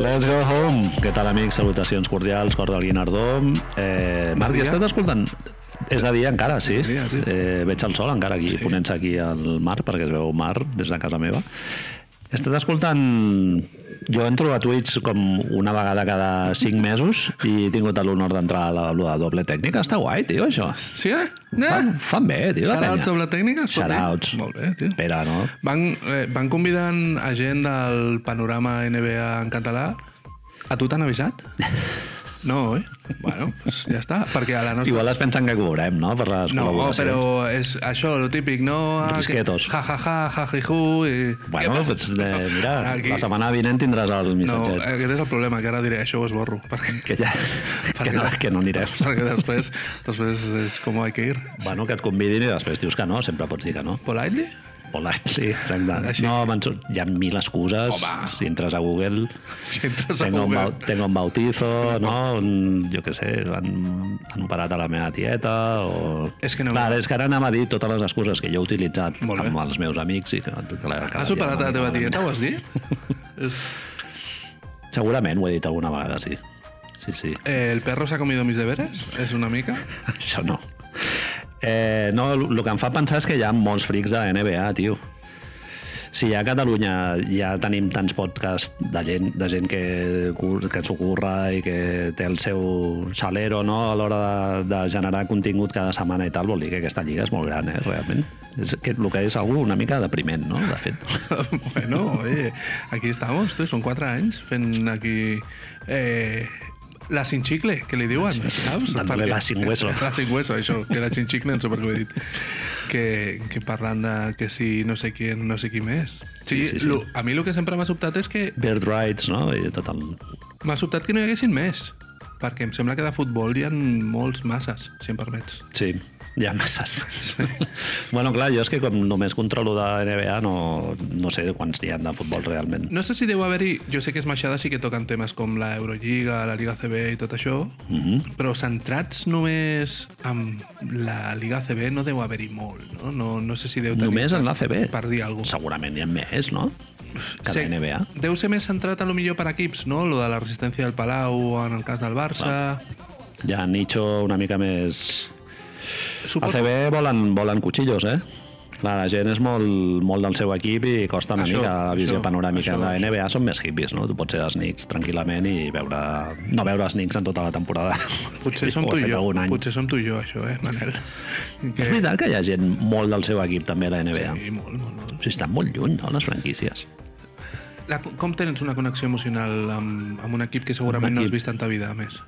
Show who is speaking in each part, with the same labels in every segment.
Speaker 1: Let's go home! Què tal, amics? Salutacions cordials, cor del Guinardó. Eh, Marc, ja
Speaker 2: dia.
Speaker 1: estàs escoltant... És de dia encara, sí.
Speaker 2: De dia, sí.
Speaker 1: Eh, veig el sol encara aquí, sí. ponent-se aquí al mar, perquè es veu mar des de casa meva. He estat escoltant... Jo entro a Twitch com una vegada cada 5 mesos i he tingut l'honor d'entrar a la, a la doble tècnica. Està guai, tio, això.
Speaker 2: Sí, eh?
Speaker 1: Fan, fan bé, tio, la
Speaker 2: Shoutouts
Speaker 1: penya.
Speaker 2: doble tècnica? es pot dir?
Speaker 1: Shoutouts.
Speaker 2: Molt bé, tio.
Speaker 1: Pere, no?
Speaker 2: Van, eh, van convidant a gent del panorama NBA en català. A tu t'han avisat? No, eh? Bueno, pues ja està. Perquè a la nostra...
Speaker 1: Igual es pensen que cobrem, no?, per les
Speaker 2: No,
Speaker 1: col·laboracions.
Speaker 2: però és això, lo típic, no? Ah, que-
Speaker 1: Risquetos.
Speaker 2: Ja, ja, ja, ja, ja, ju, i...
Speaker 1: Bueno,
Speaker 2: Què passa? Ah,
Speaker 1: doncs, eh, mira,
Speaker 2: Aquí-
Speaker 1: la setmana vinent tindràs el
Speaker 2: No, eh,
Speaker 1: missatget.
Speaker 2: aquest és el problema, que ara diré, això ho esborro, perquè,
Speaker 1: que ja...
Speaker 2: Per
Speaker 1: que, no,
Speaker 2: què?
Speaker 1: que no anirem.
Speaker 2: perquè després, després és com hay que ir.
Speaker 1: Bueno, que et convidin i després dius que no, sempre pots dir que no.
Speaker 2: Politely?
Speaker 1: Volat, sí, exacte.
Speaker 2: Així.
Speaker 1: No, me'n surt- hi ha mil excuses.
Speaker 2: Home.
Speaker 1: Si entres a Google,
Speaker 2: Si entres a
Speaker 1: tengo un,
Speaker 2: Google.
Speaker 1: bau, tengo un bautizo, no? Un, jo què sé, han, han operat a la meva tieta o...
Speaker 2: És que no-
Speaker 1: Clar, és que ara anava a dir totes les excuses que jo he utilitzat
Speaker 2: Molt bé.
Speaker 1: amb els meus amics i que... que la, cada
Speaker 2: Has
Speaker 1: dia
Speaker 2: superat
Speaker 1: una
Speaker 2: a la
Speaker 1: mica
Speaker 2: teva
Speaker 1: malament.
Speaker 2: tieta, ho has dit? És-
Speaker 1: Segurament ho he dit alguna vegada, sí. Sí, sí.
Speaker 2: Eh, ¿El perro se ha comido mis deberes? ¿Es una mica?
Speaker 1: Això no. Eh, no, el que em fa pensar és que hi ha molts frics de la NBA, tio. Si ja a Catalunya ja tenim tants podcasts de gent, de gent que, cur- que s'ho curra i que té el seu salero no, a l'hora de, de generar contingut cada setmana i tal, vol dir que aquesta lliga és molt gran, eh, realment. És que, el que és algú una mica depriment, no?, de fet.
Speaker 2: bueno, oye, aquí estamos, tú, son cuatro años fent aquí... Eh, la sin chicle, que li diuen, saps?
Speaker 1: La novel·la sin hueso.
Speaker 2: La sin hueso, això, que la sin chicle, no sé per què ho he dit. Que, que parlant de que si no sé qui, no sé qui més. Sí, sí, sí, sí. Lo, a mi el que sempre m'ha sobtat és que
Speaker 1: Bird rights, no?, i tot el...
Speaker 2: m'ha sobtat que no hi haguessin més. Perquè em sembla que de futbol hi ha molts masses, si em permets.
Speaker 1: Sí, hi ha masses. bueno, clar, jo és que com només controlo de NBA no, no sé quants n'hi ha de futbol realment.
Speaker 2: No sé si deu haver-hi... Jo sé que és Maixada sí que toquen temes com la Eurolliga, la Liga CB i tot això, mm
Speaker 1: Mhm.
Speaker 2: -hmm. però centrats només en la Liga CB no deu haver-hi molt, no? no? No sé si deu tenir...
Speaker 1: Només en l'ACB?
Speaker 2: Per dir alguna cosa.
Speaker 1: Segurament hi ha més, no? Que sí. NBA.
Speaker 2: Deu ser més centrat a lo millor per equips, no? Lo de la resistència del Palau en el cas del Barça...
Speaker 1: Hi ha nicho una mica més...
Speaker 2: Suposo...
Speaker 1: ACB volen, volen cuchillos, eh? Clar, la gent és molt, molt del seu equip i costa una
Speaker 2: Això,
Speaker 1: això, mica la visió
Speaker 2: això,
Speaker 1: això, panoràmica.
Speaker 2: això,
Speaker 1: Això, la NBA són més hippies, no? Tu pots ser dels Knicks tranquil·lament i veure... no veure els Knicks en tota la temporada.
Speaker 2: Potser som
Speaker 1: Ho he
Speaker 2: tu i
Speaker 1: fet
Speaker 2: jo,
Speaker 1: algun any.
Speaker 2: potser som tu i jo, això, eh, Manel?
Speaker 1: És veritat que hi ha gent molt del seu equip també a la NBA.
Speaker 2: Sí, molt, molt, molt.
Speaker 1: O sigui, estan molt lluny, no?, les franquícies.
Speaker 2: La, com tens una connexió emocional amb, amb un equip que segurament no has vist en ta vida, a més?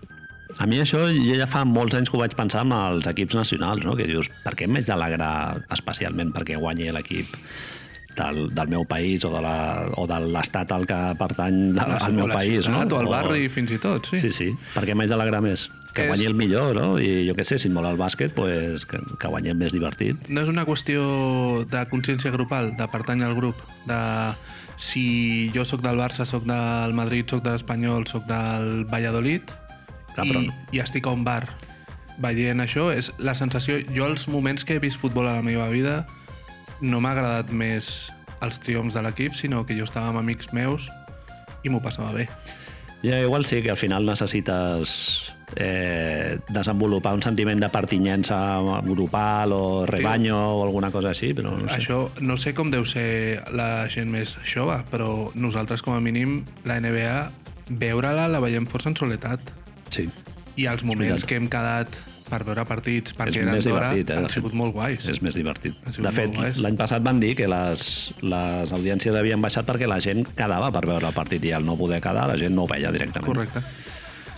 Speaker 1: A mi això jo ja fa molts anys que ho vaig pensar amb els equips nacionals, no? que dius, per què m'haig d'alegrar especialment perquè guanyi l'equip del, del meu país o de la- o de l'estat al que pertany la,
Speaker 2: la-
Speaker 1: al meu
Speaker 2: la
Speaker 1: país. No?
Speaker 2: ciutat O al
Speaker 1: O-
Speaker 2: barri, fins i tot, sí.
Speaker 1: Sí, sí. Per què m'haig d'alegrar més? Que
Speaker 2: És-
Speaker 1: guanyi el millor, no? I jo què sé, si et mola el bàsquet, pues, que, que guanyi el més divertit.
Speaker 2: No és una qüestió de consciència grupal, de pertany al grup, de si jo sóc del Barça, sóc del Madrid, sóc de l'Espanyol, sóc del Valladolid
Speaker 1: Clar, però
Speaker 2: i,
Speaker 1: no.
Speaker 2: i estic a un bar veient això, és la sensació... Jo els moments que he vist futbol a la meva vida no m'ha agradat més els triomfs de l'equip, sinó que jo estava amb amics meus i m'ho passava bé.
Speaker 1: Ja, igual sí que al final necessites eh, desenvolupar un sentiment de pertinyença grupal o rebanyo o alguna cosa així, però no sé.
Speaker 2: Això no sé com deu ser la gent més jove, però nosaltres com a mínim la NBA veure-la la veiem força en soledat.
Speaker 1: Sí.
Speaker 2: I els
Speaker 1: veritat.
Speaker 2: moments que hem quedat per veure partits,
Speaker 1: És
Speaker 2: perquè eren
Speaker 1: més
Speaker 2: d'hora,
Speaker 1: divertit, eh,
Speaker 2: han
Speaker 1: la
Speaker 2: sigut
Speaker 1: gent.
Speaker 2: molt guais.
Speaker 1: És més divertit.
Speaker 2: Ha sigut
Speaker 1: De fet,
Speaker 2: molt guais.
Speaker 1: l'any passat van dir que les, les audiències havien baixat perquè la gent quedava per veure el partit i al no poder quedar la gent no ho veia directament.
Speaker 2: Correcte.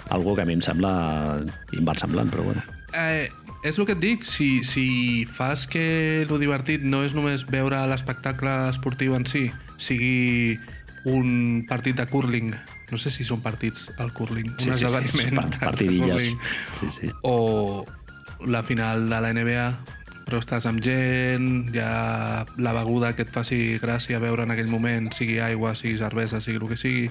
Speaker 1: Algú que a mi em sembla inversemblant, però bueno.
Speaker 2: Eh, és el que et dic, si, si fas que el divertit no és només veure l'espectacle esportiu en si, sigui un partit de curling, no sé si són partits al curling, un esdeveniment
Speaker 1: par-
Speaker 2: de
Speaker 1: partidilles.
Speaker 2: curling.
Speaker 1: Sí, sí.
Speaker 2: o la final de la NBA però estàs amb gent, hi ha la beguda que et faci gràcia veure en aquell moment, sigui aigua, sigui cervesa, sigui el que sigui,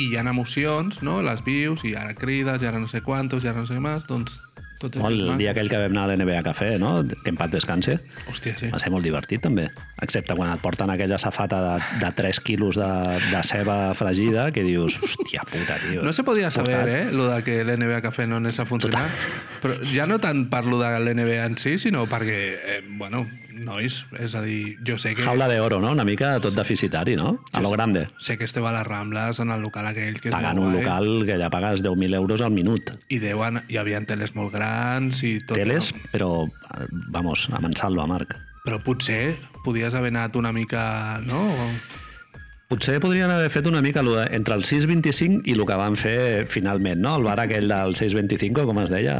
Speaker 2: i hi ha emocions, no? les vius, i ara crides, i ara no sé quantos, i ara no sé què més, doncs Tot és
Speaker 1: No, el
Speaker 2: maco.
Speaker 1: dia aquell que vam anar a l'NBA Cafè, no? que en Pat descanse,
Speaker 2: Hòstia, sí.
Speaker 1: va ser molt divertit també, excepte quan et porten aquella safata de, de 3 quilos de, de ceba fregida que dius, hòstia puta, tio.
Speaker 2: No se podia saber,
Speaker 1: Portat.
Speaker 2: eh, lo de que l'NBA Cafè no anés a funcionar. Però ja no tant parlo de l'NBA en si, sinó perquè, eh, bueno, nois, és a dir, jo sé que...
Speaker 1: Jaula d'oro, no? Una mica tot deficitari, no? A lo grande.
Speaker 2: Sé que esteu a les Rambles, en el local aquell que és
Speaker 1: Pagant
Speaker 2: molt
Speaker 1: un
Speaker 2: guai,
Speaker 1: local que ja pagues 10.000 euros al minut.
Speaker 2: I deuen, hi havia teles molt grans i tot.
Speaker 1: Teles,
Speaker 2: no?
Speaker 1: però, eh, vamos, a mansalva, Marc.
Speaker 2: Però potser podies haver anat una mica... No? O-
Speaker 1: Potser podrien haver fet una mica lo de- entre el 6.25 i el que van fer finalment, no? El bar aquell del 6.25, com es deia,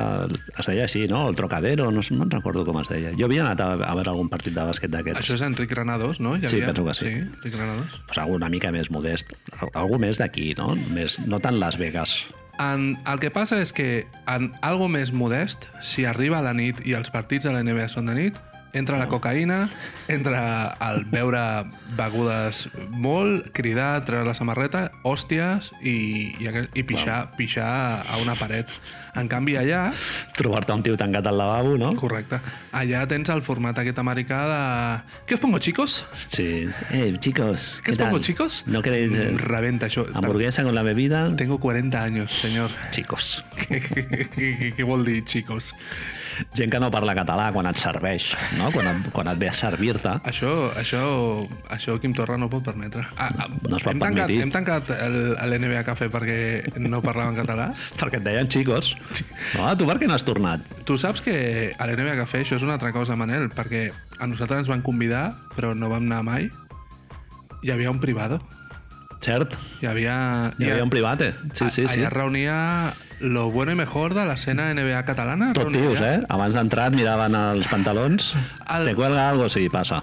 Speaker 1: es deia així, no? El Trocadero, no, no recordo com es deia. Jo havia anat a, a veure algun partit de bàsquet d'aquests.
Speaker 2: Això és Enric Granados, no? Hi
Speaker 1: Sí, penso que sí.
Speaker 2: Sí, Enric Granados.
Speaker 1: Pues algú una mica més modest, al- algú més d'aquí, no? Més, no tant Las Vegas.
Speaker 2: En, el que passa és que en algo més modest, si arriba a la nit i els partits de la NBA són de nit, entra
Speaker 1: Oh.
Speaker 2: la cocaïna, entra el beure begudes molt, cridar, treure la samarreta, hòsties i, i, aqu- i pixar, pixar a una paret. En canvi, allà,
Speaker 1: Trobar-te un tio tancat al lavabo, no?
Speaker 2: correcte, allà tens el format aquest americà de... Què us pongo, chicos?
Speaker 1: Sí. Eh, chicos,
Speaker 2: ¿Qué,
Speaker 1: ¿qué
Speaker 2: os
Speaker 1: tal?
Speaker 2: pongo, chicos?
Speaker 1: ¿No queréis eh,
Speaker 2: Mm, Reventa això.
Speaker 1: hamburguesa con la bebida?
Speaker 2: Tengo 40 años, señor.
Speaker 1: Chicos.
Speaker 2: Què- què- Què què vol dir, chicos?
Speaker 1: Gent que no parla català quan et serveix, no? Quan et, quan et ve a servir-te.
Speaker 2: Això, això, això Quim Torra no ho pot permetre. Ah, ah,
Speaker 1: No es pot
Speaker 2: hem, tancat,
Speaker 1: permetir.
Speaker 2: hem tancat el- el NBA Cafè perquè no parlava en català.
Speaker 1: Perquè et deien xicos. No, tu per què no has tornat?
Speaker 2: Tu saps que a l'NBA Cafè això és una altra cosa, Manel, perquè a nosaltres ens van convidar, però no vam anar mai. Hi havia un privado.
Speaker 1: Cert?
Speaker 2: Hi havia...
Speaker 1: Hi havia un private. Sí, sí,
Speaker 2: a-
Speaker 1: sí.
Speaker 2: Allà es reunia lo bueno y mejor de l'escena NBA catalana.
Speaker 1: Tot
Speaker 2: reunia
Speaker 1: tios, eh? Abans d'entrar et miraven els pantalons.
Speaker 2: El-
Speaker 1: Te cuelga algo, sí, passa.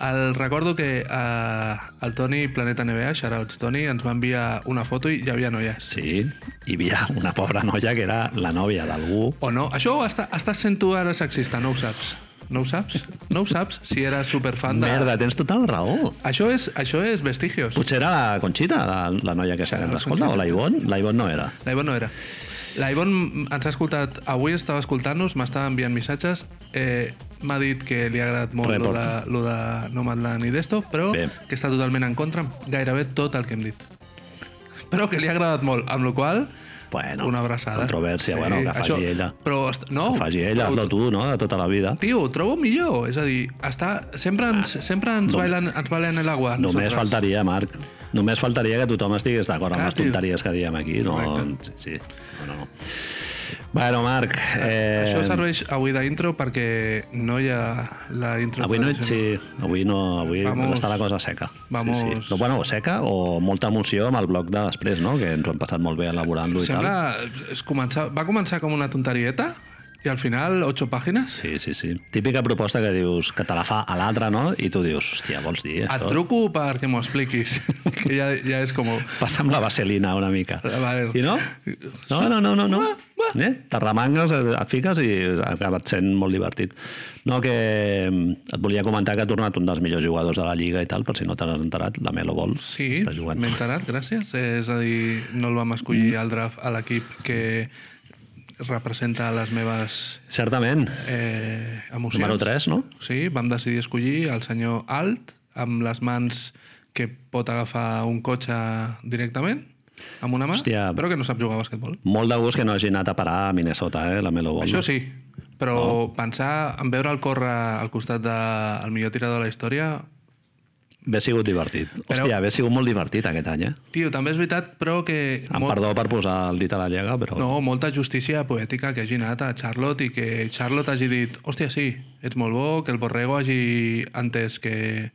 Speaker 2: El, recordo que eh, el Toni Planeta NBA, shoutouts Toni, ens va enviar una foto i hi havia noies.
Speaker 1: Sí, hi havia una pobra noia que era la nòvia d'algú.
Speaker 2: O no? Això ho està, estàs sent tu ara sexista, no ho saps. No ho saps? No ho saps? Si eres superfan de...
Speaker 1: Merda, tens tota la raó.
Speaker 2: Això és, això és Vestigios.
Speaker 1: Potser era la Conxita, la, la noia aquesta que
Speaker 2: Serà la
Speaker 1: ens escolta, o la Ivonne? La Ivonne no era.
Speaker 2: La Ivonne no era. La Ivonne ens ha escoltat... Avui estava escoltant-nos, m'estava enviant missatges. Eh, M'ha dit que li ha agradat molt lo de,
Speaker 1: Reporta.
Speaker 2: lo de Nomadland i d'esto, però
Speaker 1: Bé.
Speaker 2: que està totalment en contra amb gairebé tot el que hem dit. Però que li ha agradat molt, amb la qual
Speaker 1: Bueno,
Speaker 2: una abraçada.
Speaker 1: Controversia, sí, bueno, que faci
Speaker 2: això- Oh,
Speaker 1: ella.
Speaker 2: Però, est- no,
Speaker 1: Que faci ella,
Speaker 2: ho-
Speaker 1: no tu, no?, de tota la vida.
Speaker 2: Tio, ho trobo millor. És a dir, està, sempre ens, sempre ens,
Speaker 1: Ah, només-
Speaker 2: bailen, ens bailen l'aigua. a
Speaker 1: Només
Speaker 2: nosaltres.
Speaker 1: faltaria, Marc. Només faltaria que tothom estigués d'acord amb
Speaker 2: Clar,
Speaker 1: les
Speaker 2: tio.
Speaker 1: tonteries que diem aquí. No,
Speaker 2: Correcte.
Speaker 1: sí, sí. No, no. Bueno, Marc, eh,
Speaker 2: Això serveix avui d'intro perquè no hi ha la intro.
Speaker 1: avui no,
Speaker 2: tradicional.
Speaker 1: sí, avui no, avui
Speaker 2: Vamos.
Speaker 1: està la cosa seca.
Speaker 2: Vamos.
Speaker 1: Sí, sí. No, bueno, o seca o molta emoció amb el bloc de després, no? Que ens ho hem passat molt bé elaborant-lo i
Speaker 2: Sembla...
Speaker 1: tal.
Speaker 2: Es començar, va començar com una tonterieta i al final 8 pàgines.
Speaker 1: Sí, sí, sí. Típica proposta que dius que te la fa a l'altre, no? I tu dius, hòstia, vols dir
Speaker 2: Et
Speaker 1: això?
Speaker 2: truco perquè m'ho expliquis. que ja, ja és com...
Speaker 1: Passa'm la vaselina una mica.
Speaker 2: Eh, Vale.
Speaker 1: I no? No, no, no, no. no. Eh? T'arremangues, eh, et fiques i ha acabat sent molt divertit. No, que mm, et volia comentar que ha tornat un dels millors jugadors de la Lliga i tal, per si no t'has enterat, la Melo Ball.
Speaker 2: Sí,
Speaker 1: està jugant. Mm.
Speaker 2: m'he enterat, gràcies. És a dir, no el vam escollir al draft a l'equip que representa les meves
Speaker 1: Certament.
Speaker 2: eh, emocions.
Speaker 1: Número 3, no?
Speaker 2: Sí, vam decidir escollir el senyor Alt amb les mans que pot agafar un cotxe directament, amb una mà,
Speaker 1: Hòstia.
Speaker 2: però que no sap jugar a basquetbol.
Speaker 1: Molt de gust que no hagi anat a parar a Minnesota, eh, la Melo Ball.
Speaker 2: Això sí, però pensar en veure el córrer al costat del el millor tirador de la història...
Speaker 1: Hauria sigut divertit.
Speaker 2: Però-
Speaker 1: Hòstia, hauria sigut molt divertit aquest any, eh?
Speaker 2: Tio, també és veritat, però que...
Speaker 1: Amb
Speaker 2: mol-
Speaker 1: perdó per posar el dit a la llega, però...
Speaker 2: No, molta justícia poètica que hagi anat a Charlotte i que Charlotte hagi dit hòstia, sí, ets molt bo, que el Borrego hagi entès que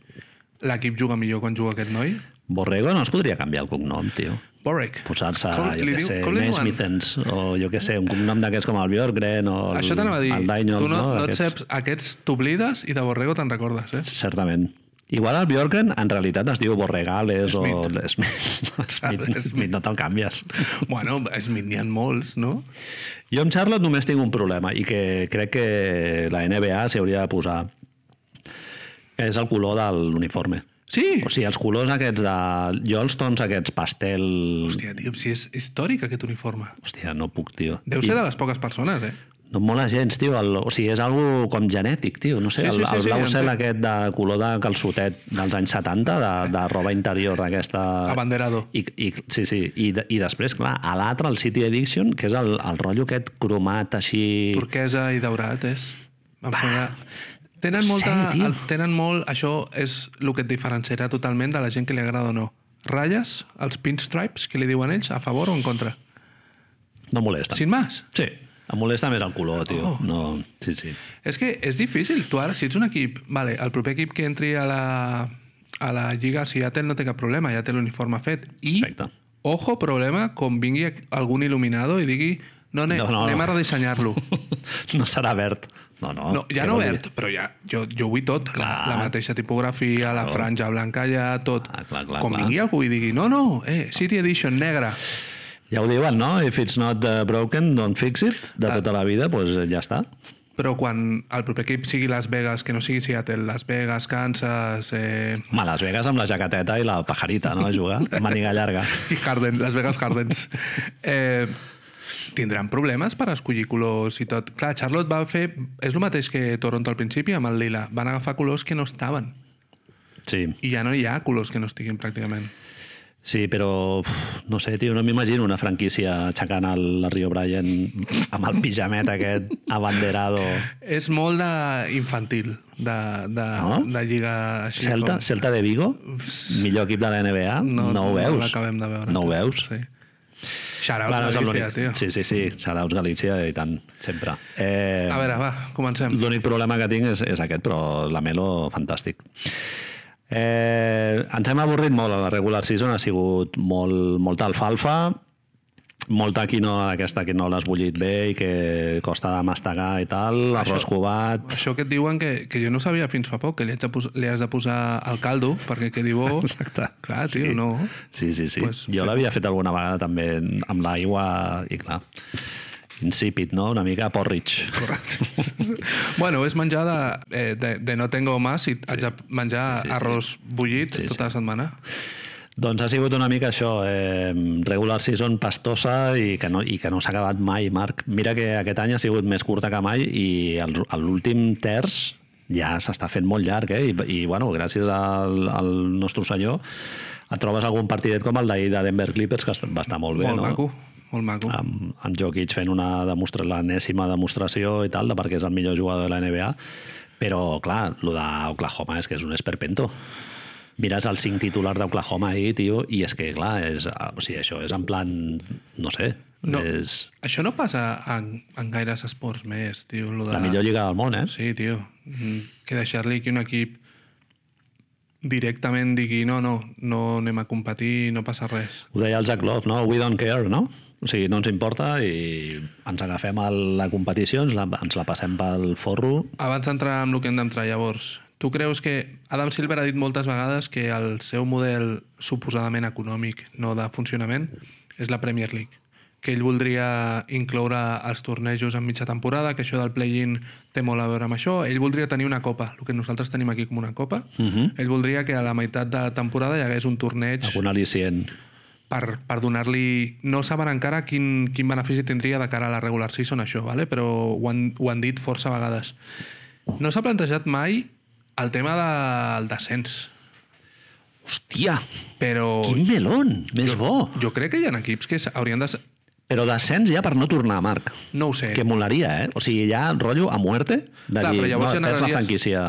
Speaker 2: l'equip juga millor quan juga aquest noi.
Speaker 1: Borrego no es podria canviar el cognom, tio.
Speaker 2: Borrec.
Speaker 1: posar-se,
Speaker 2: Com
Speaker 1: jo
Speaker 2: li
Speaker 1: què
Speaker 2: diu-
Speaker 1: sé,
Speaker 2: com li diuen?
Speaker 1: Nesmithens, o jo què sé, un cognom d'aquests com el Björgren o el,
Speaker 2: Això t'anava a dir.
Speaker 1: el Dainol,
Speaker 2: tu no, no, et
Speaker 1: Aquests-
Speaker 2: saps, aquests t'oblides i de Borrego te'n recordes, eh?
Speaker 1: Certament. Igual el Björgren en realitat es diu Borregales o...
Speaker 2: Smith.
Speaker 1: Smith. No, Smith,
Speaker 2: Ah,
Speaker 1: Smith, no te'l canvies.
Speaker 2: bueno, és mi- n'hi ha molts, no?
Speaker 1: Jo amb Charlotte només tinc un problema i que crec que la NBA s'hi hauria de posar. que És el color de l'uniforme.
Speaker 2: Sí!
Speaker 1: O sigui, els colors aquests de... Jo els tons aquests pastel...
Speaker 2: Hòstia, tio, si és històric aquest uniforme.
Speaker 1: Hòstia, no puc, tio.
Speaker 2: Deu
Speaker 1: I-
Speaker 2: ser de les poques persones, eh?
Speaker 1: No em mola gens, tio. El, o sigui, és algo com genètic, tio. No sé,
Speaker 2: Sí,
Speaker 1: sí,
Speaker 2: sí,
Speaker 1: el,
Speaker 2: sí,
Speaker 1: el
Speaker 2: sí,
Speaker 1: blau
Speaker 2: entenc.
Speaker 1: cel aquest de color de calçotet dels anys 70, de, de roba interior d'aquesta...
Speaker 2: Abanderado.
Speaker 1: I, i, sí, sí. I, de- I després, clar, a l'altre, el City Addiction, que és el, el rotllo aquest cromat així...
Speaker 2: turquesa i daurat, és. Em sembla... Tenen,
Speaker 1: no sé,
Speaker 2: molta,
Speaker 1: tio.
Speaker 2: el, tenen molt... Això és el que et diferenciarà totalment de la gent que li agrada o no. Ratlles, els pinstripes, que li diuen ells, a favor o en contra.
Speaker 1: No molesta. Sí.
Speaker 2: Sin más.
Speaker 1: sí. Em molesta més el color, tio.
Speaker 2: Oh.
Speaker 1: Oh. No... Sí, sí.
Speaker 2: És que és difícil. Tu ara, si ets un equip... Vale, el proper equip que entri a la, a la Lliga, si ja té, no té cap problema, ja té l'uniforme fet. I,
Speaker 1: Perfecte.
Speaker 2: ojo, problema, com vingui algun il·luminado i digui no, ne,
Speaker 1: No,
Speaker 2: no,
Speaker 1: no,
Speaker 2: no, anem
Speaker 1: no.
Speaker 2: a redissenyar-lo.
Speaker 1: No serà verd. No, no.
Speaker 2: No, ja
Speaker 1: Què
Speaker 2: no
Speaker 1: vol dir?
Speaker 2: verd, però ja, jo, jo vull tot.
Speaker 1: Clar.
Speaker 2: Clar. La mateixa tipografia, la franja blanca, ja tot.
Speaker 1: Clar, clar, clar,
Speaker 2: Com
Speaker 1: clar.
Speaker 2: vingui algú i digui, no, no, eh, City Edition negra.
Speaker 1: Ja ho diuen, no? If it's not uh, broken, don't fix it.
Speaker 2: Ah.
Speaker 1: De tota la vida, doncs pues, ja està.
Speaker 2: Però quan el proper equip sigui Las Vegas, que no sigui Seattle, Las Vegas, Kansas, eh,
Speaker 1: A Las Vegas amb la jaqueteta i la pajarita, no? A jugar, màniga llarga.
Speaker 2: i Harden, Las Vegas Hardens, eh, tindran problemes per escollir colors i tot. Clar, Charlotte va fer... És el mateix que Toronto al principi amb el lila. Van agafar colors que no estaven.
Speaker 1: Sí,
Speaker 2: I ja no hi ha colors que no estiguin pràcticament.
Speaker 1: sí, però uf, no sé, tio, no m'imagino una franquícia aixecant el Rio Bryan amb el pijamet aquest abanderado.
Speaker 2: És molt de infantil, de, de,
Speaker 1: No?
Speaker 2: no? de lliga així.
Speaker 1: Celta, Celta de Vigo, millor equip de la NBA, no, ho
Speaker 2: No
Speaker 1: veus.
Speaker 2: l'acabem de veure.
Speaker 1: No ho veus.
Speaker 2: Sí. Xarau,
Speaker 1: Clar,
Speaker 2: bueno,
Speaker 1: no és
Speaker 2: Galícia,
Speaker 1: l'únic.
Speaker 2: tio. Sí.
Speaker 1: Sí, sí, sí, Saraus Galícia i tant, sempre. Eh,
Speaker 2: A veure, va, comencem.
Speaker 1: L'únic problema que tinc és, és aquest, però la Melo, fantàstic. Eh, ens hem avorrit molt a la regular season, ha sigut molt, molta alfalfa, molta quinoa aquesta que no l'has bullit bé i que costa de mastegar i tal, arròs cubat...
Speaker 2: Això que et diuen que, que jo no sabia fins fa poc, que li has de, pos li has de posar el caldo perquè quedi bo.
Speaker 1: Exacte.
Speaker 2: Clar, tio, sí. no.
Speaker 1: Sí, sí, sí. Pues,
Speaker 2: Pues,
Speaker 1: jo l'havia fet alguna vegada també amb l'aigua i clar, insípid, no? Una mica porridge. Correcte.
Speaker 2: bueno, és menjar de, eh, de, de no tengo más i sí. haig de
Speaker 1: Sí,
Speaker 2: menjar sí,
Speaker 1: sí.
Speaker 2: sí, arròs bullit
Speaker 1: Sí,
Speaker 2: sí, tota la setmana.
Speaker 1: Doncs ha sigut una mica això, eh, regular season pastosa i que no, i que no s'ha acabat mai, Marc. Mira que aquest any ha sigut més curta que mai i el- a l'últim terç ja s'està fent molt llarg, eh? I, i bueno, gràcies al, al nostre senyor et trobes algun partidet com el d'ahir de Denver Clippers, que est- va estar molt bé,
Speaker 2: molt
Speaker 1: no?
Speaker 2: maco, molt maco. Ah.
Speaker 1: amb, amb Jokic fent una demostra, l'enèsima demostració i tal, de perquè és el millor jugador de la NBA, però, clar, el d'Oklahoma és que és un esperpento. Mires el cinc titular d'Oklahoma ahir, tio, i és que, clar, és, o sigui, això és en plan, no sé, no.
Speaker 2: No.
Speaker 1: és
Speaker 2: Això no passa en, en gaires esports més, tio. Lo de...
Speaker 1: la millor lliga del món, eh?
Speaker 2: Sí, tio. Mm, Que deixar-li que un equip directament digui no, no, no anem a competir, no passa res.
Speaker 1: Ho deia el Zach Love, no? We don't care, no? O sigui, no ens importa i ens agafem a la competició, ens la, ens la passem pel forro.
Speaker 2: Abans d'entrar amb el que hem d'entrar, llavors, tu creus que Adam Silver ha dit moltes vegades que el seu model suposadament econòmic, no de funcionament, és la Premier League que ell voldria incloure els tornejos en mitja temporada, que això del play-in té molt a veure amb això. Ell voldria tenir una copa, el que nosaltres tenim aquí com una copa.
Speaker 1: Uh -huh.
Speaker 2: Ell voldria que a la meitat de la temporada hi hagués un torneig
Speaker 1: Algun al·licient.
Speaker 2: per, per donar-li... No saben encara quin, quin benefici tindria de cara a la regular season, això, vale? però ho han, ho han dit força vegades. No s'ha plantejat mai el tema del descens,
Speaker 1: Hòstia,
Speaker 2: però
Speaker 1: quin melón! Més bo!
Speaker 2: jo crec que hi ha equips que s'haurien de...
Speaker 1: Però descens ja per no tornar, Marc.
Speaker 2: No ho sé.
Speaker 1: Que molaria, eh? O sigui, ja rotllo a muerte de
Speaker 2: Clar,
Speaker 1: dir,
Speaker 2: però llavors
Speaker 1: no,
Speaker 2: ja
Speaker 1: és la
Speaker 2: anaries-
Speaker 1: franquícia...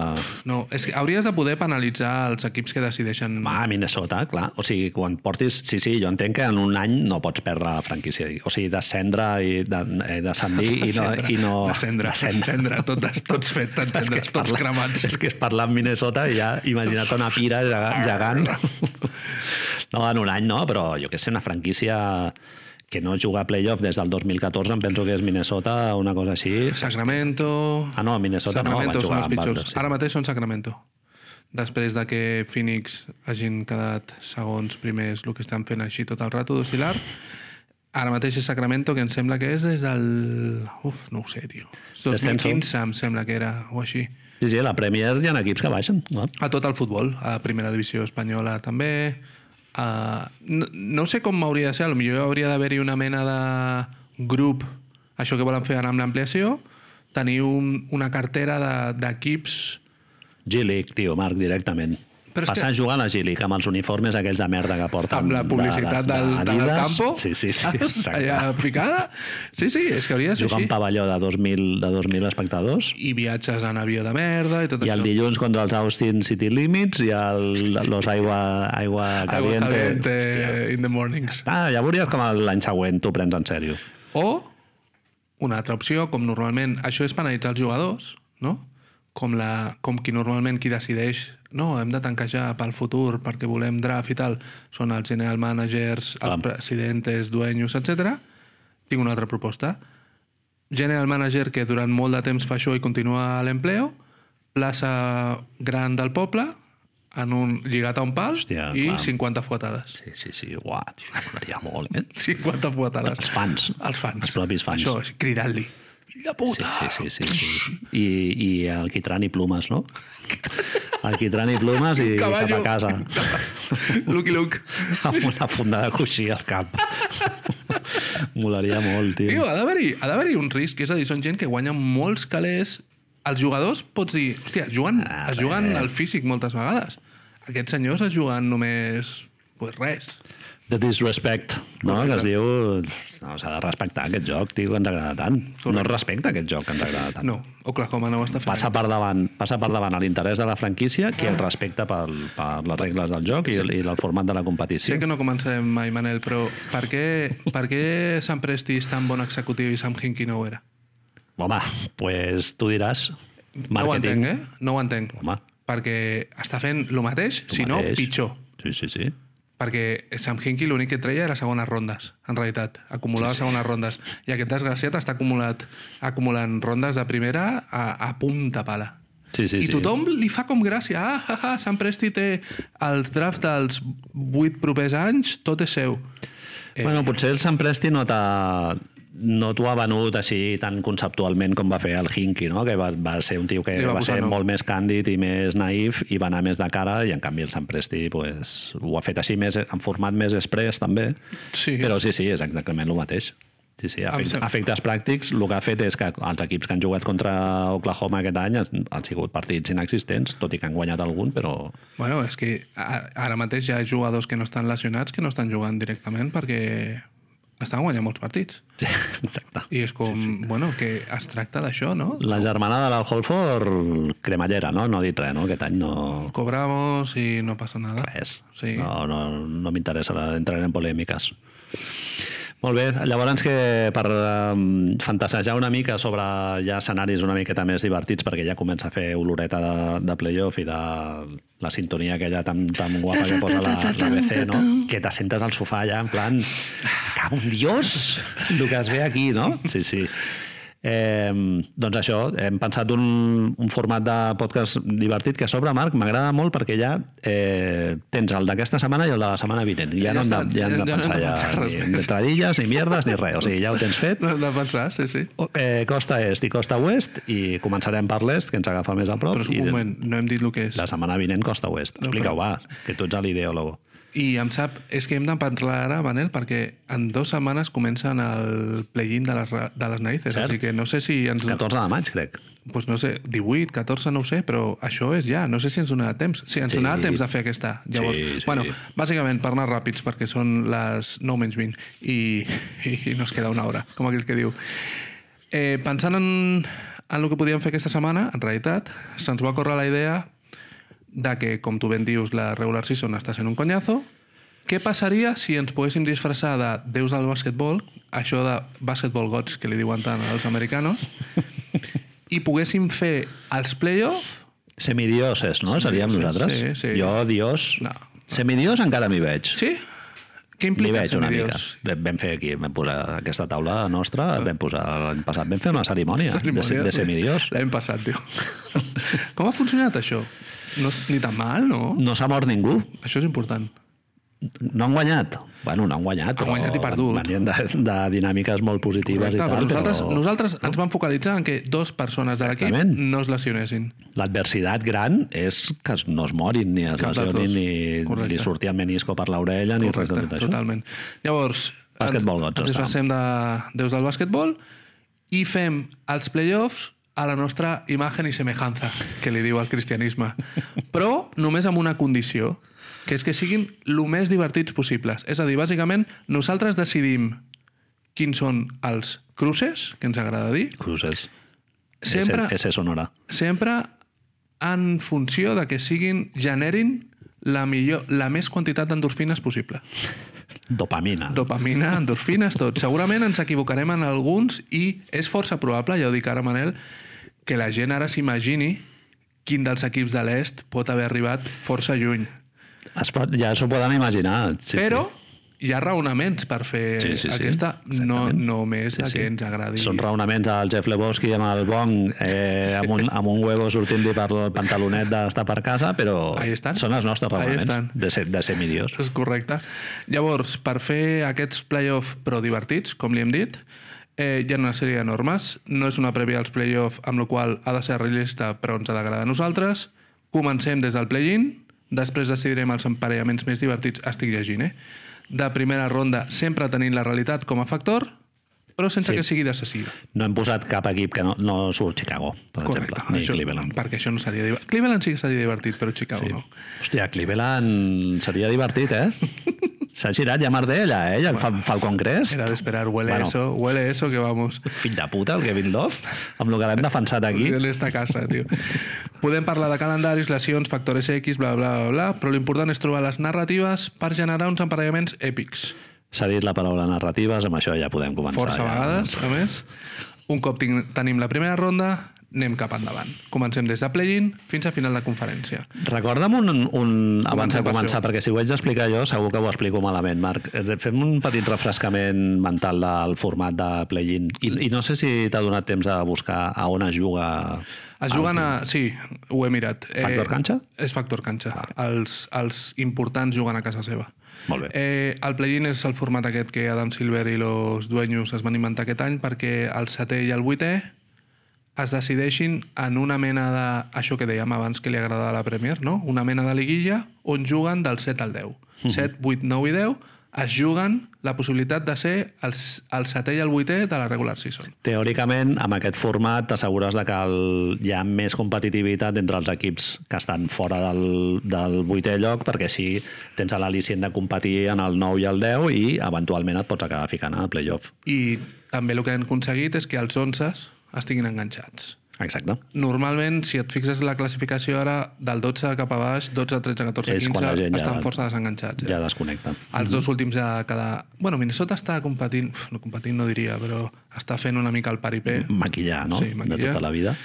Speaker 2: No, és que hauries de poder penalitzar els equips que decideixen...
Speaker 1: Va, a Minnesota, clar. O sigui, quan portis... Sí, sí, jo entenc que en un any no pots perdre la franquícia. O sigui, descendre i de, eh, descendir i no...
Speaker 2: Descendre,
Speaker 1: I no...
Speaker 2: descendre, descendre, tots, tots fet, descendre,
Speaker 1: és
Speaker 2: tots
Speaker 1: parlar-
Speaker 2: cremats.
Speaker 1: És que és parlar amb Minnesota i ja imagina't una pira gega- gegant. No, en un any no, però jo que sé, una franquícia que no juga a playoff des del 2014, em penso que és Minnesota, una cosa així.
Speaker 2: Sacramento...
Speaker 1: Ah, no, Minnesota no,
Speaker 2: Sacramento
Speaker 1: van
Speaker 2: són
Speaker 1: jugar
Speaker 2: els
Speaker 1: amb
Speaker 2: pitjors.
Speaker 1: altres, sí.
Speaker 2: Ara mateix són Sacramento. Després de que Phoenix hagin quedat segons primers el que estan fent així tot el rato d'oscil·lar, ara mateix és Sacramento, que em sembla que és des del... Uf, no ho sé, tio.
Speaker 1: Descenso.
Speaker 2: 2015 em sembla que era, o així.
Speaker 1: Sí, sí, la Premier hi ha equips que baixen, clar.
Speaker 2: A tot el futbol, a Primera Divisió Espanyola també. A... No, no sé com hauria de ser, potser hauria d'haver-hi una mena de grup, això que volen fer ara amb l'ampliació, tenir un, una cartera de- d'equips...
Speaker 1: G-League, tio, Marc, directament.
Speaker 2: Però
Speaker 1: Però
Speaker 2: és
Speaker 1: Passar que... a jugar a la G-League amb els uniformes aquells de merda que porten.
Speaker 2: amb la
Speaker 1: de-
Speaker 2: publicitat del, de, del
Speaker 1: Adidas.
Speaker 2: campo.
Speaker 1: Sí, sí, sí.
Speaker 2: saps?
Speaker 1: exacte.
Speaker 2: Allà picada. Sí, sí, és que hauria de ser
Speaker 1: Jugar a un
Speaker 2: així.
Speaker 1: pavelló de 2.000, de 2.000 espectadors.
Speaker 2: I viatges en avió de merda i tot
Speaker 1: I
Speaker 2: això.
Speaker 1: el dilluns contra els Austin City Limits i el, los aigua, aigua
Speaker 2: Agua
Speaker 1: caliente.
Speaker 2: caliente
Speaker 1: Hòstia.
Speaker 2: in the mornings.
Speaker 1: Ah, ja veuries com l'any següent t'ho prens en sèrio.
Speaker 2: O una altra opció, com normalment... Això és penalitzar els jugadors, no? Com, la, com qui normalment qui decideix no, hem de tancar ja pel futur perquè volem draft i tal, són els general managers, els
Speaker 1: Clar.
Speaker 2: presidentes, dueños, etc. Tinc una altra proposta. General manager que durant molt de temps fa això i continua a l'empleo, plaça gran del poble, en un, lligat a un pal
Speaker 1: Hòstia,
Speaker 2: i
Speaker 1: clar.
Speaker 2: 50 fuetades.
Speaker 1: Sí, sí, sí, uà, tio, m'agradaria molt, eh?
Speaker 2: 50 fuetades.
Speaker 1: Els fans.
Speaker 2: Els fans.
Speaker 1: Els propis fans.
Speaker 2: Això, és cridant-li. Fill de puta!
Speaker 1: Sí, sí, sí. sí, sí. I, I el quitran i plumes, no? El quitran i plumes i cap
Speaker 2: Cavallo.
Speaker 1: a casa.
Speaker 2: Lucky Luke.
Speaker 1: amb una funda de coixí al cap. Molaria molt, tio.
Speaker 2: Tio, ha d'haver-hi ha d'haver-hi un risc. És a dir, són gent que guanya molts calés. Els jugadors, pots dir... Hòstia, es juguen,
Speaker 1: Ah,
Speaker 2: es juguen
Speaker 1: res.
Speaker 2: al físic moltes vegades. Aquests senyors es juguen només... Pues res.
Speaker 1: The disrespect, no? Que es
Speaker 2: Correcte.
Speaker 1: diu... No, s'ha de respectar aquest joc, tio, que ens agrada tant. No es respecta aquest joc que ens agrada tant.
Speaker 2: No, Oklahoma no ho està fent.
Speaker 1: Passa per davant, passa per davant a l'interès de la franquícia qui el respecta pel, per les regles del joc i, i el format de la competició.
Speaker 2: Sé que no començarem mai, Manel, però per què, per què Sam Presti és tan bon executiu i Sam Hinkie no ho era?
Speaker 1: Home, pues tu diràs...
Speaker 2: No ho
Speaker 1: Màrqueting.
Speaker 2: entenc, eh? No ho entenc.
Speaker 1: Home,
Speaker 2: perquè està fent el mateix,
Speaker 1: tu
Speaker 2: si no,
Speaker 1: mateix.
Speaker 2: pitjor.
Speaker 1: Sí, sí, sí.
Speaker 2: Perquè Sam Hinkie l'únic que treia era segones rondes, en realitat. Acumulava sí, sí. segones rondes. I aquest desgraciat està acumulat, acumulant rondes de primera a, a punta pala.
Speaker 1: Sí, sí,
Speaker 2: Sí, I
Speaker 1: sí.
Speaker 2: tothom li fa com gràcia. Ah, ha, ha, Sam Presti té els drafts dels vuit propers anys, tot és seu.
Speaker 1: Eh... Bueno, potser el Sant Presti no t'ha no t'ho ha venut així tan conceptualment com va fer el Hinky, no? que va, va ser un tio que
Speaker 2: Li
Speaker 1: va,
Speaker 2: va
Speaker 1: va
Speaker 2: posar
Speaker 1: ser
Speaker 2: nom.
Speaker 1: no. molt més càndid i més naïf i va anar més de cara i en canvi el Sant Presti pues, ho ha fet així més, en format més express també,
Speaker 2: Sí.
Speaker 1: però sí, sí, és exactament el mateix. Sí, sí,
Speaker 2: Em
Speaker 1: efectes,
Speaker 2: sembla-
Speaker 1: efectes pràctics, el que ha fet és que els equips que han jugat contra Oklahoma aquest any han, han sigut partits inexistents, tot i que han guanyat algun, però
Speaker 2: Bueno, és que a- ara mateix hi ha jugadors que no estan lesionats que no estan jugant directament perquè estan guanyant molts partits.
Speaker 1: sí, exacte.
Speaker 2: I és com, sí, sí. bueno, que es tracta d'això, no?
Speaker 1: La germanada del Holford, cremallera, no? No ha dit res, no? Aquest any no...
Speaker 2: Cobramos i no passa nada.
Speaker 1: Res.
Speaker 2: Sí.
Speaker 1: No, no, no m'interessa entrar en polèmiques. Molt bé, llavors que per um, fantasejar una mica sobre ja escenaris una miqueta més divertits, perquè ja comença a fer oloreta de, de playoff i de la sintonia aquella tan, tan guapa que posa la, la BC, no? Que t'assentes al sofà ja en plan, cago en Dios, el que es ve aquí, no? Sí, sí. Eh, doncs això, hem pensat un, un format de podcast divertit que a sobre, Marc, m'agrada molt perquè ja eh, tens el d'aquesta setmana i el de la setmana vinent. Ja,
Speaker 2: Ja
Speaker 1: ja no hem de,
Speaker 2: està,
Speaker 1: ja hem de
Speaker 2: ja no hem de
Speaker 1: pensar ja,
Speaker 2: pensar res
Speaker 1: ni,
Speaker 2: més.
Speaker 1: ni tradilles, ni mierdes, ni res. O sigui, ja ho tens fet.
Speaker 2: No hem de pensar, sí, sí.
Speaker 1: O- Eh, costa est i costa oest i començarem per l'est, que ens agafa més a prop.
Speaker 2: Però és un
Speaker 1: i
Speaker 2: moment, no hem dit el que és.
Speaker 1: La setmana vinent costa oest.
Speaker 2: No,
Speaker 1: Explica-ho,
Speaker 2: però-
Speaker 1: va, que tu ets l'ideòlogo.
Speaker 2: I em sap, és que hem de parlar ara, Manel, perquè en dues setmanes comencen el play-in de les, ra- de les narices,
Speaker 1: Cert.
Speaker 2: així que no sé si ens...
Speaker 1: 14 de maig, crec.
Speaker 2: Pues no sé, 18, 14, no ho sé, però això és ja, no sé si ens donarà temps. Sí, ens
Speaker 1: Sí.
Speaker 2: donarà temps de fer aquesta. Llavors,
Speaker 1: Sí, sí.
Speaker 2: bueno, bàsicament per anar ràpids, perquè són les 9 menys 20 i, i no es queda una hora, com aquell que diu. Eh, pensant en, en el que podíem fer aquesta setmana, en realitat, se'ns va córrer la idea de que, com tu ben dius, la regular season està sent un conyazo, què passaria si ens poguéssim disfressar de déus del bàsquetbol, això de basketball gods que li diuen tant als americanos, i poguéssim fer els play-off
Speaker 1: Semidioses, no? Seríem
Speaker 2: sí,
Speaker 1: nosaltres.
Speaker 2: sí, sí.
Speaker 1: Jo, dios...
Speaker 2: No.
Speaker 1: Semidios encara m'hi veig.
Speaker 2: Sí? Què
Speaker 1: M'hi
Speaker 2: implica
Speaker 1: veig
Speaker 2: ser
Speaker 1: una mica.
Speaker 2: milions?
Speaker 1: Vam fer aquí, vam posar aquesta taula nostra,
Speaker 2: Ah.
Speaker 1: vam posar l'any passat, vam fer una cerimònia, de, de semidios.
Speaker 2: L'hem passat, tio. Com ha funcionat això? No, és ni tan mal, no?
Speaker 1: No s'ha mort ningú.
Speaker 2: Això és important.
Speaker 1: No han guanyat. Bueno, no han guanyat.
Speaker 2: Han guanyat i
Speaker 1: però
Speaker 2: perdut.
Speaker 1: Venien de, de dinàmiques molt positives
Speaker 2: Correcte,
Speaker 1: i
Speaker 2: però
Speaker 1: tal,
Speaker 2: nosaltres,
Speaker 1: però
Speaker 2: nosaltres ens vam focalitzar en que dos persones de l'equip
Speaker 1: Exactament.
Speaker 2: no es lesionessin.
Speaker 1: l'adversitat gran és que es- no es morin ni es
Speaker 2: Cap dels
Speaker 1: lesionin
Speaker 2: dos.
Speaker 1: ni
Speaker 2: Correcte.
Speaker 1: li surti el menisco per l'orella ni res de tot això.
Speaker 2: totalment. Llavors,
Speaker 1: Bàsquetbol, doncs,
Speaker 2: ens
Speaker 1: estàvem.
Speaker 2: disfressem de déus del bàsquetbol i fem els play-offs a la nostra imagen i semejanza, que li diu el cristianisme. Però només amb una condició, que és que siguin el més divertits possibles. És a dir, bàsicament, nosaltres decidim quins són els cruces, que ens agrada dir,
Speaker 1: Cruces.
Speaker 2: sempre,
Speaker 1: Ese, ese sonora.
Speaker 2: sempre en funció de que siguin, generin la, millor, la més quantitat d'endorfines possible.
Speaker 1: Dopamina.
Speaker 2: Dopamina, endorfines, tot. Segurament ens equivocarem en alguns i és força probable, ja ho dic ara, Manel, que la gent ara s'imagini quin dels equips de l'est pot haver arribat força lluny.
Speaker 1: Es pot, ja s'ho poden imaginar. Sí,
Speaker 2: Sí, Però hi ha raonaments per fer
Speaker 1: Sí, sí, sí,
Speaker 2: aquesta, no
Speaker 1: exactament.
Speaker 2: només
Speaker 1: Sí,
Speaker 2: la
Speaker 1: sí.
Speaker 2: que ens agradi.
Speaker 1: Són raonaments del Jeff Lebowski amb el bong, eh, amb, un, amb un huevo sortint-li per el pantalonet d'estar per casa, però
Speaker 2: Ahí estan.
Speaker 1: són els nostres
Speaker 2: Ahí estan.
Speaker 1: raonaments de ser, de ser millors.
Speaker 2: És correcte. Llavors, per fer aquests play-off però divertits, com li hem dit, eh, hi ha una sèrie de normes. No és una prèvia als play-off, amb la qual ha de ser realista però ens ha d'agradar a nosaltres. Comencem des del play-in, després decidirem els emparellaments més divertits, estic llegint, eh? De primera ronda, sempre tenint la realitat com a factor, però sense
Speaker 1: Sí.
Speaker 2: sí. que sigui decisiva.
Speaker 1: No hem posat cap equip que no, no surt Chicago, per exemple, ni
Speaker 2: això,
Speaker 1: Cleveland.
Speaker 2: perquè això no seria divertit. Cleveland sí que seria divertit, però Chicago
Speaker 1: Sí.
Speaker 2: sí. no.
Speaker 1: Hòstia, Cleveland seria divertit, eh? S'ha girat ja mar d'ella, eh? El bueno, Falcon Crest.
Speaker 2: Era d'esperar, huele
Speaker 1: Bueno.
Speaker 2: bueno. eso, huele eso que vamos.
Speaker 1: Fill de puta, el Kevin Love, amb el que l'hem defensat aquí.
Speaker 2: en esta casa, tio. Podem parlar de calendaris, lesions, factores X, bla, bla, bla, bla, però l'important és trobar les narratives per generar uns emparellaments èpics.
Speaker 1: S'ha dit la paraula narratives, amb això ja podem començar.
Speaker 2: Força
Speaker 1: ja.
Speaker 2: vegades, a més. Un cop tin- tenim la primera ronda, anem cap endavant. Comencem des de play-in fins a final de conferència.
Speaker 1: Recorda'm un, un abans de
Speaker 2: per
Speaker 1: començar,
Speaker 2: això.
Speaker 1: perquè si ho haig d'explicar jo segur que ho explico malament, Marc. Eh, Fem un petit refrescament mental del format de play-in. I, I no sé si t'ha donat temps de buscar a on es juga...
Speaker 2: Es juguen a... Sí, ho he mirat.
Speaker 1: Ah,
Speaker 2: Eh,
Speaker 1: Factor canxa? Ah.
Speaker 2: És factor canxa. Els, els importants juguen a casa seva.
Speaker 1: Molt bé.
Speaker 2: Eh, el play-in és el format aquest que Adam Silver i los dueños es van inventar aquest any perquè el setè i el vuitè es decideixin en una mena de... Això que dèiem abans que li agradava a la Premier, no? Una mena de liguilla on juguen del 7 al 10.
Speaker 1: Mhm.
Speaker 2: 7, 8, 9 i 10 es juguen la possibilitat de ser el, el setè i el vuitè de la regular season.
Speaker 1: Teòricament, amb aquest format t'assegures de que el, hi ha més competitivitat entre els equips que estan fora del, del vuitè lloc, perquè així tens l'al·licient de competir en el 9 i el 10 i eventualment et pots acabar ficant al playoff.
Speaker 2: I també el que han aconseguit és que els 11 estiguin enganxats.
Speaker 1: Exacte.
Speaker 2: Normalment, si et fixes en la classificació ara, del 12 cap a baix, 12, 13, 14,
Speaker 1: És quan la
Speaker 2: 15,
Speaker 1: gent ja-
Speaker 2: estan força desenganxats. Ja.
Speaker 1: Ja Mm. desconnecta.
Speaker 2: Els dos últims de cada... Bueno, Minnesota està competint, uf, no competint no diria, però està fent una mica el paripé.
Speaker 1: Mm. Maquillar, no?
Speaker 2: Sí, maquillar.
Speaker 1: De tota la vida.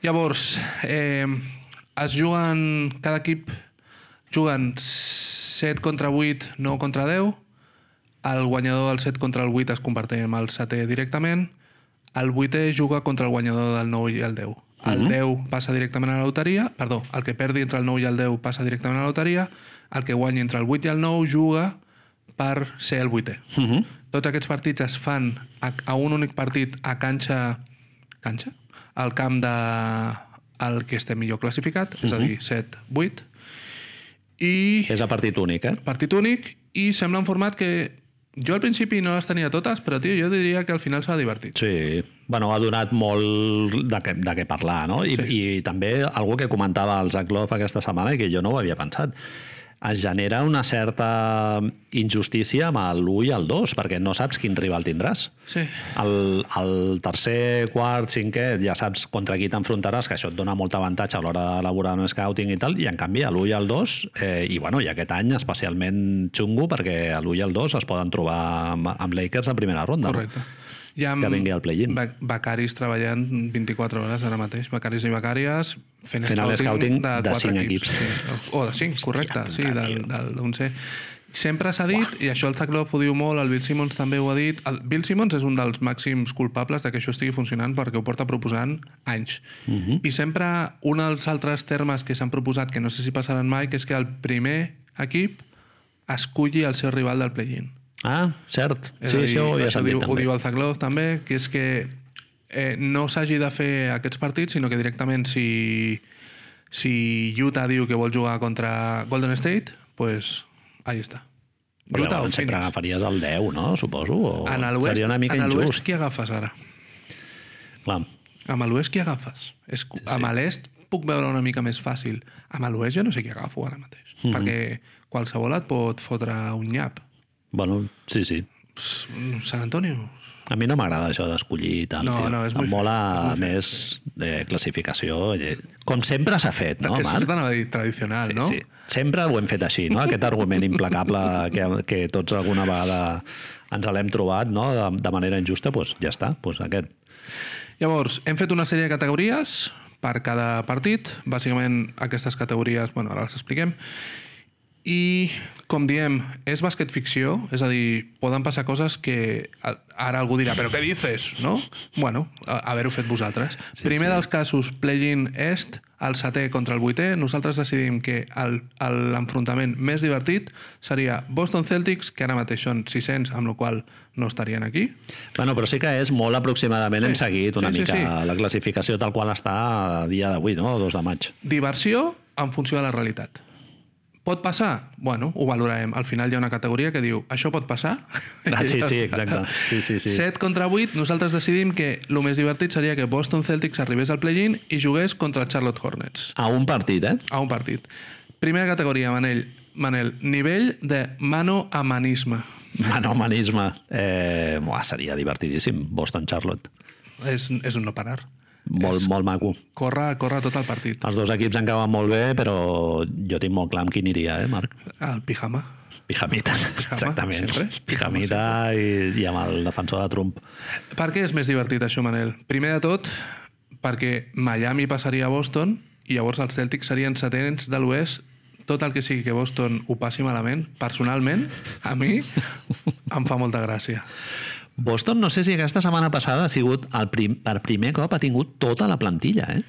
Speaker 2: Llavors, eh, es juguen... Cada equip juguen 7 contra 8, 9 contra 10. El guanyador del 7 contra el 8 es converteix en el 7 directament. El 8è juga contra el guanyador del 9 i el 10. El 10 passa directament a la loteria. Perdó, el que perdi entre el 9 i el 10 passa directament a la loteria. El que guanyi entre el 8 i el 9 juga per ser el 8è.
Speaker 1: Uh -huh.
Speaker 2: Tots aquests partits es fan a, a un únic partit a canxa... Canxa? Al camp de el que esté millor classificat, és a dir, 7, 8. I
Speaker 1: És a partit únic, eh?
Speaker 2: partit únic, i sembla un format que jo al principi no les tenia totes, però tio, jo diria que al final serà divertit.
Speaker 1: Sí, bueno, ha donat molt de què, de què parlar, no? I, sí.
Speaker 2: Sí.
Speaker 1: I també algú que comentava el Zach Loff aquesta setmana i que jo no ho havia pensat. Es genera una certa injustícia amb l'1 i el 2, perquè no saps quin rival tindràs.
Speaker 2: Sí.
Speaker 1: El, el tercer, quart, cinquè, ja saps contra qui t'enfrontaràs, que això et dona molt avantatge a l'hora d'elaborar un scouting i tal, i en canvi l'1 i el 2, eh, i, bueno, i aquest any especialment xungo, perquè l'1 i el 2 es poden trobar amb, amb Lakers a primera ronda. no?
Speaker 2: Correcte. Hi ha
Speaker 1: Que vingui al play-in.
Speaker 2: Ba becaris treballant 24 hores ara mateix, becaris i becàries fent,
Speaker 1: Fent el scouting de
Speaker 2: quatre
Speaker 1: cinc
Speaker 2: Sí. O de 5, correcte,
Speaker 1: puta,
Speaker 2: sí,
Speaker 1: tio.
Speaker 2: del, del 11. Sempre s'ha dit, i això el Zaclop ho diu molt, el Bill Simmons també ho ha dit, el Bill Simmons és un dels màxims culpables de que això estigui funcionant perquè ho porta proposant anys.
Speaker 1: Mhm.
Speaker 2: I sempre un dels altres termes que s'han proposat, que no sé si passaran mai, que és que el primer equip esculli el seu rival del play-in.
Speaker 1: Ah, cert.
Speaker 2: És
Speaker 1: Sí,
Speaker 2: a dir,
Speaker 1: això ho havia
Speaker 2: diu,
Speaker 1: sentit
Speaker 2: Ho
Speaker 1: també.
Speaker 2: diu el Zaglov també, que és que eh, no s'hagi de fer aquests partits, sinó que directament si, si Utah diu que vol jugar contra Golden State, pues ahí està.
Speaker 1: Però
Speaker 2: Utah o
Speaker 1: llavors sempre
Speaker 2: Phoenix?
Speaker 1: agafaries el 10, no? Suposo. O
Speaker 2: En l'oest
Speaker 1: seria una mica
Speaker 2: en l'oest
Speaker 1: injust.
Speaker 2: qui agafes ara?
Speaker 1: Clar,
Speaker 2: Amb l'oest què agafes? És, sí, sí. Amb l'est puc veure una mica més fàcil. Amb l'oest jo no sé què agafo ara mateix,
Speaker 1: Mhm.
Speaker 2: mm -hmm. perquè qualsevol et pot fotre un nyap.
Speaker 1: Bueno, sí, sí.
Speaker 2: Pss, Sant Antonio,
Speaker 1: A mi no m'agrada això d'escollir i tal.
Speaker 2: No,
Speaker 1: tio.
Speaker 2: no, és
Speaker 1: em
Speaker 2: molt
Speaker 1: mola
Speaker 2: fe- és molt
Speaker 1: més eh, classificació. eh, Com sempre s'ha fet, no,
Speaker 2: és
Speaker 1: Marc?
Speaker 2: tan tradicional, no?
Speaker 1: Sí. Sempre ho hem fet així, no? aquest argument implacable que, que tots alguna vegada ens l'hem trobat no? de, de manera injusta, doncs ja està, doncs aquest.
Speaker 2: Llavors, hem fet una sèrie de categories per cada partit. Bàsicament, aquestes categories, bueno, ara les expliquem. I, com diem, és bàsquet ficció, és a dir, poden passar coses que a- ara algú dirà, però què dices, no? Bueno, a- haver-ho fet vosaltres. Sí, Primer sí. dels casos, play-in est, el setè contra el vuitè, nosaltres decidim que el- el- l'enfrontament més divertit seria Boston Celtics, que ara mateix són 600, amb la qual cosa no estarien aquí,
Speaker 1: Bueno, però sí que és molt aproximadament,
Speaker 2: Sí,
Speaker 1: sí. hem seguit una
Speaker 2: sí,
Speaker 1: sí,
Speaker 2: sí,
Speaker 1: mica sí,
Speaker 2: sí.
Speaker 1: la classificació tal qual està a dia d'avui, no? 2 de maig.
Speaker 2: diversió en funció de la realitat. Pot passar? Bueno, ho valorarem. Al final hi ha una categoria que diu això pot passar?
Speaker 1: Ah, sí, sí, exacte. Sí, sí, sí.
Speaker 2: 7 contra 8, nosaltres decidim que el més divertit seria que Boston Celtics arribés al play-in i jugués contra els Charlotte Hornets
Speaker 1: A un partit, eh?
Speaker 2: a un partit. Primera categoria, Manel, Manel nivell de mano a manisme.
Speaker 1: Manomanisme. Eh, buah, seria divertidíssim, Boston Charlotte.
Speaker 2: És, és un no parar.
Speaker 1: Molt, és... molt maco.
Speaker 2: Corre, corre tot el partit.
Speaker 1: Els dos equips han acabat molt bé, però jo tinc molt clar amb qui aniria, eh, Marc?
Speaker 2: El pijama.
Speaker 1: Pijamita,
Speaker 2: Pijama,
Speaker 1: exactament.
Speaker 2: sempre.
Speaker 1: Pijamita i, i amb el defensor de Trump.
Speaker 2: Per què és més divertit això, Manel? Primer de tot, perquè Miami passaria a Boston i llavors els Celtics serien setents de l'oest tot el que sigui que Boston ho passi malament, personalment, a mi em fa molta gràcia.
Speaker 1: Boston, no sé si aquesta setmana passada ha sigut el prim, per primer cop ha tingut tota la plantilla, eh?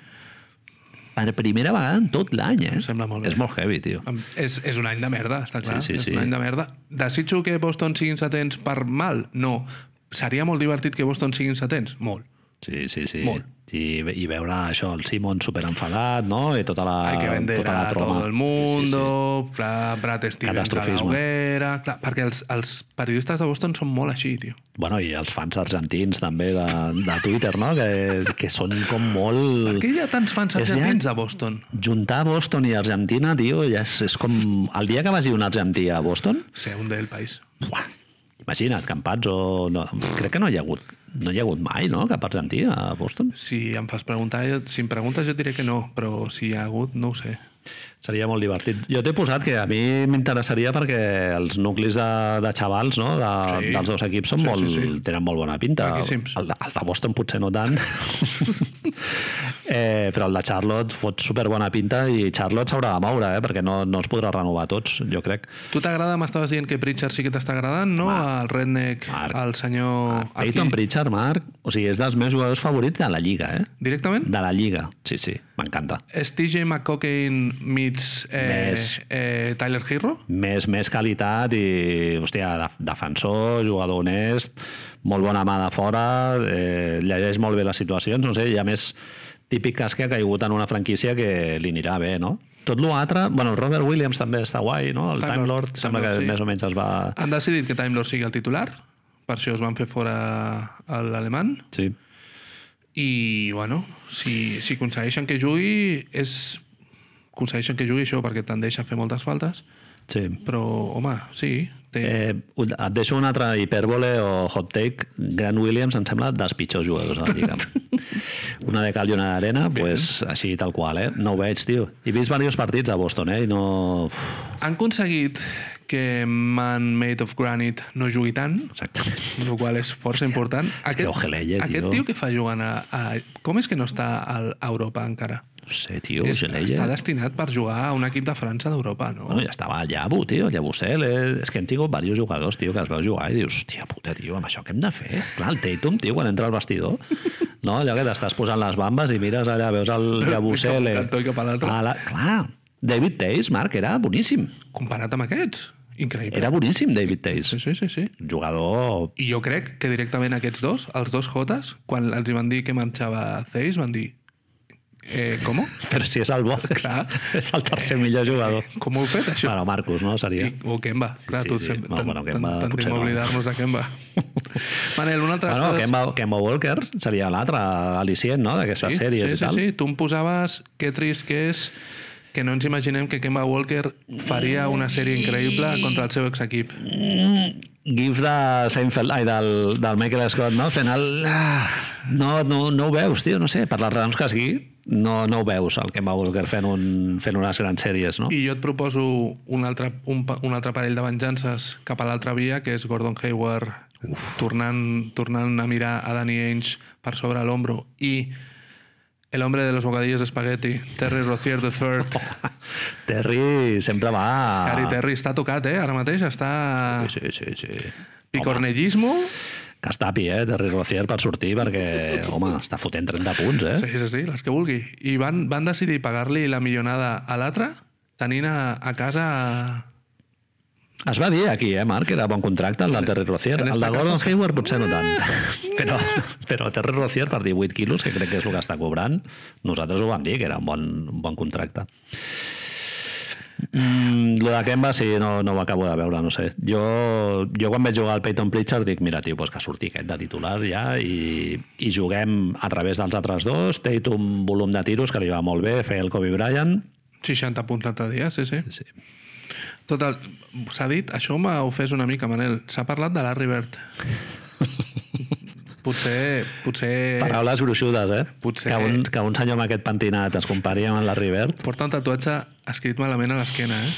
Speaker 1: Per primera vegada en tot l'any, eh?
Speaker 2: Em sembla molt bé.
Speaker 1: És molt heavy, tio.
Speaker 2: Em- És, és un any de merda, està clar.
Speaker 1: Sí, sí,
Speaker 2: és
Speaker 1: sí.
Speaker 2: un any de merda. Desitjo que Boston siguin setents per mal? No. Seria molt divertit que Boston siguin setents? Molt.
Speaker 1: Sí, sí, sí.
Speaker 2: Molt.
Speaker 1: I, I veure això, el Simon superenfadat, no? I tota la,
Speaker 2: Hay que vender
Speaker 1: tota la
Speaker 2: a
Speaker 1: troma.
Speaker 2: todo el mundo, sí, sí. Brad Stevens a la
Speaker 1: Catastrofisme.
Speaker 2: hoguera... Clar, perquè els, els periodistes de Boston són molt així, tio.
Speaker 1: Bueno, i els fans argentins també de, de Twitter, no? Que, que són com molt...
Speaker 2: Per què hi ha tants fans
Speaker 1: És ja-
Speaker 2: argentins de Boston?
Speaker 1: Juntar Boston i Argentina, tio, ja és, és com... El dia que vagi un argentí a Boston,
Speaker 2: Ser un del país.
Speaker 1: buah, imagina't, campats o... No, crec que no hi ha hagut, no hi ha hagut mai, no?, cap argentí a Boston.
Speaker 2: Si em fas preguntar, jo, si em preguntes jo et diré que no, però si hi ha hagut, no ho sé.
Speaker 1: Seria molt divertit. Jo t'he posat que a mi m'interessaria perquè els nuclis de, de xavals no? de,
Speaker 2: Sí.
Speaker 1: sí. dels dos equips són
Speaker 2: Sí,
Speaker 1: sí,
Speaker 2: sí,
Speaker 1: molt, sí,
Speaker 2: sí.
Speaker 1: sí. tenen molt bona pinta.
Speaker 2: Maquíssims.
Speaker 1: El, de- el de Boston potser no tant, eh, però el de Charlotte fot superbona pinta i Charlotte s'haurà de moure, eh? perquè no, no es podrà renovar tots, jo crec.
Speaker 2: Tu t'agrada? M'estaves dient que Pritchard sí que t'està agradant, no? El redneck,
Speaker 1: Marc.
Speaker 2: el senyor...
Speaker 1: Aquí... Ah, Peyton Pritchard, Marc, o sigui, és dels meus jugadors favorits de la Lliga, eh?
Speaker 2: Directament?
Speaker 1: De la Lliga, sí, sí, m'encanta.
Speaker 2: És TJ McCocken meets eh,
Speaker 1: Més.
Speaker 2: eh, Tyler Hero?
Speaker 1: Més, més qualitat i, hòstia, de- defensor, jugador honest, molt bona mà de fora, eh, llegeix molt bé les situacions, no sé, i a més, típic cas que ha caigut en una franquícia que li anirà bé, no? Tot l'altre, bueno, Robert Williams també està guai, no? El
Speaker 2: Time
Speaker 1: Time,
Speaker 2: Lord,
Speaker 1: Lord,
Speaker 2: Time
Speaker 1: sembla
Speaker 2: Lord,
Speaker 1: que
Speaker 2: sí.
Speaker 1: més o menys es va...
Speaker 2: Han decidit que Time Lord sigui el titular, per això es van fer fora a l'alemany,
Speaker 1: Sí.
Speaker 2: i, bueno, si, si aconsegueixen que jugui, és... aconsegueixen que jugui això perquè tendeix a fer moltes faltes,
Speaker 1: Sí.
Speaker 2: però, home, sí, té... Eh.
Speaker 1: Eh, un- et deixo una altra hipèrbole o hot take. Grant Williams em sembla dels pitjors jugadors de la Lliga. una de cal i una d'arena, pues, així tal qual, eh? No ho veig, tio. He vist diversos partits a Boston, eh? I no... Uf,
Speaker 2: Han aconseguit que Man Made of Granite no jugui tant,
Speaker 1: Exactament.
Speaker 2: el qual és força important. Aquest,
Speaker 1: Ojeleye, tio.
Speaker 2: aquest tio que fa jugant a, a... Com és que no està al- a Europa encara?
Speaker 1: No sé, tio, eh?
Speaker 2: és, està
Speaker 1: Geleye.
Speaker 2: destinat per jugar a un equip de França d'Europa, no?
Speaker 1: Bueno, ja estava al Llabu, tio, Llabusel. Eh? És que hem tingut diversos jugadors, tio, que es veu jugar i dius, hòstia puta, tio, amb això què hem de fer? Clar, el Tatum, tio, quan entra al vestidor, no? allò que t'estàs posant les bambes i mires allà, veus el Llabusel.
Speaker 2: Cap un cantó i cap a l'altre.
Speaker 1: la... Clar, David Tays, Marc, era boníssim.
Speaker 2: Comparat amb aquests, increïble.
Speaker 1: Era boníssim, David Tays.
Speaker 2: Sí, sí, sí, sí.
Speaker 1: Jugador...
Speaker 2: I jo crec que directament aquests dos, els dos Jotes, quan els hi van dir que marxava Ceis, van dir Eh, com?
Speaker 1: Però si és el Box,
Speaker 2: Clar.
Speaker 1: és el tercer millor jugador.
Speaker 2: Com ho heu fet, això?
Speaker 1: Bueno, Marcus, no? Seria.
Speaker 2: I, o Kemba, sí, clar,
Speaker 1: sí,
Speaker 2: tu
Speaker 1: sí.
Speaker 2: sempre
Speaker 1: Bueno, bueno, Kemba
Speaker 2: tant- tant-
Speaker 1: potser
Speaker 2: tendim a
Speaker 1: no. eh?
Speaker 2: oblidar-nos de Kemba. Manel, una altra
Speaker 1: Bueno,
Speaker 2: cosa...
Speaker 1: Kemba, Kemba Walker seria l'altre al·licient, no?, d'aquestes sèries
Speaker 2: sí,
Speaker 1: i tal.
Speaker 2: Sí, sí, tu em posaves que trist que és que no ens imaginem que Kemba Walker faria una sèrie increïble contra el seu exequip.
Speaker 1: Mm, GIF de Seinfeld, ai, del, del Michael Scott, no? Fent el... Ah, no, no, no ho veus, tio, no sé, per les raons que sigui, no, no ho veus, el Kemba Walker fent, un, fent unes grans sèries, no? I...
Speaker 2: I jo et proposo un altre, un, pa- un altre parell de venjances cap a l'altra via, que és Gordon Hayward tornant, tornant a mirar a Danny Ainge per sobre l'ombro i el hombre de los bocadillos de espagueti, Terry Rozier III.
Speaker 1: Terry sempre va...
Speaker 2: Cari Terry està tocat, eh? Ara mateix està...
Speaker 1: Sí, sí, sí, sí.
Speaker 2: Picornellismo.
Speaker 1: Que es tapi, eh, Terry Rozier per sortir, perquè, home, està fotent 30 punts, eh?
Speaker 2: Sí, sí, sí, les que vulgui. I van, van decidir pagar-li la millonada a l'altre tenint a, a casa...
Speaker 1: Es va dir aquí, eh, Marc, que era bon contracte, el del Terry Rozier.
Speaker 2: en
Speaker 1: El
Speaker 2: esta
Speaker 1: de Gordon
Speaker 2: casa-
Speaker 1: Hayward potser no tant. Però, però Terry Rozier per 18 quilos, que crec que és el que està cobrant, nosaltres ho vam dir, que era un bon, un bon contracte. Mm, lo de Kemba, sí, no, no ho acabo de veure, no sé. Jo, jo quan vaig jugar al Peyton Pritchard dic, mira, tio, pues que surti aquest de titular ja i, i juguem a través dels altres dos. Tatum, volum de tiros, que li va molt bé, feia el Kobe Bryant.
Speaker 2: 60 punts l'altre dia, sí, sí.
Speaker 1: Sí,
Speaker 2: Total, s'ha dit, això m'ha ofès una mica, Manel. S'ha parlat de Larry Bird. Potser, potser
Speaker 1: Paraules gruixudes, eh?
Speaker 2: Potser-
Speaker 1: Que un, que un senyor amb aquest pentinat es compari amb la Rivert.
Speaker 2: porta un tatuatge escrit malament a l'esquena, eh?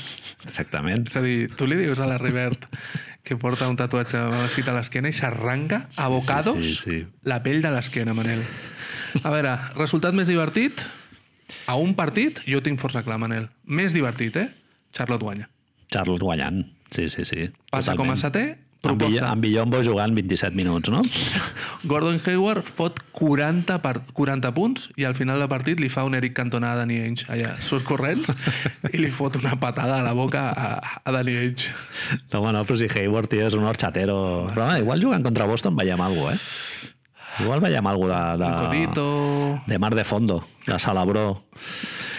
Speaker 1: Exactament.
Speaker 2: És a dir, tu li dius a Larry Bird que porta un tatuatge mal escrit a l'esquena i s'arranca a bocados
Speaker 1: sí, sí, sí.
Speaker 2: la pell de l'esquena, Manel. A veure, resultat més divertit? A un partit, jo ho tinc força clar, Manel. Més divertit, eh? Charlotte guanya.
Speaker 1: Charles guanyant. Sí, sí, sí.
Speaker 2: Passa com a setè,
Speaker 1: Amb, Vill
Speaker 2: proposta.
Speaker 1: amb Villombo jugant 27 minuts, no?
Speaker 2: Gordon Hayward fot 40, per, 40 punts i al final del partit li fa un Eric Cantona a Danny Ainge. Allà surt corrent i li fot una patada a la boca a, a Danny Ainge.
Speaker 1: No, home, no, però si Hayward, tio, és un horchatero. Però home, igual jugant contra Boston veiem alguna cosa, eh? Igual veiem alguna cosa
Speaker 2: Un
Speaker 1: de, de,
Speaker 2: codito...
Speaker 1: de Mar de Fondo, de Salabró.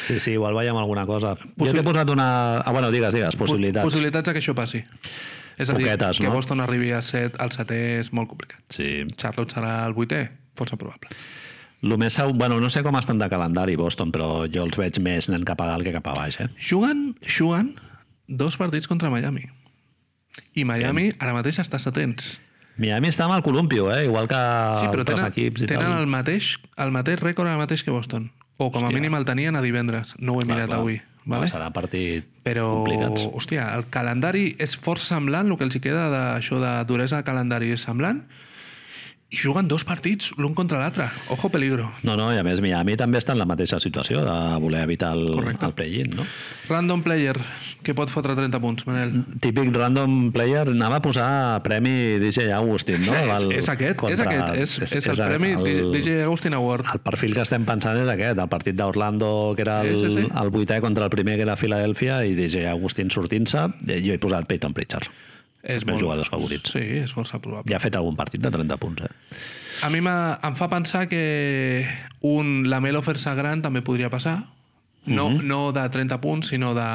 Speaker 1: Sí, sí, igual veiem alguna cosa. Jo
Speaker 2: Possibil-
Speaker 1: t'he posat una... Ah, bueno, digues, digues, possibilitats.
Speaker 2: Possibilitats de que això passi. És a dir,
Speaker 1: Poquetes,
Speaker 2: que
Speaker 1: no?
Speaker 2: Boston arribi a set, al setè és molt complicat.
Speaker 1: Sí,
Speaker 2: Charlotte serà el vuitè? Força probable.
Speaker 1: Lo més, segur- bueno, no sé com estan de calendari Boston, però jo els veig més anant cap a dalt que cap a baix, eh?
Speaker 2: Juguen, juguen dos partits contra Miami. I Miami ara mateix està setents.
Speaker 1: Miami està amb el columpio, eh? Igual que
Speaker 2: Sí, però
Speaker 1: altres
Speaker 2: tenen,
Speaker 1: equips i
Speaker 2: tenen
Speaker 1: tal.
Speaker 2: el mateix, el mateix rècord ara mateix que Boston. O com a
Speaker 1: Hòstia.
Speaker 2: mínim el tenien a divendres. No ho he mirat avui. Vale?
Speaker 1: No, serà partit
Speaker 2: Però,
Speaker 1: complicats.
Speaker 2: hòstia, el calendari és força semblant, el que els hi queda d'això de duresa de calendari és semblant, i juguen dos partits, l'un contra l'altre. Ojo peligro.
Speaker 1: No, no, i a més Miami també està en la mateixa situació de voler evitar el,
Speaker 2: Correcte.
Speaker 1: el play-in, no?
Speaker 2: Random player, que pot fotre 30 punts, Manel.
Speaker 1: Típic random player anava a posar premi DJ Agustin, no?
Speaker 2: és, és aquest, és aquest, és, és, el premi el... DJ Agustin Award.
Speaker 1: El perfil que estem pensant és aquest, el partit d'Orlando, que era
Speaker 2: Sí,
Speaker 1: el,
Speaker 2: sí, sí.
Speaker 1: el vuitè contra el primer, que era Filadèlfia, i DJ Agustín sortint-se, eh, jo he posat Peyton Pritchard.
Speaker 2: És
Speaker 1: meus jugadors favorits.
Speaker 2: Sí, és força probable.
Speaker 1: Ja ha fet algun partit de 30 punts, eh?
Speaker 2: A mi m'ha- em fa pensar que un Lamelo fer-se gran també podria passar. No,
Speaker 1: Mhm.
Speaker 2: no de 30 punts, sinó de...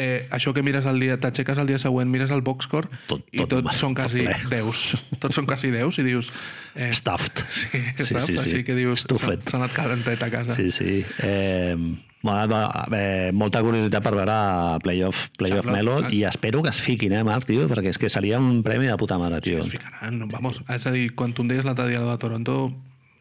Speaker 2: Eh, això que mires el dia, t'aixeques el dia següent, mires el boxscore
Speaker 1: Tot-
Speaker 2: i
Speaker 1: tot-
Speaker 2: tots són
Speaker 1: tot
Speaker 2: quasi
Speaker 1: ple.
Speaker 2: 10. Tots són quasi 10 i dius... Eh,
Speaker 1: Stuffed.
Speaker 2: sí, sí, saps? Sí, sí. Així que dius...
Speaker 1: Estufet.
Speaker 2: s'ha- S'ha anat calentet a casa.
Speaker 1: Sí, sí. Eh, M'ha donat eh, molta curiositat per veure playoff, playoff
Speaker 2: Charlotte,
Speaker 1: Melo
Speaker 2: ah.
Speaker 1: i espero que es fiquin, eh, Marc, tio, perquè és que seria un premi de puta mare, tio.
Speaker 2: Es ficaran, no, vamos. És a dir, quan tu em deies l'altre dia lo de Toronto,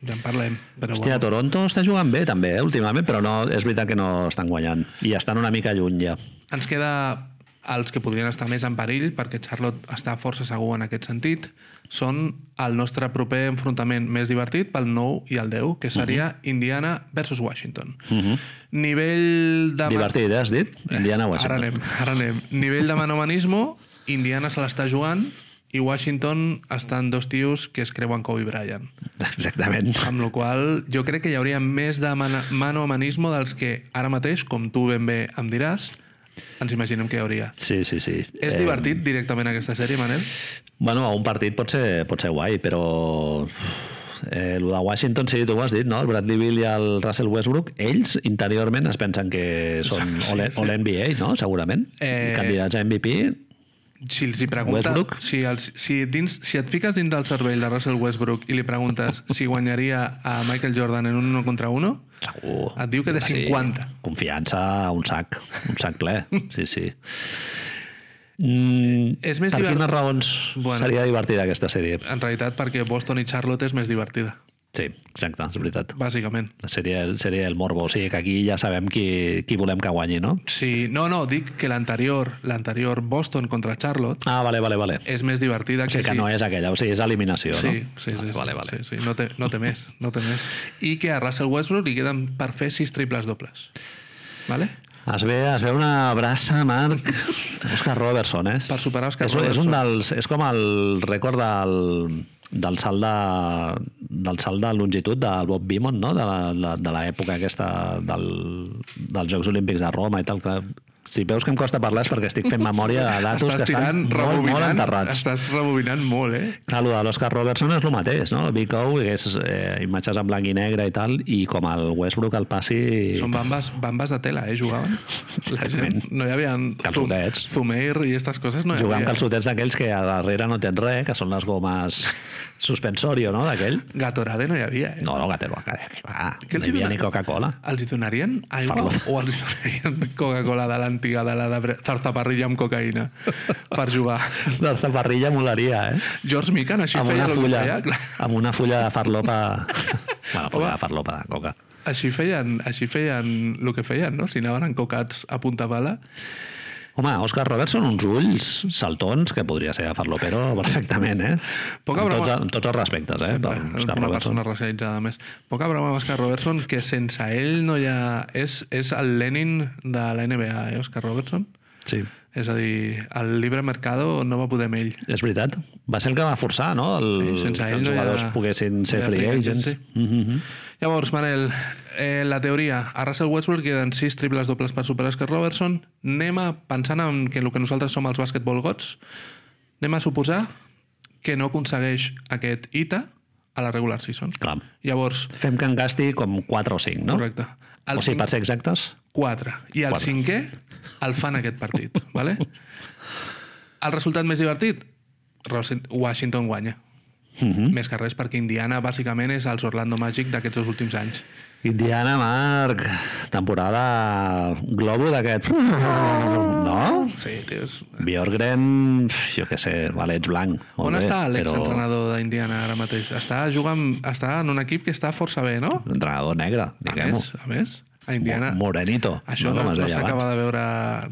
Speaker 2: ja en parlem. Però
Speaker 1: Hòstia, Toronto està jugant bé també, eh, últimament, però no, és veritat que no estan guanyant. I estan una mica lluny ja.
Speaker 2: Ens queda els que podrien estar més en perill, perquè Charlotte està força segur en aquest sentit, són el nostre proper enfrontament més divertit pel 9 i el 10, que seria Indiana versus Washington. Nivell de...
Speaker 1: Divertit, eh, has dit? Indiana Washington.
Speaker 2: Ara anem, ara anem. Nivell de manomanismo, Indiana se l'està jugant i Washington estan dos tios que es creuen Kobe Bryant.
Speaker 1: Exactament.
Speaker 2: Amb la qual jo crec que hi hauria més de mana- manomanismo dels que ara mateix, com tu ben bé em diràs, ens imaginem que hi hauria.
Speaker 1: Sí, sí, sí.
Speaker 2: És
Speaker 1: Eh,
Speaker 2: divertit directament aquesta sèrie, Manel?
Speaker 1: Bueno, a un partit pot ser, pot ser guai, però Eh, el de Washington, sí, tu ho has dit, no? El Bradley Bill i el Russell Westbrook, ells interiorment es pensen que són
Speaker 2: Sí,
Speaker 1: sí,
Speaker 2: sí.
Speaker 1: All-NBA, no? Segurament.
Speaker 2: Eh,
Speaker 1: Eh... Candidats a MVP.
Speaker 2: Si els hi pregunta,
Speaker 1: Westbrook?
Speaker 2: si, els, si, dins, si et fiques dins del cervell de Russell Westbrook i li preguntes si guanyaria a Michael Jordan en un 1 contra 1,
Speaker 1: Segur.
Speaker 2: Et diu que de 50.
Speaker 1: Confiança, un sac, un sac ple. Sí, sí. Mm,
Speaker 2: És més
Speaker 1: per
Speaker 2: divert-
Speaker 1: quines raons
Speaker 2: Bueno.
Speaker 1: bueno. seria divertida aquesta sèrie?
Speaker 2: en realitat perquè Boston i Charlotte és més divertida,
Speaker 1: Sí, exacte, és veritat.
Speaker 2: bàsicament.
Speaker 1: Seria, seria el morbo, o sigui que aquí ja sabem qui, qui volem que guanyi, no?
Speaker 2: Sí, no, no, dic que l'anterior, l'anterior Boston contra Charlotte,
Speaker 1: Ah, vale, vale, vale.
Speaker 2: és més divertida
Speaker 1: O sigui que
Speaker 2: sí.
Speaker 1: no és aquella, o sigui, és eliminació,
Speaker 2: Sí,
Speaker 1: no? Ah,
Speaker 2: sí, sí, sí,
Speaker 1: vale, vale.
Speaker 2: sí, sí. No, té, no té més, no té més. I que a Russell Westbrook li queden per fer sis triples dobles. Vale?
Speaker 1: Es ve, es ve una abraça, Marc. Oscar Robertson, eh?
Speaker 2: Per superar Oscar
Speaker 1: és, És,
Speaker 2: Robertson.
Speaker 1: un dels, és com el rècord del, del salt de, del salt de longitud del Bob Beamon, no? De, la- de, de l'època aquesta del, dels Jocs Olímpics de Roma i tal. Que, si veus que em costa parlar és perquè estic fent memòria de datos que estan molt, molt enterrats.
Speaker 2: estàs rebobinant molt, eh?
Speaker 1: Clar, el Ah, de l'Oscar Robertson és el mateix, no? El Big O, que és eh, imatges en blanc i negre i tal, i com el Westbrook el passi...
Speaker 2: Són bambes, bambes de tela, eh? Jugaven. La gent, no hi havia zum,
Speaker 1: Calçotets.
Speaker 2: zumeir i aquestes coses. No hi
Speaker 1: Jugar amb
Speaker 2: havia.
Speaker 1: calçotets d'aquells que a darrere no tens res, que són les gomes suspensorio, no?, d'aquell.
Speaker 2: Gatorade no hi havia, eh?
Speaker 1: No, no, que te lo acabé, que va.
Speaker 2: Què
Speaker 1: no
Speaker 2: els
Speaker 1: hi havia
Speaker 2: dona-
Speaker 1: ni Coca-Cola.
Speaker 2: Els hi donarien aigua
Speaker 1: Farlo.
Speaker 2: o els hi donarien Coca-Cola de l'antiga, de la de bre- zarzaparrilla amb cocaïna per jugar?
Speaker 1: La taparrilla molaria, eh?
Speaker 2: George Mikan així
Speaker 1: amb
Speaker 2: feia
Speaker 1: una
Speaker 2: el que
Speaker 1: fulla,
Speaker 2: feia, clar.
Speaker 1: amb una fulla de farlopa... bueno, fulla de farlopa de coca.
Speaker 2: Així feien, així feien el que feien, no? Si anaven encocats a punta bala.
Speaker 1: Home, Òscar Robertson, uns ulls saltons, que podria ser de farlopero perfectament, eh?
Speaker 2: Poca
Speaker 1: amb,
Speaker 2: broma.
Speaker 1: tots, amb tots els respectes, eh? Per
Speaker 2: Una
Speaker 1: Òscar Robertson.
Speaker 2: persona racialitzada més. Poca broma amb Oscar Robertson, que sense ell no hi ha... És, és el Lenin de la NBA, eh, Oscar Robertson?
Speaker 1: Sí.
Speaker 2: És a dir, el llibre Mercado no va poder amb ell.
Speaker 1: És veritat. Va ser el que va forçar, no? El,
Speaker 2: Sí, sense
Speaker 1: que
Speaker 2: ell
Speaker 1: els
Speaker 2: no hi ha-
Speaker 1: jugadors poguessin
Speaker 2: no
Speaker 1: ser
Speaker 2: hi ha
Speaker 1: free
Speaker 2: free
Speaker 1: agents.
Speaker 2: agents,
Speaker 1: Mm -hmm.
Speaker 2: Llavors, Manel, eh, la teoria. A Russell Westbrook queden sis triples dobles per superar Oscar Robertson. Anem a, pensant en que el que nosaltres som els basketball gots, anem a suposar que no aconsegueix aquest ITA a la regular season.
Speaker 1: Clar.
Speaker 2: Llavors,
Speaker 1: Fem que en gasti com 4 o 5, no?
Speaker 2: correcte. El
Speaker 1: O sigui, per ser exactes,
Speaker 2: 4. I el
Speaker 1: Quatre.
Speaker 2: cinquè el fan aquest partit. vale? El resultat més divertit? Rosi- Washington guanya.
Speaker 1: Mhm.
Speaker 2: Més que res perquè Indiana bàsicament és els Orlando Magic d'aquests dos últims anys.
Speaker 1: Indiana Marc, temporada globo d'aquest... No?
Speaker 2: Sí, tios.
Speaker 1: Bjorgren, jo què sé, vale, ets blanc. molt
Speaker 2: On
Speaker 1: bé,
Speaker 2: està
Speaker 1: Però...
Speaker 2: l'exentrenador d'Indiana ara mateix? Està jugant, està en un equip que està força bé, no?
Speaker 1: Entrenador negre,
Speaker 2: A
Speaker 1: diguem-ho.
Speaker 2: més, a més, a Indiana...
Speaker 1: Mo- Morenito.
Speaker 2: Això no,
Speaker 1: Com
Speaker 2: no,
Speaker 1: es
Speaker 2: no
Speaker 1: deia abans.
Speaker 2: s'acaba de veure...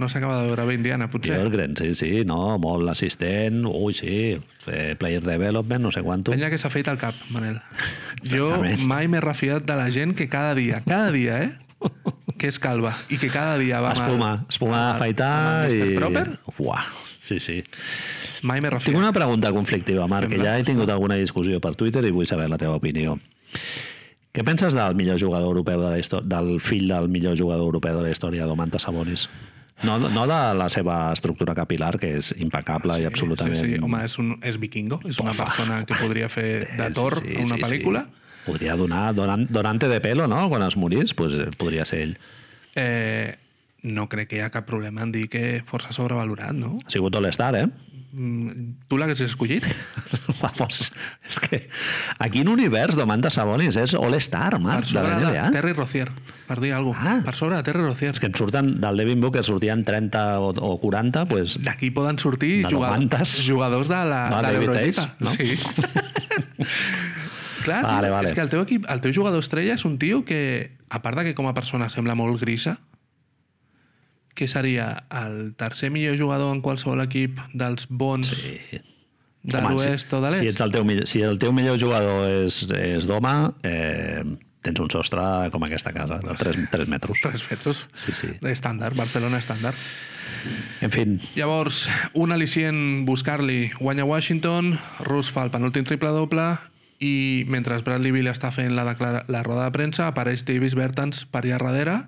Speaker 2: No s'acaba de veure bé Indiana, potser.
Speaker 1: Bjorgren, sí, sí, no, molt assistent, ui, sí, eh, player development, no sé quanto.
Speaker 2: Penya que s'ha fet el cap, Manel. Jo
Speaker 1: Exactament.
Speaker 2: mai m'he refiat de la gent que cada dia, cada dia, eh? Que és calva i que cada dia va... amb el-
Speaker 1: Espuma, espuma
Speaker 2: amb el- amb
Speaker 1: d'afaitar
Speaker 2: el Mr.
Speaker 1: i...
Speaker 2: Proper,
Speaker 1: Uah, sí, sí.
Speaker 2: mai m'he
Speaker 1: Tinc
Speaker 2: refiat.
Speaker 1: una pregunta conflictiva, Marc, que ja he tingut alguna discussió per Twitter i vull saber la teva opinió. Què penses del millor jugador europeu de la història, del fill del millor jugador europeu de la història, Domantas Sabonis? No, no de la seva estructura capilar, que és impecable sí, i absolutament...
Speaker 2: Sí, sí. Home, és, un, és vikingo, és una
Speaker 1: Pofa.
Speaker 2: persona que podria fer de Thor sí, una pel·lícula.
Speaker 1: Sí. Podria donar, donant, donante de pelo, no? Quan es morís, pues, eh, podria ser ell.
Speaker 2: Eh, no crec que hi ha cap problema en dir que força sobrevalorat, no?
Speaker 1: Ha sigut All-Star, eh?
Speaker 2: Mm, tu l'haguessis escollit?
Speaker 1: Vamos, és que a quin univers Domantas Sabonis és All-Star,
Speaker 2: Per
Speaker 1: Marc, de
Speaker 2: sobre
Speaker 1: Ah, la
Speaker 2: de,
Speaker 1: NBA?
Speaker 2: Terry Rozier, per dir alguna cosa.
Speaker 1: Ah.
Speaker 2: Per sobre de Terry Rozier.
Speaker 1: És que en surten del Devin Booker, sortien 30 o, o 40, pues,
Speaker 2: D'aquí poden sortir
Speaker 1: De
Speaker 2: jugadors,
Speaker 1: Domantas.
Speaker 2: jugadors de la
Speaker 1: No,
Speaker 2: de
Speaker 1: David
Speaker 2: l'Eurolliga.
Speaker 1: Hayes, no?
Speaker 2: Sí. Clar, tio,
Speaker 1: Vale, vale.
Speaker 2: és que el teu, equip, el teu jugador estrella és un tio que, a part de que com a persona sembla molt grisa, que seria el tercer millor jugador en qualsevol equip dels bons sí. de
Speaker 1: eh, Home,
Speaker 2: l'oest o de l'est.
Speaker 1: Si, ets el teu, millor- si el teu millor jugador és, és d'home, eh, tens un sostre com aquesta casa, de 3, 3 metres.
Speaker 2: 3 metres.
Speaker 1: Sí, sí.
Speaker 2: Estàndard, Barcelona estàndard.
Speaker 1: En fi,
Speaker 2: Llavors, un al·licient buscar-li guanya Washington, Rus fa el penúltim triple-doble i mentre Bradley Bill està fent la, declara- la roda de premsa apareix Davis Bertans per allà darrere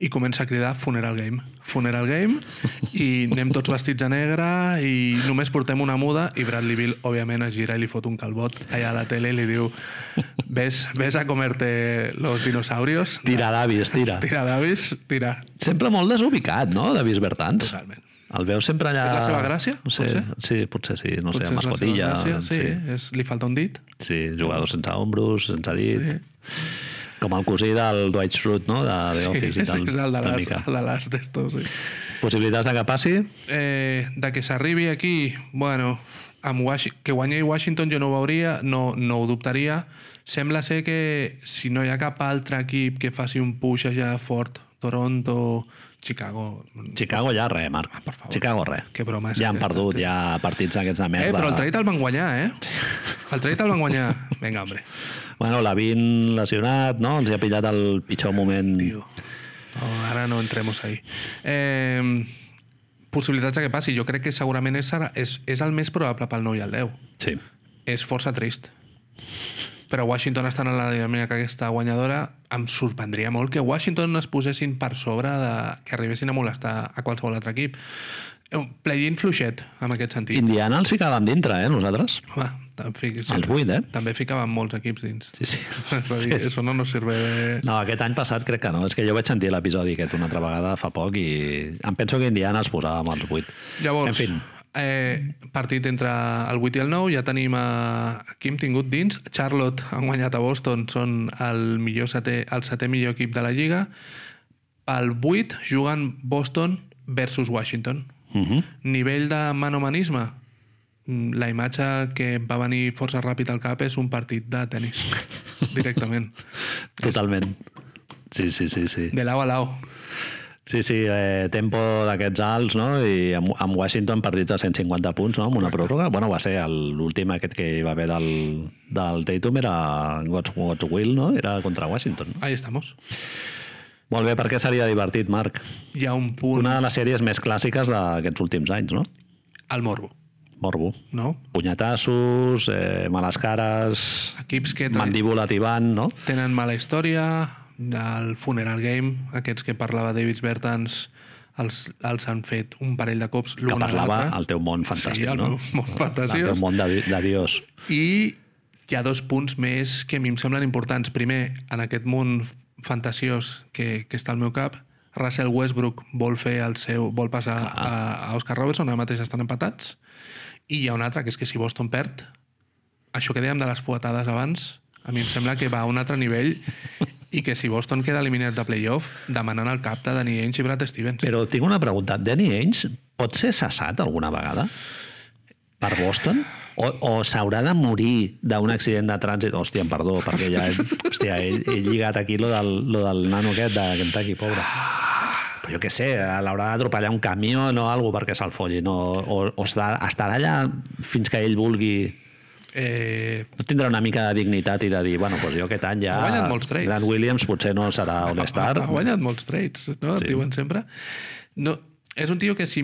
Speaker 2: i comença a cridar Funeral Game. Funeral Game i anem tots vestits de negre i només portem una muda i Bradley Bill, òbviament, es gira i li fot un calbot allà a la tele i li diu Ves, ves a comerte los dinosaurios.
Speaker 1: Tira d'avis, tira.
Speaker 2: Tira, Davis, tira.
Speaker 1: Sempre molt desubicat, no?, d'avis Bertans.
Speaker 2: Totalment.
Speaker 1: El veus sempre allà...
Speaker 2: És la seva gràcia,
Speaker 1: No sé,
Speaker 2: potser?
Speaker 1: Sí, potser sí, no
Speaker 2: Potser
Speaker 1: sé,
Speaker 2: és la
Speaker 1: amb
Speaker 2: seva
Speaker 1: escotilla.
Speaker 2: gràcia, Sí, És, li falta un dit.
Speaker 1: sí, jugadors sense ombros, sense dit.
Speaker 2: Sí.
Speaker 1: Com el cosí del Dwight Schrute, no?, de The
Speaker 2: Sí,
Speaker 1: Office
Speaker 2: és
Speaker 1: i tal.
Speaker 2: el de
Speaker 1: tal
Speaker 2: les,
Speaker 1: mica.
Speaker 2: el de les d'estos, sí.
Speaker 1: Possibilitats de que passi?
Speaker 2: eh, de que s'arribi aquí, bueno, amb Washi que guanyi Washington jo no ho veuria, no, no ho dubtaria. Sembla ser que si no hi ha cap altre equip que faci un push allà fort, Toronto, Chicago...
Speaker 1: Chicago ja res, Marc.
Speaker 2: Ah, per favor.
Speaker 1: Chicago res.
Speaker 2: Que broma és
Speaker 1: Ja han
Speaker 2: aquesta,
Speaker 1: perdut, ja partits d'aquests de merda.
Speaker 2: Eh, però el trade el van guanyar, eh? El trade el van guanyar. Vinga, hombre.
Speaker 1: Bueno, l'Avin lesionat, no? Ens hi ha pillat el pitjor moment.
Speaker 2: Tio. No, ara no entremos ahí. Eh, possibilitats de que passi. Jo crec que segurament és, ara- és, és el més probable pel 9 i el 10.
Speaker 1: Sí.
Speaker 2: és força trist. Però Washington estant en la dinàmica aquesta guanyadora, em sorprendria molt que Washington es posessin per sobre de... que arribessin a molestar a qualsevol altre equip. Eh, Un play-in fluixet, en aquest sentit.
Speaker 1: Indiana els ficàvem dintre, eh, nosaltres?
Speaker 2: Home, tam- fic-
Speaker 1: Els vuit, eh?
Speaker 2: També ficaven molts equips dins.
Speaker 1: Sí, sí.
Speaker 2: És a
Speaker 1: sí.
Speaker 2: dir, Eso no nos sirve de...
Speaker 1: No, aquest any passat crec que no. És que jo vaig sentir l'episodi aquest una altra vegada fa poc i em penso que Indiana els posàvem als 8.
Speaker 2: Llavors,
Speaker 1: En fi,
Speaker 2: eh, partit entre el 8 i el 9, ja tenim a... qui hem tingut dins? Charlotte han guanyat a Boston, són el, millor setè, el setè millor equip de la Lliga. Al 8 juguen Boston versus Washington.
Speaker 1: uh -huh.
Speaker 2: Nivell de manomanisme? Mm, La imatge que em va venir força ràpid al cap és un partit de tennis, directament.
Speaker 1: totalment. Sí, sí, sí, sí.
Speaker 2: De lau a lau.
Speaker 1: Sí, sí, eh, tempo d'aquests alts, no? I amb, amb Washington partits de 150 punts, no? Amb una pròrroga. Bueno, va ser el- l'últim aquest que hi va haver del, del Tatum, era God's, God's Will, no? Era contra Washington.
Speaker 2: Ahí estamos.
Speaker 1: Molt bé, perquè seria divertit, Marc.
Speaker 2: Hi ha un punt
Speaker 1: Una de les sèries més clàssiques d'aquests últims anys, no?
Speaker 2: al morbo,
Speaker 1: Morbo.
Speaker 2: no?
Speaker 1: Punyatassos, eh, males cares,
Speaker 2: Equips que... tra-
Speaker 1: mandíbula tibant, no?
Speaker 2: tenen mala història, el Funeral Game, aquests que parlava David Bertans, els, els han fet un parell de cops
Speaker 1: Que
Speaker 2: l'un a
Speaker 1: parlava
Speaker 2: l'altre.
Speaker 1: el teu món fantàstic,
Speaker 2: el
Speaker 1: no?
Speaker 2: meu món fantasiós.
Speaker 1: El teu món de, de Dios.
Speaker 2: I hi ha dos punts més que a mi em semblen importants. Primer, en aquest món fantasiós que, que està al meu cap, Russell Westbrook vol fer el seu vol passar a, a Oscar Robertson, ara mateix estan empatats. I hi ha un altre, que és que si Boston perd, això que dèiem de les fuetades abans, a mi em sembla que va a un altre nivell i que si Boston queda eliminat de playoff, demanant el cap de Danny Ainge i Brad Stevens.
Speaker 1: Però tinc una pregunta. Danny Ainge pot ser cessat alguna vegada? Per Boston? O, o s'haurà de morir d'un accident de trànsit? Hòstia, em perdó, perquè ja he, hòstia, he, he lligat aquí lo del, lo del nano aquest de Kentucky, pobre. Però jo què sé, l'haurà d'atropellar un camió o algo perquè se'l folli. No? O, o estarà, estarà allà fins que ell vulgui...
Speaker 2: Eh,
Speaker 1: No tindrà una mica de dignitat i de dir, bueno, doncs jo aquest any ja...
Speaker 2: Ha guanyat molts trades.
Speaker 1: Grant Williams potser no serà on estar.
Speaker 2: Ha guanyat molts trades, no?
Speaker 1: Sí.
Speaker 2: Sí. Et diuen sempre. No, és un tio que si...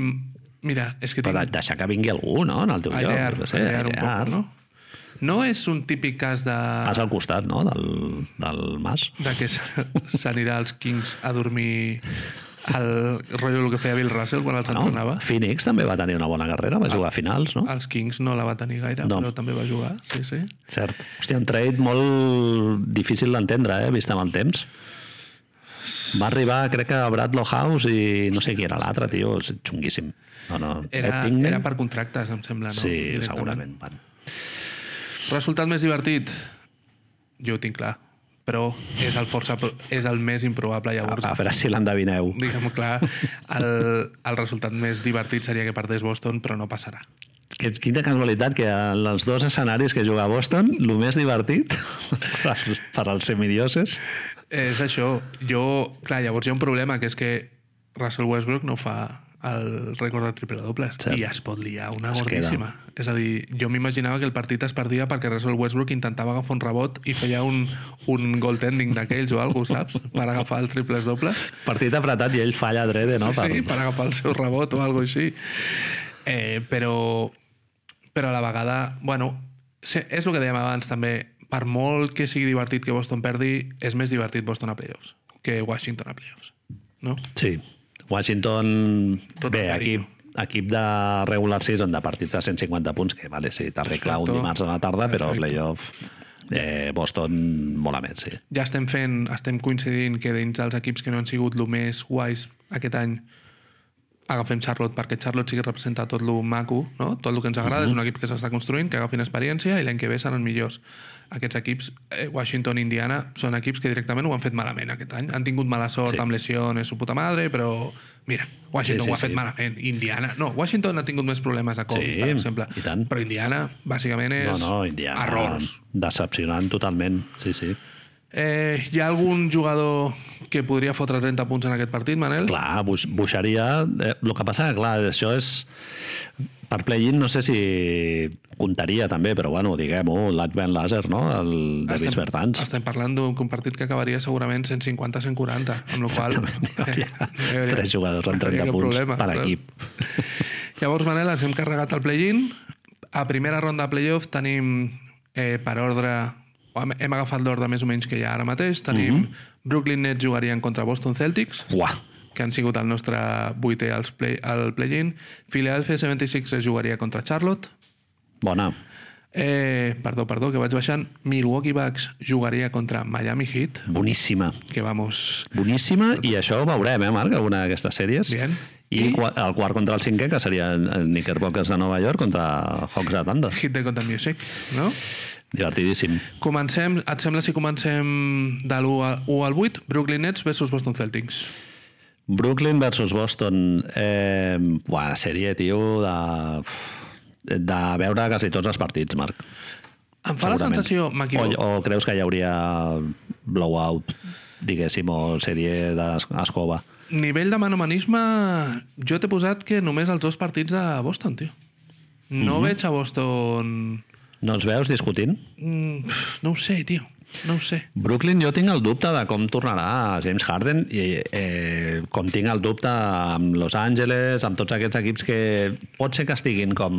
Speaker 2: Mira, és que
Speaker 1: Però de-
Speaker 2: tinc...
Speaker 1: deixar que vingui algú, no?, en el teu lloc.
Speaker 2: Airear,
Speaker 1: jo què sé,
Speaker 2: airear un
Speaker 1: airear.
Speaker 2: poc, no? Ah. No és un típic cas de,
Speaker 1: Pas al costat, no?, del, del mas.
Speaker 2: de que se- s'anirà als Kings a dormir al rotllo el que feia Bill Russell quan
Speaker 1: Ah,
Speaker 2: els entrenava.
Speaker 1: Phoenix també va tenir una bona carrera,
Speaker 2: Ah.
Speaker 1: va jugar a finals, no?
Speaker 2: Els Kings no la va tenir gaire,
Speaker 1: No.
Speaker 2: no. però també va jugar, sí, sí.
Speaker 1: Cert. Hòstia, un trade molt difícil d'entendre, eh?, vist amb el temps. Va arribar, crec que a Bradlow House i no sé qui era l'altre, tio, és xunguíssim. No, no.
Speaker 2: Era,
Speaker 1: Ed Pinkman?
Speaker 2: era per contractes, em sembla, no?
Speaker 1: Eh, Sí,
Speaker 2: Directament.
Speaker 1: segurament. Bueno.
Speaker 2: Resultat més divertit? Jo ho tinc clar. Però és el, força, pro- és el més improbable,
Speaker 1: A,
Speaker 2: llavors.
Speaker 1: a veure si l'endevineu.
Speaker 2: diguem clar, el, el resultat més divertit seria que perdés Boston, però no passarà.
Speaker 1: Que, quina casualitat que en els dos escenaris que juga Boston, el més divertit per als, per als semidioses
Speaker 2: És això. Jo, clar, llavors hi ha un problema, que és que Russell Westbrook no fa el rècord de triple dobles
Speaker 1: Cert.
Speaker 2: i es pot liar una
Speaker 1: Es queda.
Speaker 2: gordíssima. És a dir, jo m'imaginava que el partit es perdia perquè Russell Westbrook intentava agafar un rebot i feia un, un goaltending d'aquells o alguna cosa, saps? Per agafar els triples dobles.
Speaker 1: Partit apretat i ell falla drede, no?
Speaker 2: sí, sí, per agafar el seu rebot o alguna així. Eh, però, però a la vegada... Bueno, se- és el que dèiem abans també. Per molt que sigui divertit que Boston perdi, és més divertit Boston a playoffs que Washington a playoffs. No?
Speaker 1: Sí. Washington,
Speaker 2: Tot el
Speaker 1: bé,
Speaker 2: carinyo.
Speaker 1: equip, equip de regular season de partits de 150 punts, que vale, sí, t'arregla un
Speaker 2: Perfecto.
Speaker 1: dimarts a la tarda, però
Speaker 2: Perfecto.
Speaker 1: playoff Eh, Boston mola més, sí.
Speaker 2: Ja estem fent, estem coincidint que dins dels equips que no han sigut el més guais aquest any agafem Charlotte perquè Charlotte sí que representa tot lo maco, no? tot el que ens agrada,
Speaker 1: Mhm.
Speaker 2: mm -hmm. és un equip que s'està construint, que agafin experiència i l'any que ve seran millors. Aquests equips, eh, Washington i Indiana, són equips que directament ho han fet malament aquest any. Han tingut mala sort
Speaker 1: Sí.
Speaker 2: sí. amb lesiones, su puta madre, però mira, Washington
Speaker 1: Sí, sí,
Speaker 2: ho ha fet
Speaker 1: sí.
Speaker 2: malament. Indiana, no, Washington ha tingut més problemes a Covid,
Speaker 1: Sí,
Speaker 2: per exemple.
Speaker 1: i tant.
Speaker 2: Però Indiana, bàsicament, és
Speaker 1: No, no, Indiana.
Speaker 2: errors.
Speaker 1: Decepcionant totalment, sí, sí.
Speaker 2: Eh, hi ha algun jugador que podria fotre 30 punts en aquest partit, Manel?
Speaker 1: Clar, buix- buixaria... El eh, lo que passa, clar, això és... Per play-in no sé si comptaria també, però bueno, diguem-ho, l'Advent Laser, no? El Davis
Speaker 2: Estem-
Speaker 1: Bertans.
Speaker 2: Estem parlant d'un partit que acabaria segurament 150-140, amb la qual
Speaker 1: Exactament, hi hauria
Speaker 2: no hi hauria-
Speaker 1: tres jugadors amb
Speaker 2: no hi
Speaker 1: 30
Speaker 2: hauria cap
Speaker 1: punts per
Speaker 2: saps?
Speaker 1: equip.
Speaker 2: Llavors, Manel, ens hem carregat el play-in. A primera ronda de playoff tenim, eh, per ordre... hem- Hem agafat l'ordre més o menys que hi ha ara mateix. Tenim
Speaker 1: Mhm.
Speaker 2: Brooklyn Nets jugarien contra Boston Celtics,
Speaker 1: Uah,
Speaker 2: que han sigut el nostre vuitè als play- al play-in. Philadelphia 76 es jugaria contra Charlotte.
Speaker 1: bona.
Speaker 2: Eh, perdó, perdó, que vaig baixant. Milwaukee Bucks jugaria contra Miami Heat,
Speaker 1: Boníssima.
Speaker 2: que vamos...
Speaker 1: Boníssima, i això ho veurem, eh, Marc, alguna d'aquestes sèries.
Speaker 2: Bien.
Speaker 1: I,
Speaker 2: I-
Speaker 1: qua- el quart contra el cinquè, que seria el Knickerbockers de Nova York contra Hawks d'Atlanta.
Speaker 2: Hit de Content Music, no?
Speaker 1: Divertidíssim.
Speaker 2: Comencem, et sembla si comencem de l'1 al 8, Brooklyn Nets versus Boston Celtics.
Speaker 1: Brooklyn versus Boston. Eh, buah, la sèrie, tio, de, de veure quasi tots els partits, Marc.
Speaker 2: Em fa la
Speaker 1: segurament.
Speaker 2: sensació, m'equivoco,
Speaker 1: O, o creus que hi hauria blowout, diguéssim, o sèrie d'escova?
Speaker 2: nivell de manomanisme, jo t'he posat que només els dos partits de Boston, tio. No veig a Boston...
Speaker 1: No els veus discutint?
Speaker 2: Mm, pf, no ho sé, tio, no ho sé.
Speaker 1: Brooklyn, jo tinc el dubte de com tornarà James Harden i eh, com tinc el dubte amb Los Angeles, amb tots aquests equips que pot ser que estiguin com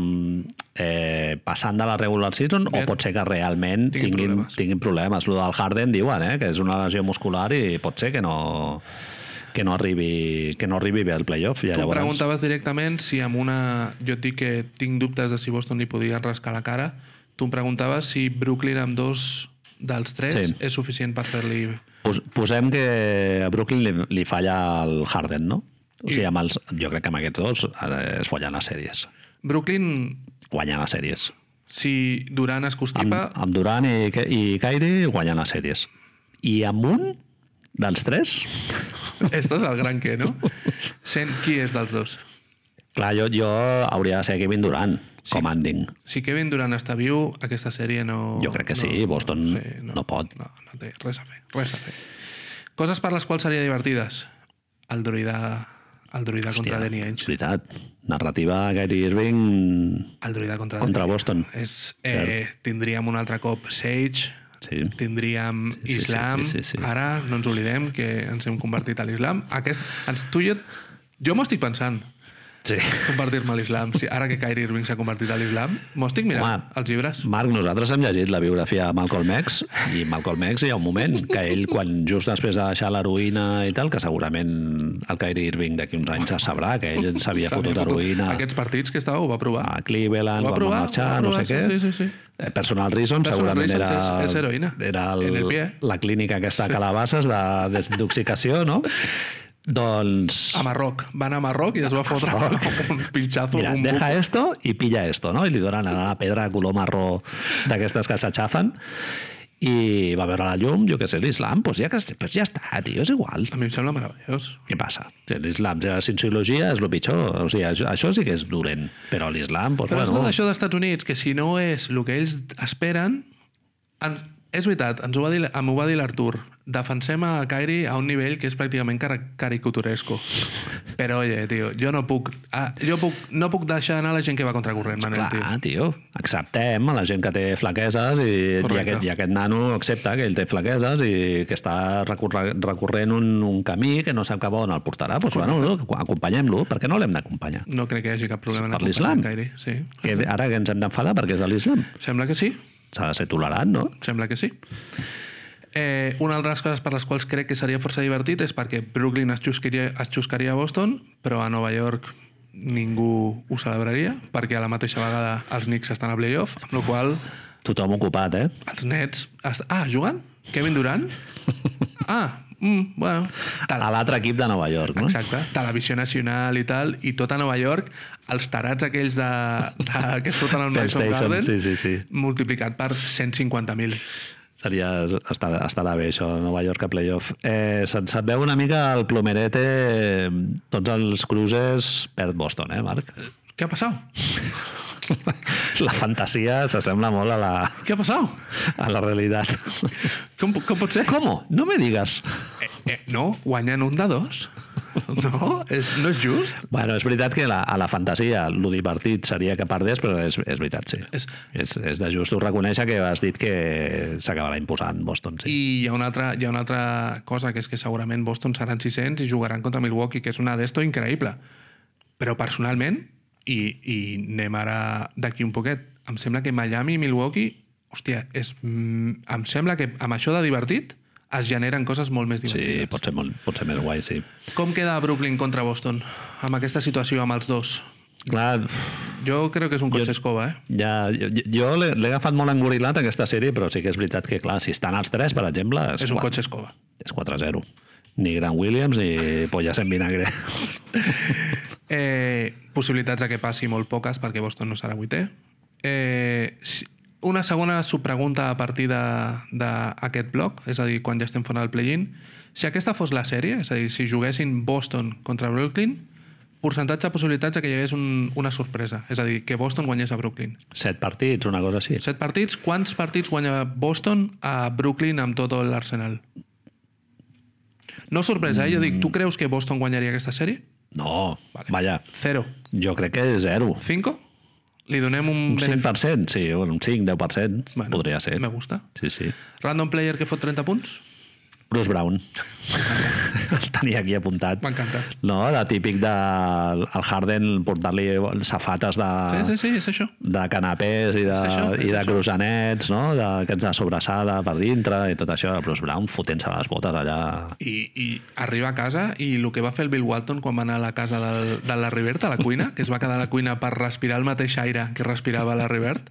Speaker 1: eh, passant de la regular season
Speaker 2: Bien.
Speaker 1: o pot ser que realment tinguin, tinguin
Speaker 2: Tinguin
Speaker 1: problemes.
Speaker 2: problemes.
Speaker 1: Tinguin problemes. Lo del Harden diuen eh, que és una lesió muscular i pot ser que no que no arribi, que no arribi bé al playoff. Ja
Speaker 2: Tu em
Speaker 1: llavors...
Speaker 2: preguntaves directament si amb una... Jo et dic que tinc dubtes de si Boston li podia rascar la cara. Tu em preguntaves si Brooklyn amb dos dels tres
Speaker 1: Sí.
Speaker 2: sí. és suficient per fer-li...
Speaker 1: Pos, posem que a Brooklyn li, li falla el Harden, no? O sigui, amb els, jo crec que amb aquests dos eh, es guanyen les sèries.
Speaker 2: Brooklyn,
Speaker 1: Guanyen les sèries.
Speaker 2: si Durant es
Speaker 1: amb,
Speaker 2: constipa...
Speaker 1: amb Durant i, Ke- i Kyrie guanyant les sèries. I amb un dels tres...
Speaker 2: Estàs el gran que, no? Sent qui és dels dos.
Speaker 1: Clar, jo, jo hauria de ser Kevin Durant, sí. com a ending.
Speaker 2: Si Kevin Durant està viu, aquesta sèrie no...
Speaker 1: Jo crec que
Speaker 2: no,
Speaker 1: sí, Boston no pot.
Speaker 2: No, no té res a fer, res a fer. Coses per les quals seria divertides. El druida, el druida contra Danny
Speaker 1: és
Speaker 2: Ainge.
Speaker 1: veritat. Narrativa Kyrie Irving
Speaker 2: El druida contra
Speaker 1: contra
Speaker 2: Danny
Speaker 1: Boston.
Speaker 2: És, eh, tindríem un altre cop Sage,
Speaker 1: Sí.
Speaker 2: tindríem
Speaker 1: sí, sí,
Speaker 2: Islam.
Speaker 1: sí, sí, sí.
Speaker 2: Ara no ens oblidem que ens hem convertit a l'Islam. Aquest, ens, tu i jo, jo m'ho estic pensant,
Speaker 1: sí.
Speaker 2: convertir-me a l'Islam. Sí, ara que Kyrie Irving s'ha convertit a l'Islam, m'ho estic mirant,
Speaker 1: Home.
Speaker 2: els llibres.
Speaker 1: Marc, nosaltres hem llegit la biografia de Malcolm X i Malcolm X hi ha un moment que ell, quan just després de deixar l'heroïna i tal, que segurament el Kyrie Irving d'aquí uns anys se sabrà que ell s'havia fotut heroïna
Speaker 2: Aquests partits que estava ho va provar.
Speaker 1: a Cleveland,
Speaker 2: Ho va
Speaker 1: quan
Speaker 2: provar,
Speaker 1: va marxar,
Speaker 2: ho va provar,
Speaker 1: no sé què.
Speaker 2: sí, sí, sí, sí.
Speaker 1: Eh, Personal Reason
Speaker 2: Personal
Speaker 1: segurament
Speaker 2: Reasons
Speaker 1: era...
Speaker 2: és- és heroïna.
Speaker 1: Era el,
Speaker 2: En el pie.
Speaker 1: la clínica aquesta sí. calabasses de desintoxicació, no? doncs...
Speaker 2: A Marroc. Va anar a Marroc i es va fotre un pinxazo.
Speaker 1: Mira,
Speaker 2: un bu-
Speaker 1: deja esto i pilla esto, no? I li donen una pedra de color marró d'aquestes que s'aixafen i va veure la llum, jo que sé, l'islam, doncs ja, que, doncs ja està, tio, és igual.
Speaker 2: A mi em sembla meravellós.
Speaker 1: Què passa? Si L'islam, si la cienciologia és el pitjor, o sigui, això, això sí que és dolent, però l'islam, doncs
Speaker 2: Però és
Speaker 1: bueno...
Speaker 2: tot això d'Estats Units, que si no és el que ells esperen... En... És veritat, ens ho va dir, m'ho va dir l'Artur. Defensem a Kairi a un nivell que és pràcticament car caricaturesco. Però, oye, tio, jo no puc... Ah, jo puc, no puc deixar anar la gent que va contra corrent, Manel, tio.
Speaker 1: Clar, tio. Acceptem a la gent que té flaqueses i, i,
Speaker 2: Correcte.
Speaker 1: aquest, i aquest nano accepta que ell té flaqueses i que està recorre, recorrent un, un camí que no sap cap a on el portarà. Doncs, bueno, no, acompanyem-lo. Per què no l'hem d'acompanyar?
Speaker 2: No crec que hi hagi cap problema en
Speaker 1: Per
Speaker 2: acompanyar
Speaker 1: l'Islam?
Speaker 2: Kairi, sí.
Speaker 1: Que ara que ens hem d'enfadar perquè és a l'islam.
Speaker 2: Sembla que sí.
Speaker 1: S'ha de ser tolerant, no?
Speaker 2: Sembla que sí. Eh, una de les coses per les quals crec que seria força divertit és perquè Brooklyn es xuscaria, es xuscaria a Boston, però a Nova York ningú ho celebraria, perquè a la mateixa vegada els Knicks estan a playoff, amb la qual cosa
Speaker 1: Tothom ocupat, eh?
Speaker 2: Els nets... est- Ah, juguen? Kevin Durant? Ah, mm, bueno... Tal.
Speaker 1: A l'altre equip de Nova York, Ah, no?
Speaker 2: Exacte, televisió nacional i tal, i tot a Nova York, els tarats aquells de, de, que surten al Madison
Speaker 1: PlayStation,
Speaker 2: Garden,
Speaker 1: sí, sí, sí.
Speaker 2: multiplicat per 150.000.
Speaker 1: Seria, estar, estarà bé això, Nova York a playoff. Eh, se't, se't veu una mica el plomerete, eh, tots els cruces perd Boston, eh, Marc?
Speaker 2: Què ha passat?
Speaker 1: La fantasia s'assembla molt a la,
Speaker 2: Què ha passat?
Speaker 1: a la realitat.
Speaker 2: Com, po- com pot ser?
Speaker 1: ¿Cómo? No me digas.
Speaker 2: Eh, eh, no, guanyen un de dos. No, és, no és just.
Speaker 1: Bueno, és veritat que la, a la fantasia lo divertit seria que perdés, però és, és veritat, sí.
Speaker 2: És-
Speaker 1: És, és, és de justos reconèixer que has dit que s'acabarà imposant Boston, sí.
Speaker 2: I hi ha, una altra, hi ha una altra cosa, que és que segurament Boston seran 600 i jugaran contra Milwaukee, que és una d'esto increïble. Però personalment, i, i anem ara d'aquí un poquet, em sembla que Miami i Milwaukee, hòstia, és, mm, em sembla que amb això de divertit es generen coses molt més
Speaker 1: sí,
Speaker 2: divertides.
Speaker 1: pot ser, molt, pot ser més guai, sí.
Speaker 2: Com queda Brooklyn contra Boston amb aquesta situació amb els dos?
Speaker 1: Clar,
Speaker 2: Jo crec que és un cotxe escova, eh?
Speaker 1: ja, jo, jo l'he l'he agafat molt engorilat aquesta sèrie, però sí que és veritat que, clar, si estan els tres, per exemple, és,
Speaker 2: És un
Speaker 1: quatre-
Speaker 2: cotxe escova.
Speaker 1: és 4-0. Ni Grant Williams ni polles en vinagre.
Speaker 2: Eh, possibilitats de que passi molt poques perquè Boston no serà vuitè. Eh, si- una segona subpregunta a partir de- d'aquest bloc, és a dir, quan ja estem fora del play-in. Si aquesta fos la sèrie, és a dir, si juguessin Boston contra Brooklyn, percentatge de possibilitats de que hi hagués un, una sorpresa, és a dir, que Boston guanyés a Brooklyn.
Speaker 1: Set partits, una cosa així.
Speaker 2: Set partits, quants partits guanya Boston a Brooklyn amb tot l'arsenal? No sorpresa, eh? jo dic, tu creus que Boston guanyaria aquesta sèrie?
Speaker 1: No, vaja,
Speaker 2: Zero.
Speaker 1: jo crec que és zero.
Speaker 2: 5? Li donem un,
Speaker 1: Un 5%, sí, bueno, un 5-10% bueno, podria ser.
Speaker 2: Me gusta.
Speaker 1: Sí, sí.
Speaker 2: Random player que fot 30 punts?
Speaker 1: Bruce Brown. el tenia aquí apuntat.
Speaker 2: M'encanta.
Speaker 1: No, la típic de el Harden portar-li safates de,
Speaker 2: Sí, sí, sí, és això.
Speaker 1: de canapés i de,
Speaker 2: És això, és
Speaker 1: i de
Speaker 2: això.
Speaker 1: cruzanets, no? De, aquests de sobrassada per dintre i tot això. Bruce Brown fotent-se les botes allà.
Speaker 2: I, I arriba a casa i el que va fer el Bill Walton quan va anar a la casa del, de la Rivert, a la cuina, que es va quedar a la cuina per respirar el mateix aire que respirava la Rivert.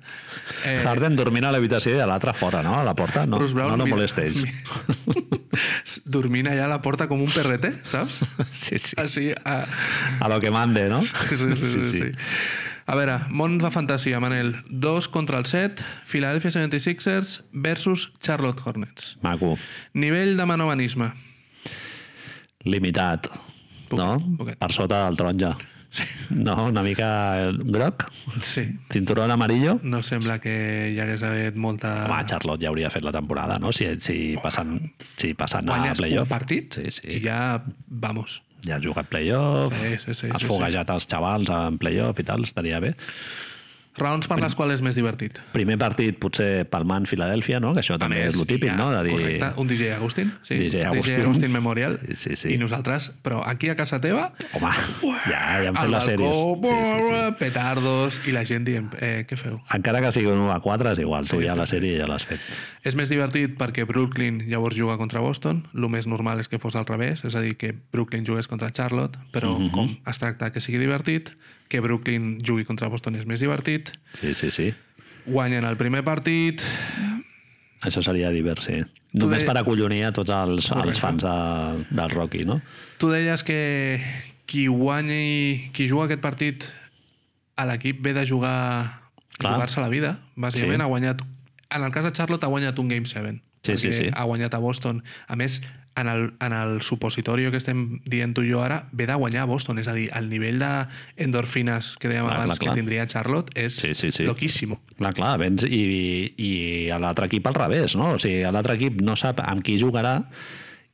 Speaker 1: Eh. Harden dormint a l'habitació i l'altre fora, no? A la porta. No,
Speaker 2: Bruce Brown...
Speaker 1: no, no
Speaker 2: mira-
Speaker 1: molestes.
Speaker 2: Dormint allà a la porta com un perrete, saps?
Speaker 1: Sí, sí.
Speaker 2: Així, a...
Speaker 1: A lo que mande, no?
Speaker 2: Sí, sí, sí, sí, sí. A veure, món de fantasia, Manel. 2 contra el 7, Philadelphia 76ers versus Charlotte Hornets.
Speaker 1: Maco.
Speaker 2: Nivell de manomanisme.
Speaker 1: limitat, no?
Speaker 2: poquet.
Speaker 1: Per sota del taronja. No, una mica groc,
Speaker 2: Sí.
Speaker 1: cinturón amarillo.
Speaker 2: No sembla que hi hagués hagut molta...
Speaker 1: Home, Charlotte ja hauria fet la temporada, no? Si, si passen, si passen a
Speaker 2: Guanyes un
Speaker 1: playoff.
Speaker 2: partit
Speaker 1: Sí,
Speaker 2: i
Speaker 1: sí.
Speaker 2: ja, vamos.
Speaker 1: Ja has jugat playoff,
Speaker 2: Sí, sí, sí,
Speaker 1: has
Speaker 2: sí,
Speaker 1: foguejat els xavals en playoff i tal, estaria bé.
Speaker 2: Raons per les quals és més divertit.
Speaker 1: Primer partit potser palmant Filadèlfia, no? Que això també és lo típic,
Speaker 2: hi ha-
Speaker 1: no? De dir...
Speaker 2: Correcte, un DJ Agustín. Sí,
Speaker 1: DJ Agustín.
Speaker 2: Agustín Memorial.
Speaker 1: Sí, sí, sí.
Speaker 2: I nosaltres, però aquí a casa teva,
Speaker 1: Home, ja, ja hem fet
Speaker 2: al
Speaker 1: les
Speaker 2: balcó,
Speaker 1: sèries.
Speaker 2: bua, bua, petardos, i la gent dient, eh, què feu?
Speaker 1: Encara que sigui un 1 a 4, és igual, tu ja la sèrie ja l'has fet.
Speaker 2: És més divertit perquè Brooklyn llavors juga contra Boston, el més normal és que fos al revés, és a dir, que Brooklyn jugués contra Charlotte, però mm -hmm. com es tracta que sigui divertit, que Brooklyn jugui contra Boston és més divertit,
Speaker 1: Sí, sí, sí.
Speaker 2: guanyen el primer partit,
Speaker 1: Això seria divers, sí. Només
Speaker 2: de-
Speaker 1: per acollonir a tots els,
Speaker 2: Correcte.
Speaker 1: els fans de, del Rocky, no?
Speaker 2: tu deies que qui guanyi, qui juga aquest partit a l'equip ve de jugar
Speaker 1: Clar.
Speaker 2: jugar-se la vida, bàsicament
Speaker 1: Sí.
Speaker 2: ha guanyat en el cas de Charlotte ha guanyat un Game 7
Speaker 1: Sí, sí,
Speaker 2: perquè
Speaker 1: sí.
Speaker 2: ha guanyat a Boston a més, en el, en el supositorio que estem dient tu i jo ara, ve de guanyar a Boston, és a dir, el nivell d'endorfines que dèiem
Speaker 1: Clar,
Speaker 2: abans
Speaker 1: clar, clar.
Speaker 2: que tindria Charlotte és
Speaker 1: Sí, sí, sí.
Speaker 2: loquíssimo
Speaker 1: Clar, clar, vens i, i a l'altre equip al revés, no? O sigui, l'altre equip no sap amb qui jugarà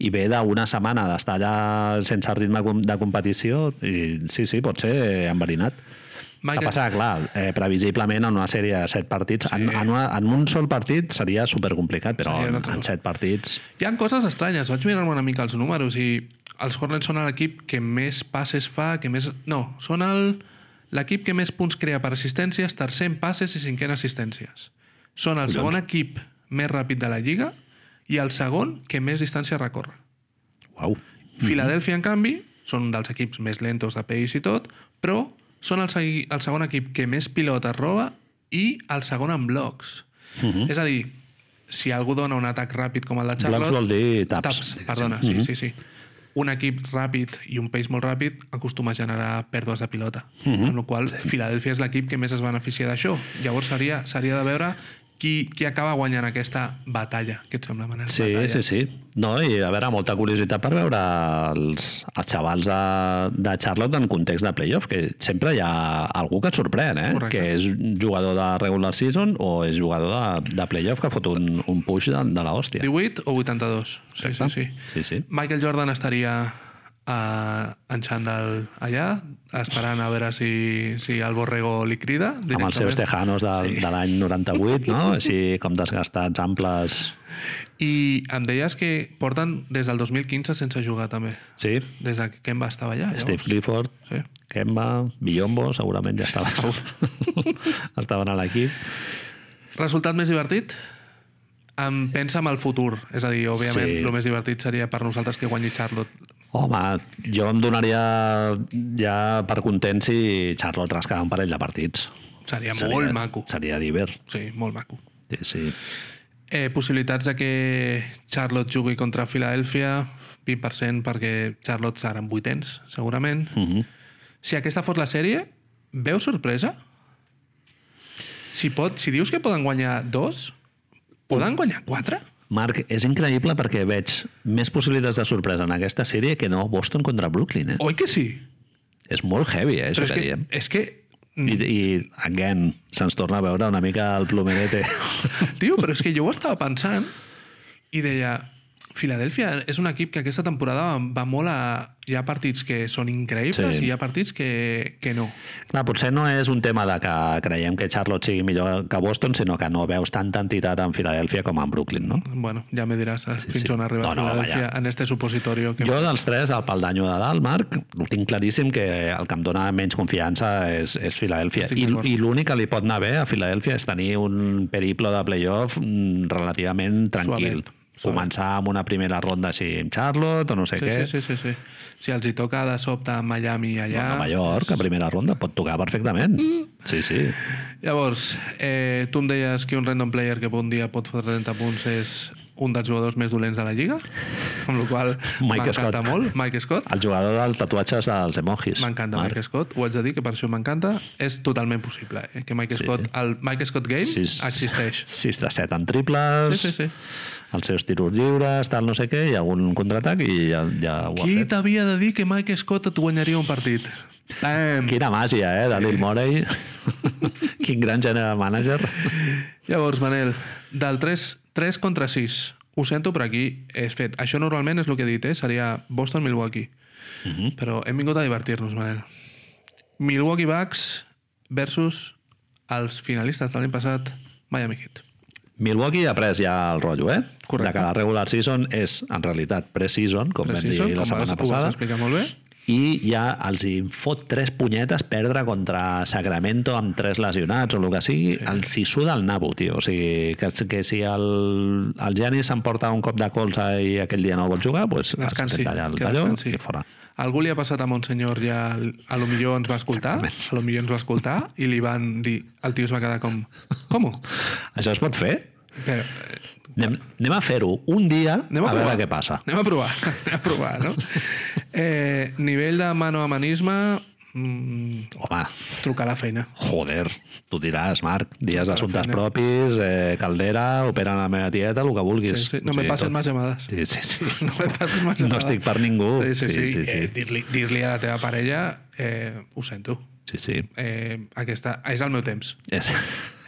Speaker 1: i ve d'una setmana d'estar allà sense ritme com- de competició i sí, sí, pot ser enverinat. Va
Speaker 2: Michael-
Speaker 1: passar, clar, eh, previsiblement en una sèrie de set partits, sí. en, en, una, en un sol partit seria supercomplicat, però
Speaker 2: Seria
Speaker 1: en,
Speaker 2: una
Speaker 1: en set partits...
Speaker 2: Hi han coses estranyes, vaig mirar-me una mica els números i els Hornets són l'equip que més passes fa, que més... No, són el- l'equip que més punts crea per assistències, tercer en passes i cinquè en assistències. Són el segon equip més ràpid de la Lliga i el segon que més distància recorre.
Speaker 1: Uau.
Speaker 2: Filadèlfia, en canvi, són un dels equips més lentos de país i tot, però són el, segui- el segon equip que més pilotes roba i el segon en blocs.
Speaker 1: Mhm.
Speaker 2: -huh. És a dir, si algú dona un atac ràpid com el de Charlotte...
Speaker 1: Blocks vol dir taps,
Speaker 2: Taps,
Speaker 1: diguéssim. Mm-hmm.
Speaker 2: perdona, sí, sí, sí. Un equip ràpid i un pace molt ràpid acostuma a generar pèrdues de pilota,
Speaker 1: Mm-hmm.
Speaker 2: amb la qual cosa Filadèlfia és l'equip que més es beneficia d'això. Llavors seria, seria de veure qui, qui acaba guanyant aquesta batalla, que et sembla, Manel?
Speaker 1: Sí,
Speaker 2: batalla.
Speaker 1: sí, sí. No, i a veure, molta curiositat per veure els, els xavals de, de Charlotte en context de playoff, que sempre hi ha algú que et sorprèn, eh?
Speaker 2: Correcte.
Speaker 1: Que és jugador de regular season o és jugador de, de playoff que fot un, un push de, de l'hòstia.
Speaker 2: 18 o 82. Sí, sí, sí.
Speaker 1: Sí, sí.
Speaker 2: Michael Jordan estaria eh, en xandall allà, esperant a veure si, si el Borrego li crida.
Speaker 1: Amb els seus
Speaker 2: directament.
Speaker 1: tejanos de, sí. de l'any 98, no? Així com desgastats, amples...
Speaker 2: I em deies que porten des del 2015 sense jugar, també.
Speaker 1: Sí,
Speaker 2: Des de que em va estar allà, llavors.
Speaker 1: Steve Clifford,
Speaker 2: Sí.
Speaker 1: Kemba, Billombo, segurament ja estava. Estaven a l'equip.
Speaker 2: Resultat més divertit? Em pensa en el futur. És a dir, òbviament,
Speaker 1: Sí.
Speaker 2: el més divertit seria per nosaltres que guanyi Charlotte.
Speaker 1: Home, jo em donaria ja per content si Charlotte rascava un parell de partits.
Speaker 2: Seria, seria molt maco.
Speaker 1: Seria divert.
Speaker 2: Sí, molt maco.
Speaker 1: Sí, sí.
Speaker 2: Eh, possibilitats de que Charlotte jugui contra Filadèlfia, 20% perquè Charlotte seran vuitens, segurament.
Speaker 1: Uh -huh.
Speaker 2: Si aquesta fos la sèrie, veus sorpresa? Si, pot, si dius que poden guanyar dos, poden guanyar quatre?
Speaker 1: Marc, és increïble perquè veig més possibilitats de sorpresa en aquesta sèrie que no Boston contra Brooklyn. Eh?
Speaker 2: Oi que sí?
Speaker 1: És molt heavy, eh, això
Speaker 2: Oh. Però
Speaker 1: que,
Speaker 2: és, que, Mm.
Speaker 1: diem.
Speaker 2: és que...
Speaker 1: I, i again, se'ns torna a veure una mica el plomerete.
Speaker 2: Tio, però és que jo ho estava pensant i deia... Filadèlfia és un equip que aquesta temporada va- va molt a... Hi ha partits que són increïbles
Speaker 1: Sí.
Speaker 2: sí. i hi ha partits que, que no.
Speaker 1: Clar, potser no és un tema de que creiem que Charlotte sigui millor que Boston, sinó que no veus tanta entitat en Filadèlfia com en Brooklyn, no?
Speaker 2: Bueno, ja me diràs sí, fins
Speaker 1: sí.
Speaker 2: on arriba
Speaker 1: No,
Speaker 2: no,
Speaker 1: no,
Speaker 2: no, Filadèlfia en este supositorio. Que...
Speaker 1: Jo dels tres, el pel d'anyo de dalt, Marc, ho tinc claríssim que el que em dona menys confiança és, és Filadèlfia.
Speaker 2: Estic
Speaker 1: I,
Speaker 2: d'acord.
Speaker 1: i l'únic que li pot anar bé a Filadèlfia és tenir un periple de playoff mm, relativament tranquil.
Speaker 2: Suavet, suavet.
Speaker 1: Començar amb una primera ronda així amb Charlotte o no sé
Speaker 2: Sí,
Speaker 1: què.
Speaker 2: sí, sí, sí, sí. Si els hi toca de sobte a Miami allà...
Speaker 1: Bueno, a Mallorca, a primera ronda, pot tocar perfectament. Sí, sí.
Speaker 2: Llavors, eh, tu em deies que un random player que un dia pot fotre 30 punts és un dels jugadors més dolents de la Lliga, amb la qual cosa
Speaker 1: Mike
Speaker 2: m'encanta
Speaker 1: Scott.
Speaker 2: molt. Mike Scott.
Speaker 1: El jugador dels tatuatges dels emojis.
Speaker 2: M'encanta
Speaker 1: Marc.
Speaker 2: Mike Scott, ho haig de dir, que per això m'encanta. És totalment possible, eh? que Mike
Speaker 1: Sí.
Speaker 2: Scott, el Mike Scott Game
Speaker 1: Sis-
Speaker 2: existeix.
Speaker 1: 6 de 7 en
Speaker 2: Sí,
Speaker 1: triples,
Speaker 2: sí, sí.
Speaker 1: els seus tiros lliures, tal, no sé què, i algun contraatac i ja, ja ho ha
Speaker 2: Qui
Speaker 1: fet.
Speaker 2: t'havia de dir que Mike Scott et guanyaria un partit? Bam!
Speaker 1: Quina màgia, eh, de Lil Morey. Quin gran general manager.
Speaker 2: Llavors, Manel, del 3, 3 contra 6, ho sento, però aquí és fet. Això normalment és el que he dit, eh? seria Boston-Milwaukee. Uh
Speaker 1: Mhm.
Speaker 2: -huh. Però hem vingut a divertir-nos, Manel. Milwaukee Bucks versus els finalistes de l'any passat, Miami Heat.
Speaker 1: Milwaukee ha pres ja el rotllo, eh? De
Speaker 2: Correcte.
Speaker 1: que la regular season és, en realitat, pre-season, com
Speaker 2: Preciso,
Speaker 1: vam dir la
Speaker 2: com vas,
Speaker 1: setmana
Speaker 2: ho vas
Speaker 1: passada,
Speaker 2: explicar molt bé.
Speaker 1: i ja els hi fot tres punyetes perdre contra Sacramento amb tres lesionats o el que sigui, sí. els hi suda el nabo, tio. O sigui, que, que si el, el Giannis s'emporta un cop de colze i aquell dia no vol jugar, doncs es
Speaker 2: Descansi,
Speaker 1: talla el
Speaker 2: que
Speaker 1: talló
Speaker 2: descansi.
Speaker 1: i fora.
Speaker 2: Algú li ha passat a Monsenyor ja, a lo millor ens va escoltar, a lo millor ens va escoltar i li van dir, el tio es va quedar com, com?
Speaker 1: Això es pot fer?
Speaker 2: Però, eh,
Speaker 1: Anem, anem a fer-ho un dia
Speaker 2: Anem a,
Speaker 1: a
Speaker 2: provar.
Speaker 1: veure què passa.
Speaker 2: Anem a provar, anem a provar, no? Eh, nivell de mano a manisme, mm,
Speaker 1: Home,
Speaker 2: trucar a la feina.
Speaker 1: joder, tu diràs, Marc, dies d'assumptes propis, eh, caldera, opera la meva tieta, el que vulguis.
Speaker 2: Sí, sí. No me passen
Speaker 1: tot.
Speaker 2: más llamadas.
Speaker 1: Sí, sí, sí.
Speaker 2: No me passen más
Speaker 1: No
Speaker 2: llamadas.
Speaker 1: estic per ningú.
Speaker 2: Sí, sí, sí.
Speaker 1: Sí,
Speaker 2: sí,
Speaker 1: sí, sí.
Speaker 2: Eh, dir-li dir a la teva parella, eh, ho sento,
Speaker 1: Sí, sí.
Speaker 2: eh, aquesta, és el meu temps.
Speaker 1: És,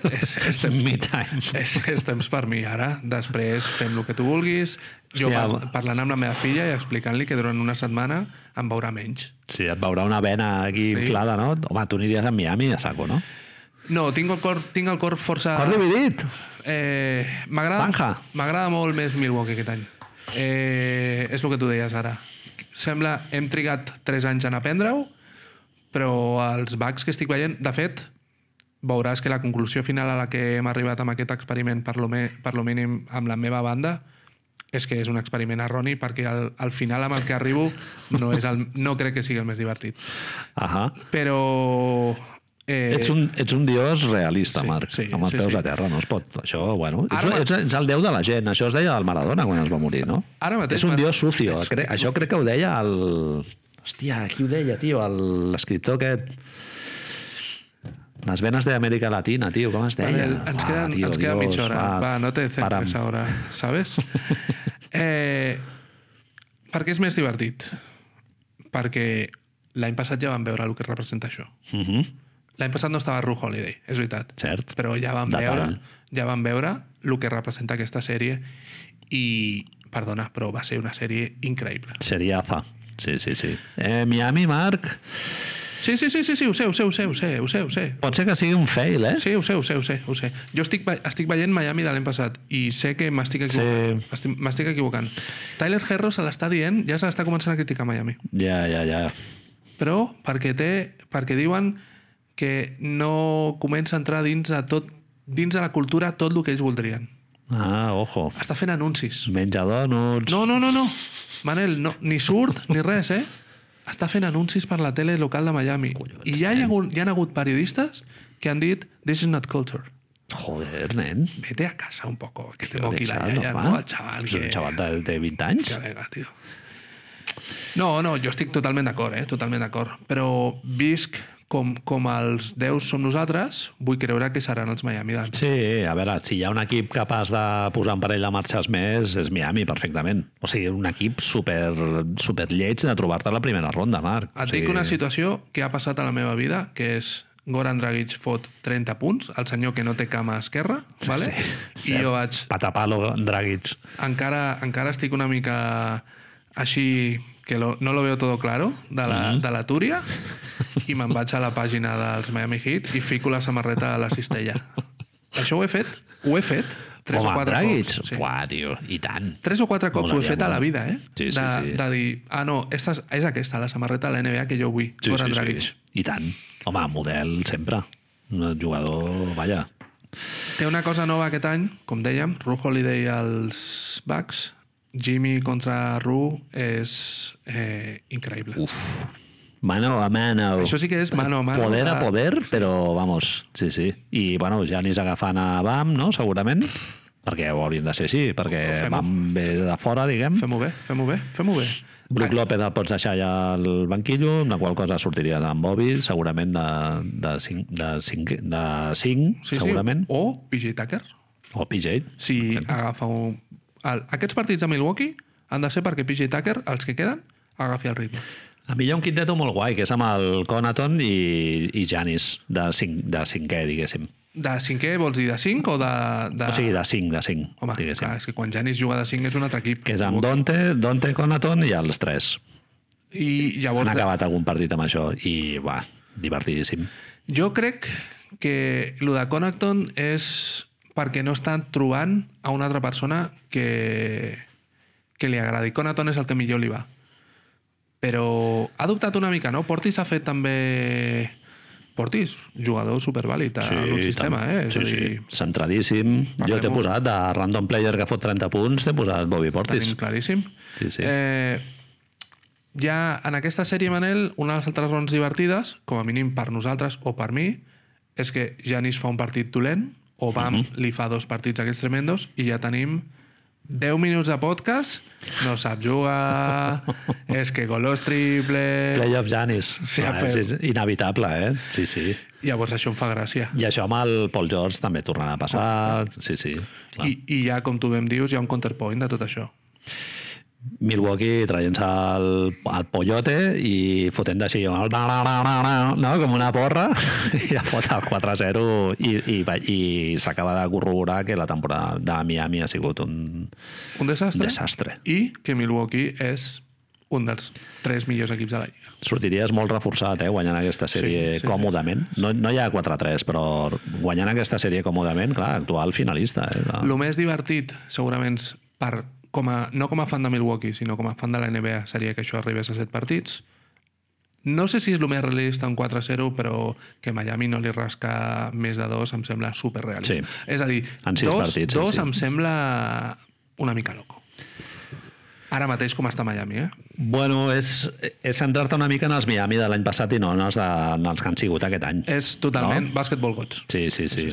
Speaker 2: És, és temps.
Speaker 1: me time.
Speaker 2: És, és temps per mi ara. Després fem el que tu vulguis. Jo
Speaker 1: Hòstia,
Speaker 2: par
Speaker 1: home.
Speaker 2: parlant amb la meva filla i explicant-li que durant una setmana em veurà menys.
Speaker 1: Sí, et veurà una vena aquí
Speaker 2: Sí.
Speaker 1: inflada, no? Home, tu aniries a Miami a saco, no?
Speaker 2: No, tinc el cor, tinc el cor força...
Speaker 1: Cor dividit!
Speaker 2: Eh, m'agrada
Speaker 1: Zanja.
Speaker 2: m'agrada molt més Milwaukee aquest any. Eh, és el que tu deies ara. Sembla, hem trigat 3 anys en aprendre-ho, però els bugs que estic veient... De fet, veuràs que la conclusió final a la que hem arribat amb aquest experiment, per lo, me, per lo mínim amb la meva banda, és que és un experiment erroni perquè al, al final amb el que arribo no, és el, no crec que sigui el més divertit
Speaker 1: Ahà.
Speaker 2: però Eh,
Speaker 1: Ets un, ets un dios realista,
Speaker 2: Sí,
Speaker 1: sí, Marc,
Speaker 2: sí,
Speaker 1: sí, amb els
Speaker 2: sí,
Speaker 1: sí, peus
Speaker 2: sí.
Speaker 1: sí. a terra, no es pot... Això, bueno, ets,
Speaker 2: Ara-
Speaker 1: ets, ets el déu de la gent, això es deia del Maradona quan es va morir, no?
Speaker 2: Ara mateix,
Speaker 1: És un
Speaker 2: Marc,
Speaker 1: dios sucio,
Speaker 2: ets-
Speaker 1: cre,
Speaker 2: ets
Speaker 1: això crec que ho deia el... Hòstia, qui ho deia, tio? El- L'escriptor aquest... Les venes d'Amèrica Latina, tio, com es deia?
Speaker 2: Vale, ens queda,
Speaker 1: tio,
Speaker 2: ens queda
Speaker 1: Dios,
Speaker 2: mitja hora. Va, no te
Speaker 1: para'm.
Speaker 2: centres ahora, ¿sabes? Eh, per què és més divertit? Perquè l'any passat ja vam veure el que representa això.
Speaker 1: Mhm,
Speaker 2: L'any passat no estava Ru Holiday, és veritat.
Speaker 1: Cert.
Speaker 2: Però ja vam
Speaker 1: Detall.
Speaker 2: veure ja vam veure el que representa aquesta sèrie i, perdona, però va ser una sèrie increïble.
Speaker 1: Seria fa. Sí, sí, sí. Eh, Miami, Marc,
Speaker 2: Sí, sí, sí, sí, sí, ho sé, ho sé, ho sé, ho sé, ho sé, ho sé.
Speaker 1: pot ser que sigui un fail, eh?
Speaker 2: Sí, ho sé, ho sé, ho sé, ho sé. Jo estic, ve- estic veient Miami de l'any passat i sé que m'estic equivocant.
Speaker 1: Sí.
Speaker 2: Sí. M'estic equivocant. Tyler Herro se l'està dient, ja se l'està començant a criticar Miami.
Speaker 1: Ja, ja, ja.
Speaker 2: Però perquè té, perquè diuen que no comença a entrar dins de tot dins de la cultura tot el que ells voldrien.
Speaker 1: Ah, ojo.
Speaker 2: Està fent anuncis.
Speaker 1: Menja donuts...
Speaker 2: No, no, no, no. Manel, no, ni surt ni res, eh? Està fent anuncis per la tele local de Miami.
Speaker 1: Collons,
Speaker 2: I ja hi ha, hagut, hi ha hagut periodistes que han dit this is not culture.
Speaker 1: Joder, nen.
Speaker 2: vete a casa un poco, que
Speaker 1: Tío,
Speaker 2: tengo que ir
Speaker 1: deixa'l,
Speaker 2: allá,
Speaker 1: home.
Speaker 2: ¿no? Al chaval
Speaker 1: És
Speaker 2: que...
Speaker 1: un xaval de, de 20 anys.
Speaker 2: que venga, tio. No, no, jo estic totalment d'acord, eh? Totalment d'acord. Però visc com, com els déus som nosaltres, vull creure que seran els Miami Dance.
Speaker 1: Sí, a veure, si hi ha un equip capaç de posar en parell de marxes més, és Miami, perfectament. O sigui, un equip super, super lleig de trobar-te a la primera ronda, Marc.
Speaker 2: Et
Speaker 1: o
Speaker 2: dic
Speaker 1: sigui,
Speaker 2: una situació que ha passat a la meva vida, que és Goran Dragic fot 30 punts, el senyor que no té cama esquerra, vale?
Speaker 1: Sí,
Speaker 2: I
Speaker 1: cert.
Speaker 2: jo vaig...
Speaker 1: Patapalo, Dragic.
Speaker 2: encara, encara estic una mica així que lo, no lo veo todo claro de la,
Speaker 1: Mm-hmm.
Speaker 2: de la Túria i me'n vaig a la pàgina dels Miami Heat i fico la samarreta a la cistella. Això ho he fet, ho he fet, tres
Speaker 1: Home,
Speaker 2: o quatre
Speaker 1: Dragic?
Speaker 2: cops. Sí.
Speaker 1: Buah, tio, i tant.
Speaker 2: Tres o quatre cops
Speaker 1: Molt
Speaker 2: ho he fet
Speaker 1: aviat,
Speaker 2: a la
Speaker 1: molt.
Speaker 2: vida, eh?
Speaker 1: Sí, sí,
Speaker 2: de,
Speaker 1: sí.
Speaker 2: de dir, ah, no, esta és, és aquesta, la samarreta de la NBA que jo vull, sí, Goran sí, Dragic. Sí.
Speaker 1: I tant. Home, model sempre. Un jugador, vaja,
Speaker 2: Té una cosa nova aquest any, com dèiem, Ru Holiday als Bucks, Jimmy contra Ru és eh, increïble.
Speaker 1: Uf. Mano a mano.
Speaker 2: Això sí que és mano a mano.
Speaker 1: Poder a
Speaker 2: Ah.
Speaker 1: poder, però vamos, sí, sí. I, bueno, Janis agafant a BAM, no?, segurament, perquè ho haurien de ser així, perquè
Speaker 2: Fem-ho.
Speaker 1: BAM ve de fora, diguem.
Speaker 2: Fem-ho bé, fem-ho bé, fem-ho bé. Ah,
Speaker 1: Brook López el pots deixar ja al banquillo, amb la qual cosa sortiries amb Bobby, segurament de, de 5, de 5, de 5 sí, segurament, sí.
Speaker 2: O PJ Tucker.
Speaker 1: o PJ.
Speaker 2: Si agafa un... El... Aquests partits de Milwaukee han de ser perquè PJ Tucker, els que queden, agafi el ritme.
Speaker 1: A mi hi ha un quinteto molt guai, que és amb el Conaton i, i Janis, de, 5, de 5è, diguéssim.
Speaker 2: De cinquè vols dir de 5 o de... de...
Speaker 1: O sigui, de 5, de 5,
Speaker 2: Home,
Speaker 1: diguéssim.
Speaker 2: clar, és que quan Janis juga de 5 és un altre equip.
Speaker 1: que és amb Dante, Dante Conaton i els tres.
Speaker 2: I
Speaker 1: Han
Speaker 2: llavors...
Speaker 1: acabat algun partit amb això i, va, divertidíssim.
Speaker 2: Jo crec que el de Connaughton és perquè no estan trobant a una altra persona que, que li agradi. Connaughton és el que millor li va. Però ha dubtat una mica, no? Portis ha fet també... Portis, jugador supervàlid sí, en un sistema,
Speaker 1: tant.
Speaker 2: eh? És a
Speaker 1: Sí, sí,
Speaker 2: dir,
Speaker 1: centradíssim.
Speaker 2: Parlem-ho.
Speaker 1: jo t'he posat de random player que fot 30 punts, t'he posat Bobby Portis.
Speaker 2: Tenim claríssim.
Speaker 1: Sí, sí.
Speaker 2: Eh, ja en aquesta sèrie, Manel, una de les altres raons divertides, com a mínim per nosaltres o per mi, és que Janis fa un partit dolent, o Bam
Speaker 1: Mhm.
Speaker 2: li fa dos partits aquests tremendos, i ja tenim 10 minuts de podcast, no sap jugar, és que golos triples...
Speaker 1: Playoff Janis.
Speaker 2: Sí,
Speaker 1: Ah,
Speaker 2: ha fet.
Speaker 1: és inevitable, eh? Sí, sí.
Speaker 2: Llavors això em fa gràcia.
Speaker 1: I això amb el Paul George també tornarà a
Speaker 2: Oh,
Speaker 1: passar. Sí, sí. Clar.
Speaker 2: I, I ja, com tu ben dius, hi ha un counterpoint de tot això.
Speaker 1: Milwaukee traient-se el, el pollote i fotent d'així el bla, bla, bla, bla, bla, no? com una porra i ja fot el 4-0 i, i, va- i s'acaba de corroborar que la temporada de Miami ha sigut un
Speaker 2: Un desastre.
Speaker 1: desastre.
Speaker 2: I que Milwaukee és un dels tres millors equips de la Lliga.
Speaker 1: Sortiries molt reforçat eh, guanyant aquesta sèrie sí,
Speaker 2: Sí, sí,
Speaker 1: sí, còmodament. No, no hi ha 4-3, però guanyant aquesta sèrie còmodament, clar, actual finalista. Eh, de...
Speaker 2: El més divertit, segurament, és per, com a, no com a fan de Milwaukee, sinó com a fan de la NBA, seria que això arribés a set partits. No sé si és el més realista un 4-0, però que Miami no li rasca més de dos em sembla superrealista.
Speaker 1: Sí.
Speaker 2: És a dir,
Speaker 1: En sis
Speaker 2: dos,
Speaker 1: partits, en
Speaker 2: dos
Speaker 1: sis.
Speaker 2: em sembla una mica loco. ara mateix com està Miami, eh?
Speaker 1: Bueno, és, és centrar-te una mica en els Miami de l'any passat i no en els, de, en els que han sigut aquest any.
Speaker 2: És totalment no? bàsquetbol gots.
Speaker 1: Sí, sí, Eh. sí.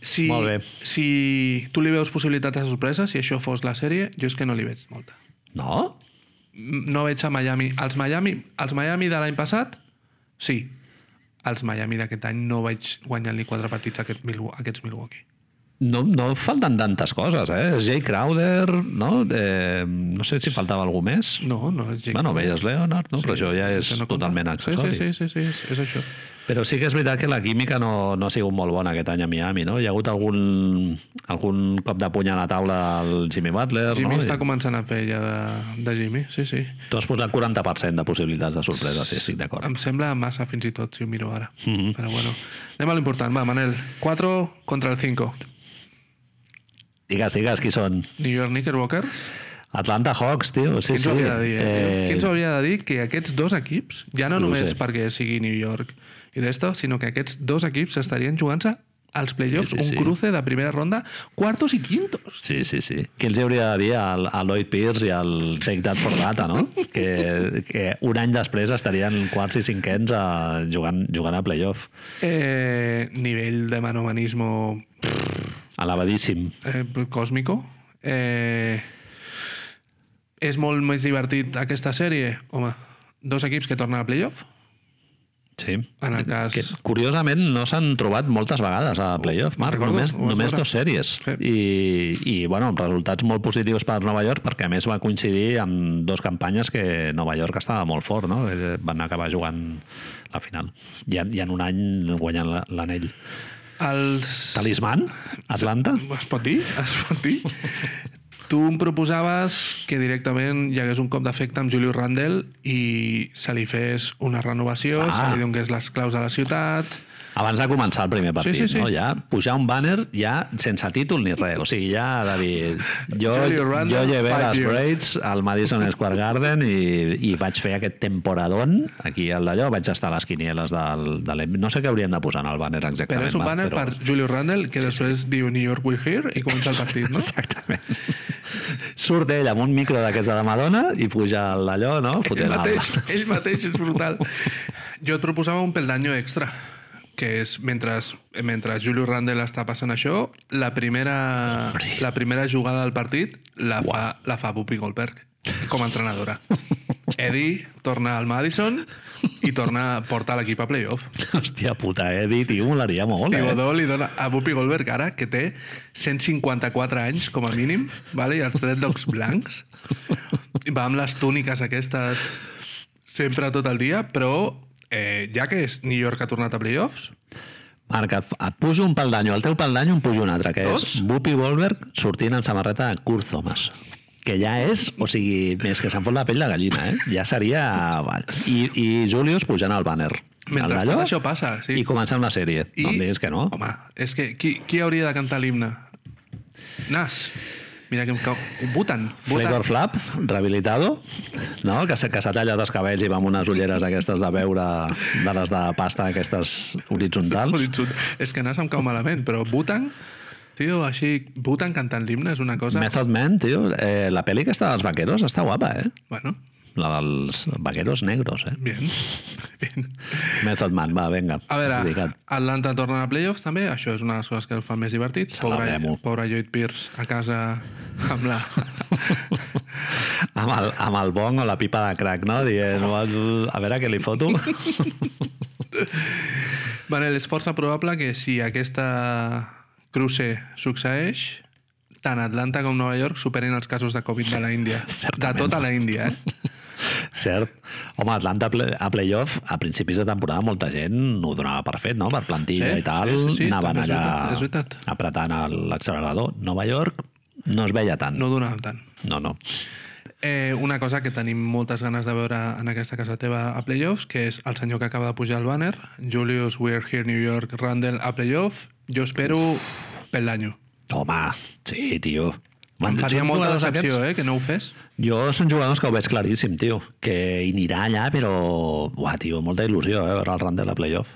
Speaker 2: Si,
Speaker 1: Molt bé.
Speaker 2: si tu li veus possibilitats de sorpresa, si això fos la sèrie, jo és que no li veig molta.
Speaker 1: No?
Speaker 2: No veig a Miami. Els Miami, els Miami de l'any passat, sí. Els Miami d'aquest any no vaig guanyar ni quatre partits a aquest, Milwa- aquests Milwaukee.
Speaker 1: No, no falten tantes coses, eh? Jay Crowder, no? Eh, no sé si faltava algú més.
Speaker 2: No, no és Jake
Speaker 1: Bueno,
Speaker 2: Paul.
Speaker 1: veies Leonard, no? Sí, però això ja és
Speaker 2: Això
Speaker 1: no
Speaker 2: compta.
Speaker 1: totalment accessori.
Speaker 2: Sí, sí, sí, sí, sí, és això.
Speaker 1: Però sí que és veritat que la química no, no ha sigut molt bona aquest any a Miami, no? Hi ha hagut algun, algun cop de puny a la taula del Jimmy Butler,
Speaker 2: Jimmy
Speaker 1: no?
Speaker 2: està
Speaker 1: I
Speaker 2: començant a fer ja de, de Jimmy, sí, sí.
Speaker 1: Tu has posat 40% de possibilitats de sorpresa, sí, estic d'acord.
Speaker 2: Em sembla massa fins i tot si ho miro ara. Mm
Speaker 1: Mhm.
Speaker 2: -hmm. Però bueno, anem a l'important. Va, Manel, 4 contra el 5.
Speaker 1: Digues, digues, qui són?
Speaker 2: New York Knickerbockers.
Speaker 1: Atlanta Hawks, tio. Sí,
Speaker 2: Qui ens ho
Speaker 1: sí.
Speaker 2: havia de dir? Eh... Qui ens ho havia de dir que aquests dos equips, ja no
Speaker 1: No ho
Speaker 2: només
Speaker 1: sé.
Speaker 2: perquè sigui New York i d'esto, sinó que aquests dos equips estarien jugant-se als playoffs,
Speaker 1: Sí, sí,
Speaker 2: sí, sí,
Speaker 1: sí.
Speaker 2: un cruce de primera ronda, quartos i quintos.
Speaker 1: Sí, sí, sí. Qui els hauria de dir al, a Lloyd Pierce i al Shake That for Data, no? Que, que un any després estarien quarts i cinquens a, jugant, jugant a playoff.
Speaker 2: Eh, nivell de manomanismo
Speaker 1: Elevadíssim.
Speaker 2: eh, còsmico. Eh, és molt més divertit aquesta sèrie? Home, dos equips que tornen a playoff?
Speaker 1: Sí.
Speaker 2: En el cas...
Speaker 1: Que, curiosament, no s'han trobat moltes vegades a playoff, Marc.
Speaker 2: recordo,
Speaker 1: només
Speaker 2: ho vas
Speaker 1: només
Speaker 2: veure.
Speaker 1: dues sèries.
Speaker 2: Sí.
Speaker 1: I, I, bueno, amb resultats molt positius per Nova York, perquè a més va coincidir amb dues campanyes que Nova York estava molt fort, no? Eh, Van acabar jugant la final. I, en- i en un any guanyant la- l'anell.
Speaker 2: Els...
Speaker 1: Talisman? Atlanta?
Speaker 2: Es pot dir? Es pot dir? tu em proposaves que directament hi hagués un cop d'efecte amb Julius Randle i se li fes una renovació,
Speaker 1: Ah.
Speaker 2: se li donés les claus a la ciutat...
Speaker 1: Abans de començar el primer partit,
Speaker 2: sí, sí.
Speaker 1: no? Ja pujar un banner ja sense títol ni res. O sigui, ja de dir... Jo,
Speaker 2: Julio Randle,
Speaker 1: jo llevé
Speaker 2: five
Speaker 1: les
Speaker 2: years.
Speaker 1: braids al Madison Square Garden i, i vaig fer aquest temporadón aquí al d'allò. Vaig estar a les quinieles del, de l'EM. No sé què haurien de posar en el banner exactament.
Speaker 2: Però és un
Speaker 1: Marc,
Speaker 2: banner però... per Julius Randle que després diu New York we're here i comença el partit, no?
Speaker 1: Exactament. Surt ell amb un micro d'aquests de la Madonna i puja al d'allò, no?
Speaker 2: ell
Speaker 1: Fotent el-
Speaker 2: mateix, ell mateix és brutal. Jo et proposava un peldanyo extra, que és mentre, mentre Julio Randle està passant això, la primera, la primera jugada del partit la fa, la fa Bupi Goldberg com a entrenadora. Eddie torna al Madison i torna porta l'equip a playoff.
Speaker 1: Hòstia puta, eh? Edi, tio, molaria molt, eh?
Speaker 2: Thibodeau li dona a Bupi Goldberg ara, que té 154 anys com a mínim, vale? i els dreadlocks blancs. I Va amb les túniques aquestes sempre tot el dia, però eh, ja que és New York ha tornat a playoffs,
Speaker 1: Marc, et, et pujo un pel d'anyo, el teu pel d'anyo em pujo un altre, que és
Speaker 2: Dos?
Speaker 1: Bupi Goldberg sortint amb samarreta de Kurt Thomas que ja és, o sigui, més que se'n fot la pell de gallina, eh? Ja seria... I, i Julius pujant al banner.
Speaker 2: mentre
Speaker 1: al d'allò,
Speaker 2: això passa. Sí.
Speaker 1: I començant la sèrie. I... No em diguis que no.
Speaker 2: Home, és que qui, qui hauria de cantar l'himne? Nas. Mira que em cau... Butan.
Speaker 1: Flavor Flap, rehabilitado, no? que, se- que s'ha tallat els cabells i va amb unes ulleres d'aquestes de veure, de les de pasta, aquestes horitzontals.
Speaker 2: Horitzont. És que Nas em cau malament, però Butan... Tio, així, Butan cantant l'himne és una cosa...
Speaker 1: Method Man, tio, eh, la pel·li aquesta dels vaqueros està guapa, eh?
Speaker 2: Bueno,
Speaker 1: La dels vaqueros negros, eh?
Speaker 2: Bien, bien.
Speaker 1: Method Man, va, vinga.
Speaker 2: A veure,
Speaker 1: Dedicat.
Speaker 2: Atlanta torna a playoffs també, això és una de les coses que el fan més divertit. Pobre,
Speaker 1: Celebrem-ho.
Speaker 2: pobre Lloyd Pierce a casa amb la...
Speaker 1: Amb el, amb el bong o la pipa de crack, no? Dient, "Well, a veure què li foto.
Speaker 2: Manel, és força probable que si aquesta cruce succeeix, tant Atlanta com Nova York superin els casos de Covid de la Índia.
Speaker 1: Certament.
Speaker 2: De tota la Índia, eh?
Speaker 1: Cert. Home, Atlanta a ple- a playoff, a principis de temporada, molta gent ho donava per fet, no? Per plantilla
Speaker 2: Sí,
Speaker 1: i tal,
Speaker 2: sí, sí, sí,
Speaker 1: anaven
Speaker 2: també és
Speaker 1: allà
Speaker 2: veritat, és veritat.
Speaker 1: apretant el- l'accelerador. Nova York no es veia tant.
Speaker 2: No donaven tant.
Speaker 1: no. no.
Speaker 2: Eh, una cosa que tenim moltes ganes de veure en aquesta casa teva a playoffs, que és el senyor que acaba de pujar al banner, Julius We're Here New York, Randall a playoff, jo espero pel d'anyo.
Speaker 1: Home, sí, tio.
Speaker 2: Em faria
Speaker 1: Són
Speaker 2: molta
Speaker 1: jugadors
Speaker 2: decepció, eh, que no ho fes.
Speaker 1: Jo són jugadors que ho veig claríssim, tio. Que hi anirà allà, però... Uah, tio, molta il·lusió, eh, veure el Randall a playoff.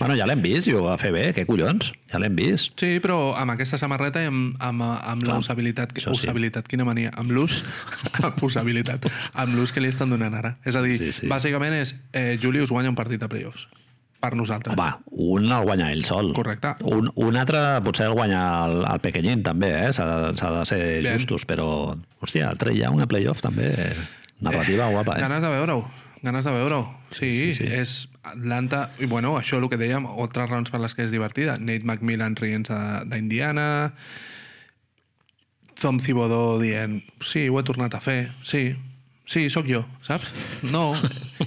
Speaker 1: Bueno, ja l'hem vist i ho va fer bé, què collons? Ja l'hem vist.
Speaker 2: Sí, però amb aquesta samarreta i amb, amb, amb la
Speaker 1: Clar,
Speaker 2: usabilitat, que,
Speaker 1: això sí.
Speaker 2: usabilitat, quina mania, amb l'ús, amb usabilitat, amb l'ús que li estan donant ara. És a dir,
Speaker 1: Sí,
Speaker 2: sí,
Speaker 1: sí.
Speaker 2: sí. bàsicament és eh, Julius guanya un partit de playoffs. Per nosaltres.
Speaker 1: Home, un el guanya ell sol.
Speaker 2: Correcte.
Speaker 1: Un, un altre potser el guanya el, el pequeñín també, eh? S'ha de, s'ha de ser
Speaker 2: Bien.
Speaker 1: justos, però... Hòstia, el Trey Young a playoff també... Narrativa guapa, eh?
Speaker 2: Ganes de veure-ho. Ganes de veure-ho.
Speaker 1: Sí,
Speaker 2: Sí, sí,
Speaker 1: sí, sí.
Speaker 2: sí, és Atlanta... I bueno, això el que dèiem, altres raons per les que és divertida. Nate McMillan rient d'Indiana, Tom Thibodeau dient sí, ho he tornat a fer, sí, sí, sóc jo, saps? No.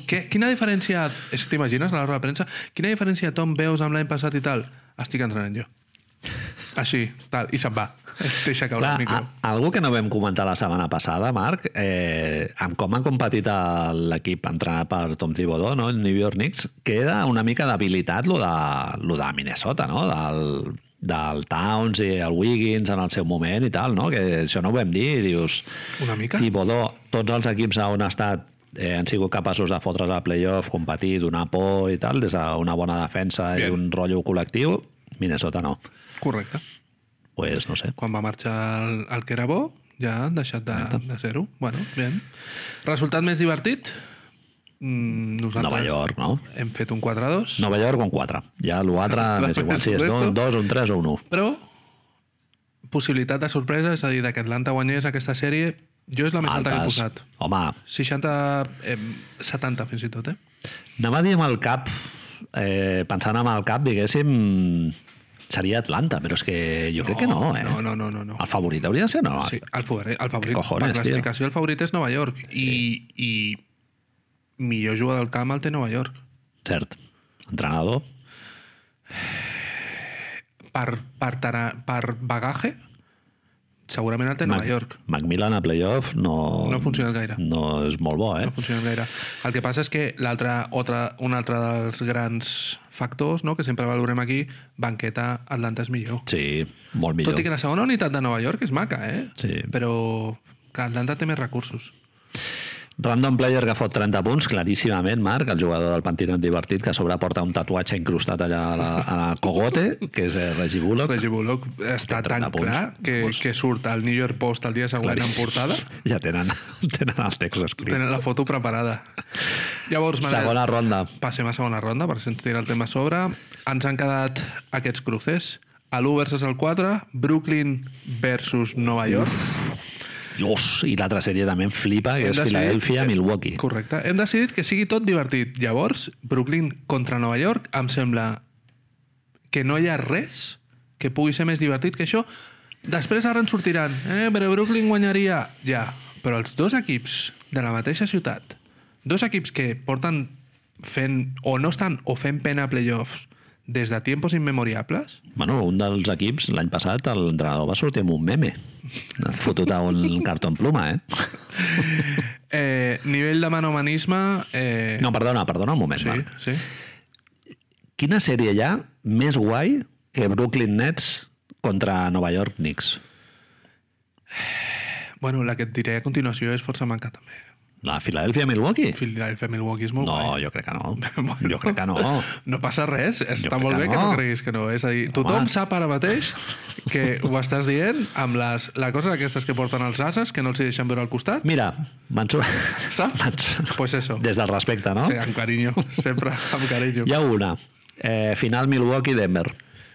Speaker 2: Que, quina diferència... És que t'imagines a la roda de premsa? Quina diferència Tom veus amb l'any passat i tal? Estic entrenant jo. Així, tal, i se'n va. Deixa caure
Speaker 1: Clar, ah.
Speaker 2: el micro.
Speaker 1: a, algú que no vam comentar la setmana passada, Marc, eh, amb com ha competit el- l'equip entrenat per Tom Thibodeau, no? el New York Knicks, queda una mica debilitat lo de, lo de Minnesota, no? del, del Towns i el Wiggins en el seu moment i tal, no? que això no ho vam dir, i dius...
Speaker 2: Una mica?
Speaker 1: Thibodeau, tots els equips on ha estat eh, han sigut capaços de fotre's al playoff, competir, donar por i tal, des d'una bona defensa i
Speaker 2: Bien.
Speaker 1: un rotllo col·lectiu, Minnesota no.
Speaker 2: Correcte.
Speaker 1: pues, no sé.
Speaker 2: quan va marxar el, el que era bo, ja han deixat de, de ser-ho. Bueno, bien. Resultat més divertit? Mm, nosaltres
Speaker 1: Nova York, no?
Speaker 2: hem fet un 4-2,
Speaker 1: Nova York un 4. Ja l'altre m'és igual si és
Speaker 2: Resto.
Speaker 1: un 2, un 3 o un 1.
Speaker 2: però possibilitat de sorpresa, és a dir, de que Atlanta guanyés aquesta sèrie, jo és la més alta que he posat.
Speaker 1: Home,
Speaker 2: 60, eh, 70 fins i tot, eh?
Speaker 1: anava a dir amb el cap, eh, pensant amb el cap, diguéssim, seria Atlanta, però és que jo crec que no, eh?
Speaker 2: No, no, no, no. no.
Speaker 1: El favorit hauria de ser no?
Speaker 2: Sí, el favorit, el favorit
Speaker 1: cojones,
Speaker 2: per
Speaker 1: tio?
Speaker 2: classificació el favorit és Nova York i, i millor jugador del camp el té Nova York.
Speaker 1: Cert. Entrenador.
Speaker 2: per, per, tara, per bagaje, segurament el té Nova York.
Speaker 1: Macmillan a playoff no...
Speaker 2: No ha funcionat gaire.
Speaker 1: No és molt bo, eh?
Speaker 2: No funciona gaire. El que passa és que l'altre, otra, un altre dels grans factors no, que sempre valorem aquí, banqueta Atlanta és millor.
Speaker 1: Sí, molt millor.
Speaker 2: Tot i que la segona unitat de Nova York és maca, eh?
Speaker 1: Sí.
Speaker 2: Però que Atlanta té més recursos.
Speaker 1: Random player que fot 30 punts, claríssimament, Marc, el jugador del Pantinat Divertit, que a sobre porta un tatuatge incrustat allà a la, a la cogote, que és eh, Reggie Bullock.
Speaker 2: Reggie Bullock està
Speaker 1: Té 30
Speaker 2: tan
Speaker 1: punts.
Speaker 2: clar que,
Speaker 1: Punts.
Speaker 2: que surt al New York Post el dia següent en
Speaker 1: Claríssim.
Speaker 2: portada.
Speaker 1: Ja tenen, tenen el text escrit.
Speaker 2: Tenen la foto preparada. Llavors, Manel,
Speaker 1: Segona ronda.
Speaker 2: Passem a segona ronda, per si ens tira el tema a sobre. Ens han quedat aquests cruces. A l'1 versus el 4, Brooklyn versus Nova York.
Speaker 1: Dios, i l'altra sèrie també em flipa, que
Speaker 2: Hem
Speaker 1: és
Speaker 2: decidit-
Speaker 1: Filadèlfia,
Speaker 2: eh,
Speaker 1: Milwaukee.
Speaker 2: Correcte. Hem decidit que sigui tot divertit. Llavors, Brooklyn contra Nova York, em sembla que no hi ha res que pugui ser més divertit que això. Després ara ens sortiran, eh, però Brooklyn guanyaria. Ja, però els dos equips de la mateixa ciutat, dos equips que porten fent, o no estan, o fent pena a playoffs des de tiempos immemoriables,
Speaker 1: Bueno, un dels equips, l'any passat, l'entrenador va sortir amb un meme. Fotut a un cartó en pluma, eh?
Speaker 2: eh, nivell de manomanisme... Eh,
Speaker 1: No, perdona, perdona un moment,
Speaker 2: sí,
Speaker 1: Marc.
Speaker 2: sí.
Speaker 1: Quina sèrie hi ha més guai que Brooklyn Nets contra Nova York Knicks?
Speaker 2: Bueno, la que et diré a continuació és força manca, també.
Speaker 1: La Filadèlfia Milwaukee?
Speaker 2: Philadelphia Milwaukee és molt
Speaker 1: No,
Speaker 2: guai.
Speaker 1: jo crec que no.
Speaker 2: Bueno.
Speaker 1: Jo crec que no.
Speaker 2: No passa res, està
Speaker 1: crec
Speaker 2: molt
Speaker 1: que
Speaker 2: bé que no
Speaker 1: no.
Speaker 2: creguis que no. És a dir, tothom
Speaker 1: Home.
Speaker 2: sap ara mateix que ho estàs dient amb les, la cosa d'aquestes que porten els ases, que no els hi deixen veure al costat,
Speaker 1: Mira, m'han sur...
Speaker 2: saps? Doncs pues eso.
Speaker 1: Des del respecte, no?
Speaker 2: Sí, amb carinyo, sempre amb carinyo.
Speaker 1: Hi ha una. Eh, final Milwaukee-Denver.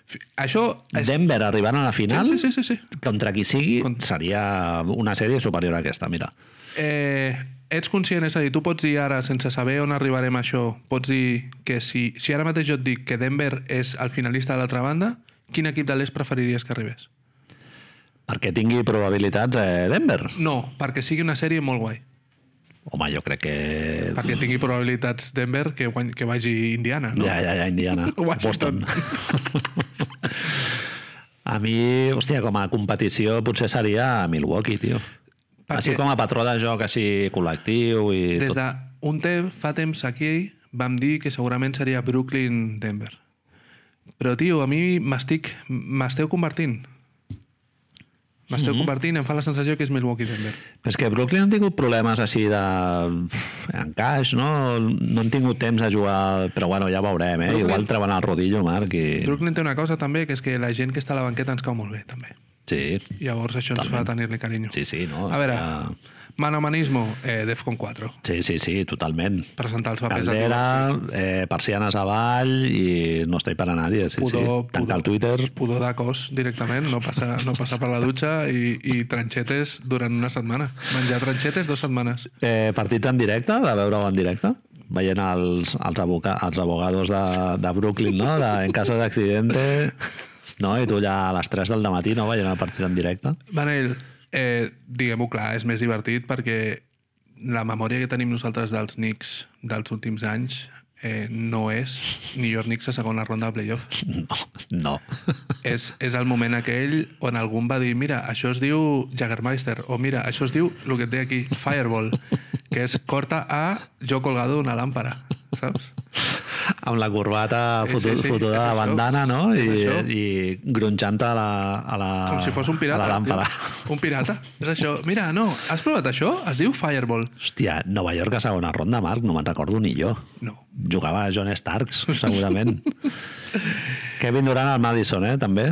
Speaker 2: Fi- Això és...
Speaker 1: Denver arribant a la final,
Speaker 2: Sí, sí, sí, sí. sí.
Speaker 1: contra qui sigui,
Speaker 2: Contra-
Speaker 1: seria una sèrie superior a aquesta, mira.
Speaker 2: Eh, ets conscient, és a dir, tu pots dir ara, sense saber on arribarem a això, pots dir que si, si ara mateix jo et dic que Denver és el finalista de l'altra banda, quin equip de l'est preferiries que arribés?
Speaker 1: Perquè tingui probabilitats eh, Denver.
Speaker 2: No, perquè sigui una sèrie molt guai.
Speaker 1: Home, jo crec que...
Speaker 2: Perquè tingui probabilitats Denver que, guany, que vagi Indiana, no?
Speaker 1: Ja, ja, ja, Indiana.
Speaker 2: Washington.
Speaker 1: A mi, hòstia, com a competició potser seria Milwaukee, tio.
Speaker 2: Perquè-
Speaker 1: Així com a patró de joc, així col·lectiu i
Speaker 2: Des
Speaker 1: tot.
Speaker 2: de un temps, fa temps aquí, vam dir que segurament seria Brooklyn-Denver. Però, tio, a mi m'estic... m'esteu convertint. M'esteu mm
Speaker 1: Mhm.
Speaker 2: -hmm. compartint, em fa la sensació que és Milwaukee Denver.
Speaker 1: Però és que Brooklyn han tingut problemes així de... encaix, no? No han tingut temps de jugar, però bueno, ja veurem, eh?
Speaker 2: Brooklyn-
Speaker 1: Igual treuen el rodillo, Marc, i...
Speaker 2: Brooklyn té una cosa també, que és que la gent que està a la banqueta ens cau molt bé, també.
Speaker 1: Sí,
Speaker 2: Llavors això ens fa tenir-li carinyo.
Speaker 1: sí, sí, no?
Speaker 2: A veure,
Speaker 1: Ja-
Speaker 2: manomanismo, eh, Defcon 4.
Speaker 1: Sí, sí, sí, totalment.
Speaker 2: Presentar els papers
Speaker 1: Caldera, eh, persianes avall i no estoy para nadie. Sí,
Speaker 2: Pudor,
Speaker 1: sí. Tancar el Twitter.
Speaker 2: pudor de cos directament, no passar, no passar per la dutxa i, i tranxetes durant una setmana. Menjar tranxetes dues setmanes.
Speaker 1: Eh, partits en directe, de veure-ho en directe? Veient els, els, aboca, els abogados de, de Brooklyn, no? De, en caso d'accidente... No, i tu allà a les 3 del matí no veient el partit en directe?
Speaker 2: Manel, eh, diguem-ho clar, és més divertit perquè la memòria que tenim nosaltres dels Knicks dels últims anys eh, no és New York Knicks a segona ronda de playoff.
Speaker 1: No, no.
Speaker 2: És, és el moment aquell on algun va dir mira, això es diu Jaggermeister o mira, això es diu el que et deia aquí, Fireball, que és corta a jo colgado d'una làmpara, saps?
Speaker 1: Amb la corbata
Speaker 2: Sí,
Speaker 1: fotu,
Speaker 2: sí, sí,
Speaker 1: fotuda
Speaker 2: és
Speaker 1: de
Speaker 2: això.
Speaker 1: bandana, no?
Speaker 2: És
Speaker 1: I,
Speaker 2: això.
Speaker 1: i gronxant a la, a la...
Speaker 2: Com si fos un pirata.
Speaker 1: A la làmpara.
Speaker 2: tio. Un pirata. És això. Mira, no, has provat això? Es diu Fireball.
Speaker 1: Hòstia, Nova York a segona ronda, Marc, no me'n recordo ni jo.
Speaker 2: No.
Speaker 1: Jugava a John Starks, segurament. Kevin Durant al Madison, eh, també.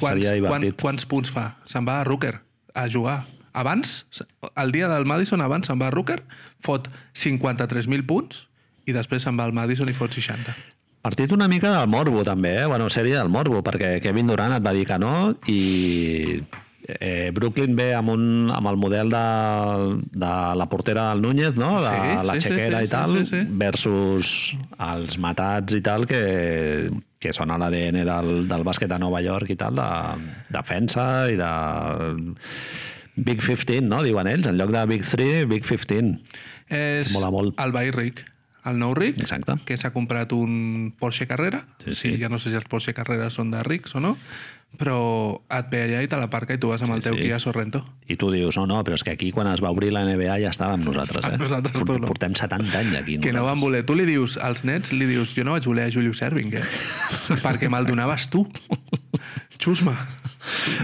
Speaker 2: Quants,
Speaker 1: Seria
Speaker 2: quan,
Speaker 1: divertit.
Speaker 2: quants punts fa? Se'n va a Rooker a jugar. Abans, el dia del Madison, abans se'n va a Rooker, fot 53.000 punts i després se'n va al Madison i fot 60.
Speaker 1: Partit una mica del Morbo, també, eh? Bueno, sèrie del Morbo, perquè Kevin Durant et va dir que no i eh, Brooklyn ve amb, un, amb el model de, de la portera del Núñez, no? De,
Speaker 2: Sí,
Speaker 1: la
Speaker 2: sí, sí,
Speaker 1: xequera
Speaker 2: sí,
Speaker 1: i tal,
Speaker 2: sí, sí, sí.
Speaker 1: versus els matats i tal, que, que són a l'ADN del, del bàsquet de Nova York i tal, de defensa i de... Big 15, no? Diuen ells. En lloc de Big 3, Big 15.
Speaker 2: És
Speaker 1: Mola molt.
Speaker 2: el veí ric, el nou ric,
Speaker 1: Exacte.
Speaker 2: que s'ha comprat un Porsche Carrera.
Speaker 1: Sí,
Speaker 2: Sí,
Speaker 1: sí.
Speaker 2: sí. ja no sé si els Porsche Carrera són de rics o no, però et ve allà i te l'aparca i tu vas amb sí, el teu
Speaker 1: sí.
Speaker 2: sí. Kia Sorrento.
Speaker 1: I tu dius, no, no, però és que aquí quan es va obrir la NBA ja estàvem nosaltres, eh?
Speaker 2: Estàvem nosaltres, tu
Speaker 1: Portem-
Speaker 2: no.
Speaker 1: Portem 70 anys aquí.
Speaker 2: Que no
Speaker 1: nosaltres.
Speaker 2: van voler. Tu li dius, als nets, li dius, jo no vaig voler a Julius Erving, eh? perquè me'l donaves tu. Xusma.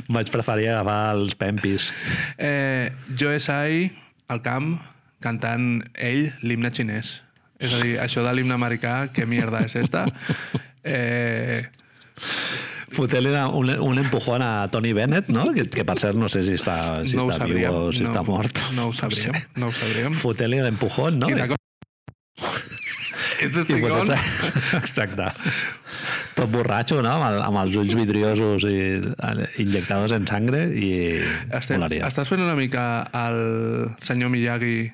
Speaker 1: Vaig preferir agafar els pempis.
Speaker 2: Eh, jo és ahí, al camp, cantant ell l'himne xinès. És a dir, això de l'himne americà, què mierda és esta? Eh,
Speaker 1: Fotent-li una- un, un empujón a Tony Bennett, no? Que, que per cert no sé si està, si
Speaker 2: no ho
Speaker 1: està
Speaker 2: sabríem.
Speaker 1: viu o si
Speaker 2: no,
Speaker 1: està mort.
Speaker 2: No ho sabríem, no ho sabríem.
Speaker 1: Fotent-li l'empujón, no? eh?
Speaker 2: Quina cosa... És
Speaker 1: I
Speaker 2: testigón.
Speaker 1: fotent-se- Exacte. Tot borratxo, no? Amb, el, amb els ulls vidriosos i eh, injectados en sangre i...
Speaker 2: Estem,
Speaker 1: Molaria.
Speaker 2: estàs fent una mica el senyor Miyagi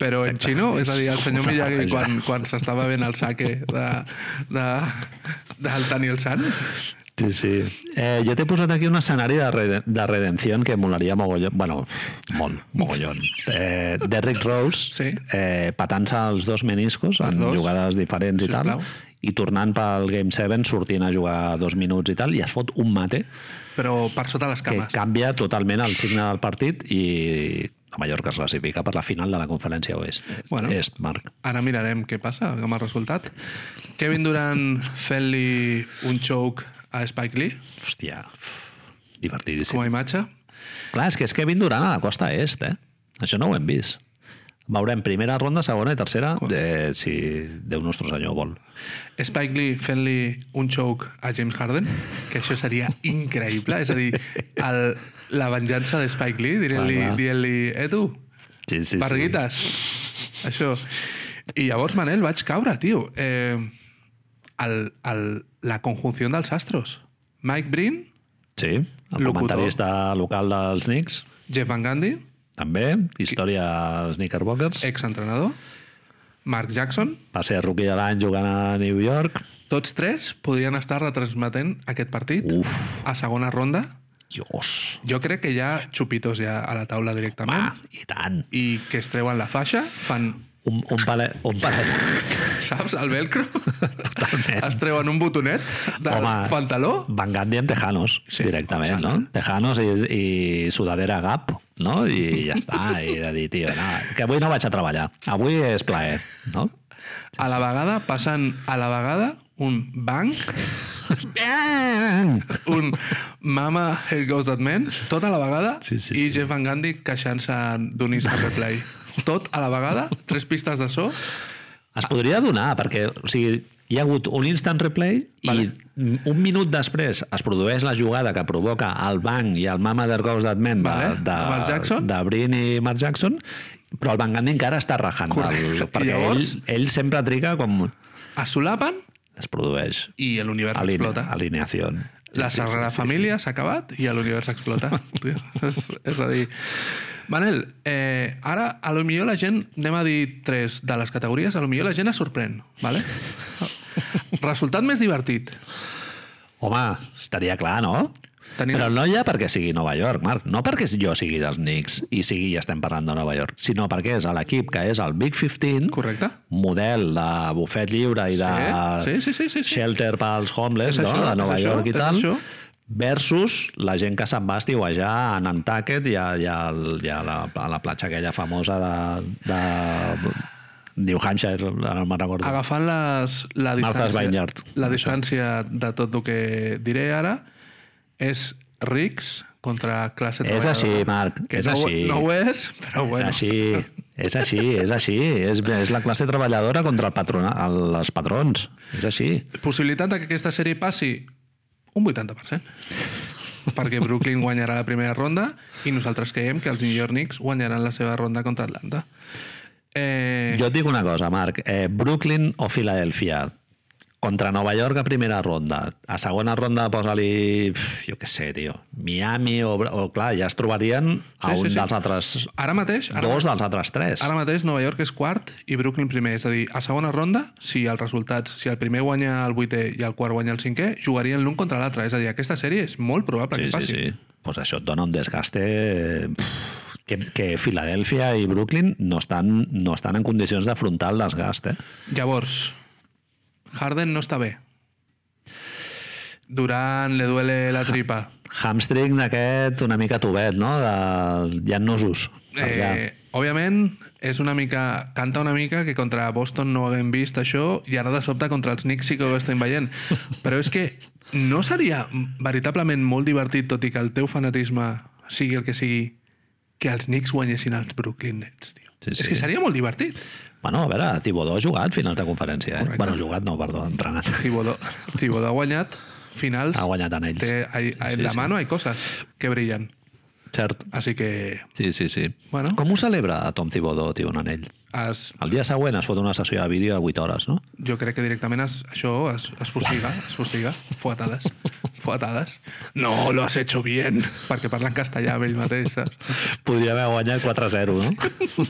Speaker 2: però en xino? És a dir, el senyor
Speaker 1: Una
Speaker 2: Miyagi
Speaker 1: barreja.
Speaker 2: quan, quan s'estava ben el sake de, de, del Daniel San?
Speaker 1: Sí, sí. Eh, jo t'he posat aquí un escenari de, rede de redenció que molaria mogollon. Bueno, molt, mogollon. Eh, Derrick Rose
Speaker 2: Sí.
Speaker 1: eh, patant-se els dos meniscos en
Speaker 2: dos.
Speaker 1: jugades diferents i tal,
Speaker 2: Sisplau.
Speaker 1: i tornant pel Game 7, sortint a jugar dos minuts i tal, i es fot un mate
Speaker 2: Però per sota les
Speaker 1: que
Speaker 2: cames.
Speaker 1: canvia totalment el signe del partit i la Mallorca es classifica per la final de la conferència oest.
Speaker 2: Bueno.
Speaker 1: Est, Marc.
Speaker 2: Ara mirarem què passa amb el resultat. Kevin Durant fent-li un choke a Spike Lee
Speaker 1: Hòstia, divertidíssim.
Speaker 2: com a imatge.
Speaker 1: Clar, és que és Kevin Durant a la costa est, eh? Això no ho hem vist. Veurem primera ronda, segona i tercera, eh, si Déu nostre senyor vol.
Speaker 2: Spike Lee fent-li un choke a James Harden, que això seria increïble. És a dir, el, la venjança de Spike Lee, dient-li,
Speaker 1: Clar, clar.
Speaker 2: dient-li eh tu,
Speaker 1: Sí, sí,
Speaker 2: Barriguites. Això. I llavors, Manel, vaig caure, tio. Eh, el, el, la conjunció dels astros. Mike Breen,
Speaker 1: Sí, el
Speaker 2: Locutor.
Speaker 1: comentarista local dels Knicks,
Speaker 2: Jeff Van Gundy,
Speaker 1: també, història als Knickerbockers.
Speaker 2: exentrenador, Mark Jackson,
Speaker 1: Va ser rookie de l'any jugant a New York.
Speaker 2: tots tres podrien estar retransmetent aquest partit
Speaker 1: Uf,
Speaker 2: a segona ronda.
Speaker 1: dios.
Speaker 2: Jo crec que hi ha xupitos ja a la taula directament
Speaker 1: Ah, i tant.
Speaker 2: i que es treuen la faixa, fan,
Speaker 1: Un, un palet, un palet.
Speaker 2: saps, el velcro,
Speaker 1: Totalment.
Speaker 2: es treuen un botonet del
Speaker 1: Home.
Speaker 2: pantaló
Speaker 1: Van Gandhi amb Tejanos, sí,
Speaker 2: Sí,
Speaker 1: directament,
Speaker 2: com
Speaker 1: no? Tejanos i, i sudadera Gap, no? I ja està, i de dir, tio, no, que avui no vaig a treballar, avui és plaer, no?
Speaker 2: a la vegada passen a la vegada un banc un Mama, Here Goes That Man, tot a la vegada,
Speaker 1: Sí, sí,
Speaker 2: i
Speaker 1: sí.
Speaker 2: Jeff Van Gundy queixant-se d'un Instant Replay. Tot a la vegada, tres pistes de so,
Speaker 1: Es podria donar, perquè o sigui, hi ha hagut un instant replay vale. i un minut després es produeix la jugada que provoca el banc i el Mama There Goes That Man de,
Speaker 2: Vale,
Speaker 1: de,
Speaker 2: de Mark Jackson.
Speaker 1: de Brin i Mark Jackson, però el Van Gandhi encara està rajant.
Speaker 2: Correcte.
Speaker 1: El,
Speaker 2: I
Speaker 1: perquè
Speaker 2: llavors?
Speaker 1: ell, ell sempre triga com
Speaker 2: es solapen
Speaker 1: es produeix
Speaker 2: i l'univers
Speaker 1: aline,
Speaker 2: explota.
Speaker 1: alineació.
Speaker 2: La Sagrada Família s'ha acabat i l'univers explota. Tio, és, és a dir... Manel, eh, ara, a lo millor la gent, anem a dir tres de les categories, a lo millor la gent es sorprèn, ¿vale? Resultat més divertit.
Speaker 1: Home, estaria clar, no?
Speaker 2: Tenim-
Speaker 1: Però no ja perquè sigui Nova York, Marc. No perquè jo sigui dels Knicks i sigui i estem parlant de Nova York, sinó perquè és a l'equip que és el Big 15,
Speaker 2: Correcte?
Speaker 1: model de bufet lliure i de
Speaker 2: Sí, sí, sí, sí, sí.
Speaker 1: shelter pels homeless
Speaker 2: És
Speaker 1: no?
Speaker 2: això,
Speaker 1: de Nova
Speaker 2: és això,
Speaker 1: York i
Speaker 2: és
Speaker 1: tal,
Speaker 2: això.
Speaker 1: versus la gent que se'n va a estiuejar a Nantucket i a, i a, i a, la, a la platja aquella famosa de, de New Hampshire, ara no me'n recordo.
Speaker 2: Agafant les, la
Speaker 1: Martha's
Speaker 2: distància,
Speaker 1: Vineyard.
Speaker 2: la distància de tot el que diré ara, és rics contra classe
Speaker 1: És
Speaker 2: treballadora.
Speaker 1: així, Marc,
Speaker 2: Que
Speaker 1: és
Speaker 2: no, ho-
Speaker 1: així.
Speaker 2: No ho és, però
Speaker 1: És
Speaker 2: bueno.
Speaker 1: així, és així, és així. És, és la classe treballadora contra el patrona, el, els patrons. És així.
Speaker 2: possibilitat de que aquesta sèrie passi un 80%. perquè Brooklyn guanyarà la primera ronda i nosaltres creiem que els New York Knicks guanyaran la seva ronda contra Atlanta. Eh,
Speaker 1: Jo et dic una cosa, Marc. Eh, Brooklyn o Filadèlfia? Contra Nova York a primera ronda. A segona ronda posa-li, pf, jo què sé, tio, Miami o, o clar, ja es trobarien a
Speaker 2: Sí, sí,
Speaker 1: un
Speaker 2: sí.
Speaker 1: dels altres...
Speaker 2: Ara mateix, ara,
Speaker 1: Dos dels altres tres.
Speaker 2: ara mateix Nova York és quart i Brooklyn primer. És a dir, a segona ronda, si els resultats, si el primer guanya el vuitè i el quart guanya el cinquè, jugarien l'un contra l'altre. És a dir, aquesta sèrie és molt probable
Speaker 1: Sí,
Speaker 2: que
Speaker 1: sí,
Speaker 2: passi.
Speaker 1: sí. Pues això et dona un desgaste eh, pf, que, que Filadèlfia i Brooklyn no estan, no estan en condicions d'afrontar el desgast, eh?
Speaker 2: Llavors, Harden no està bé. Durant le duele la tripa.
Speaker 1: Hamstring d'aquest una mica tubet, no? De... Hi ha nusos.
Speaker 2: Eh, òbviament, és una mica... Canta una mica que contra Boston no ho haguem vist això i ara de sobte contra els Knicks sí que ho estem veient. Però és que no seria veritablement molt divertit, tot i que el teu fanatisme sigui el que sigui, que els Knicks guanyessin els Brooklyn Nets, tio.
Speaker 1: Sí, sí.
Speaker 2: És que seria molt divertit.
Speaker 1: Bueno, a veure, Tibodó ha jugat finals de conferència, eh?
Speaker 2: Correcte.
Speaker 1: Bueno, jugat no, perdó, ha entrenat.
Speaker 2: Cibodó, Cibodó ha guanyat finals.
Speaker 1: Ha guanyat en ells.
Speaker 2: Té, hay, hay, en la
Speaker 1: sí.
Speaker 2: mano hay cosas que brillan.
Speaker 1: Cert.
Speaker 2: Así que
Speaker 1: Sí, sí, sí.
Speaker 2: Bueno.
Speaker 1: Com ho celebra a Tom Tibodó, tio, un anell?
Speaker 2: es,
Speaker 1: El dia següent es fot una sessió de vídeo de 8 hores, no?
Speaker 2: jo crec que directament es, això es, es fustiga, es fustiga. Fuatades. Fuatades. No, lo has hecho bien. Perquè parla en castellà amb ell mateix, saps?
Speaker 1: Podria haver guanyat 4-0, no?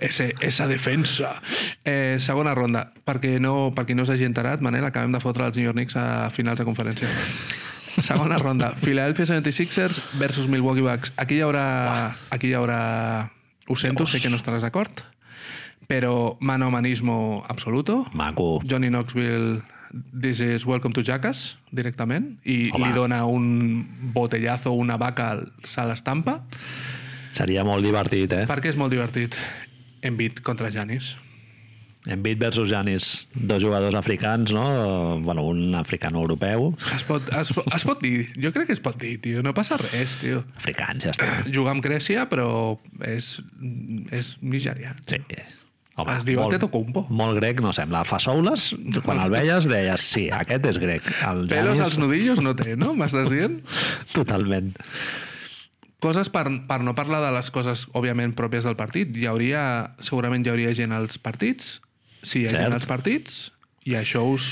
Speaker 2: Ese, esa defensa. Eh, segona ronda. Perquè no, perquè no s'hagi enterat, Manel, acabem de fotre els New York Knicks a finals de conferència. Segona ronda. Philadelphia 76ers versus Milwaukee Bucks. Aquí hi haurà... Aquí hi haurà... Ho sento, sé que no estaràs d'acord, però manomanismo absoluto.
Speaker 1: Maco.
Speaker 2: Johnny Knoxville this is Welcome to Jackass, directament, i
Speaker 1: Home.
Speaker 2: li dona un botellazo, una vaca, al- se l'estampa,
Speaker 1: Seria molt divertit, eh?
Speaker 2: perquè és molt divertit. Embiid contra Janis.
Speaker 1: Embiid versus Janis, dos jugadors africans, no? Bueno, un africano-europeu.
Speaker 2: Es pot, es, po- es pot dir, jo crec que es pot dir, tio, no passa res, tio.
Speaker 1: Africans, ja està.
Speaker 2: Jugar amb Grècia, però és, és nigerià.
Speaker 1: Sí. Home,
Speaker 2: Es Ah, diu
Speaker 1: molt-
Speaker 2: Antetokounmpo.
Speaker 1: Molt grec no sembla. El Fasoules, quan el veies, deies, sí, aquest és grec. El
Speaker 2: Pelos
Speaker 1: Giannis,
Speaker 2: als nudillos no té, no? M'estàs dient?
Speaker 1: Totalment.
Speaker 2: Coses per, per no parlar de les coses, òbviament, pròpies del partit. Hi hauria, segurament hi hauria gent als partits, si hi ha
Speaker 1: Cert.
Speaker 2: gent als partits, i això us...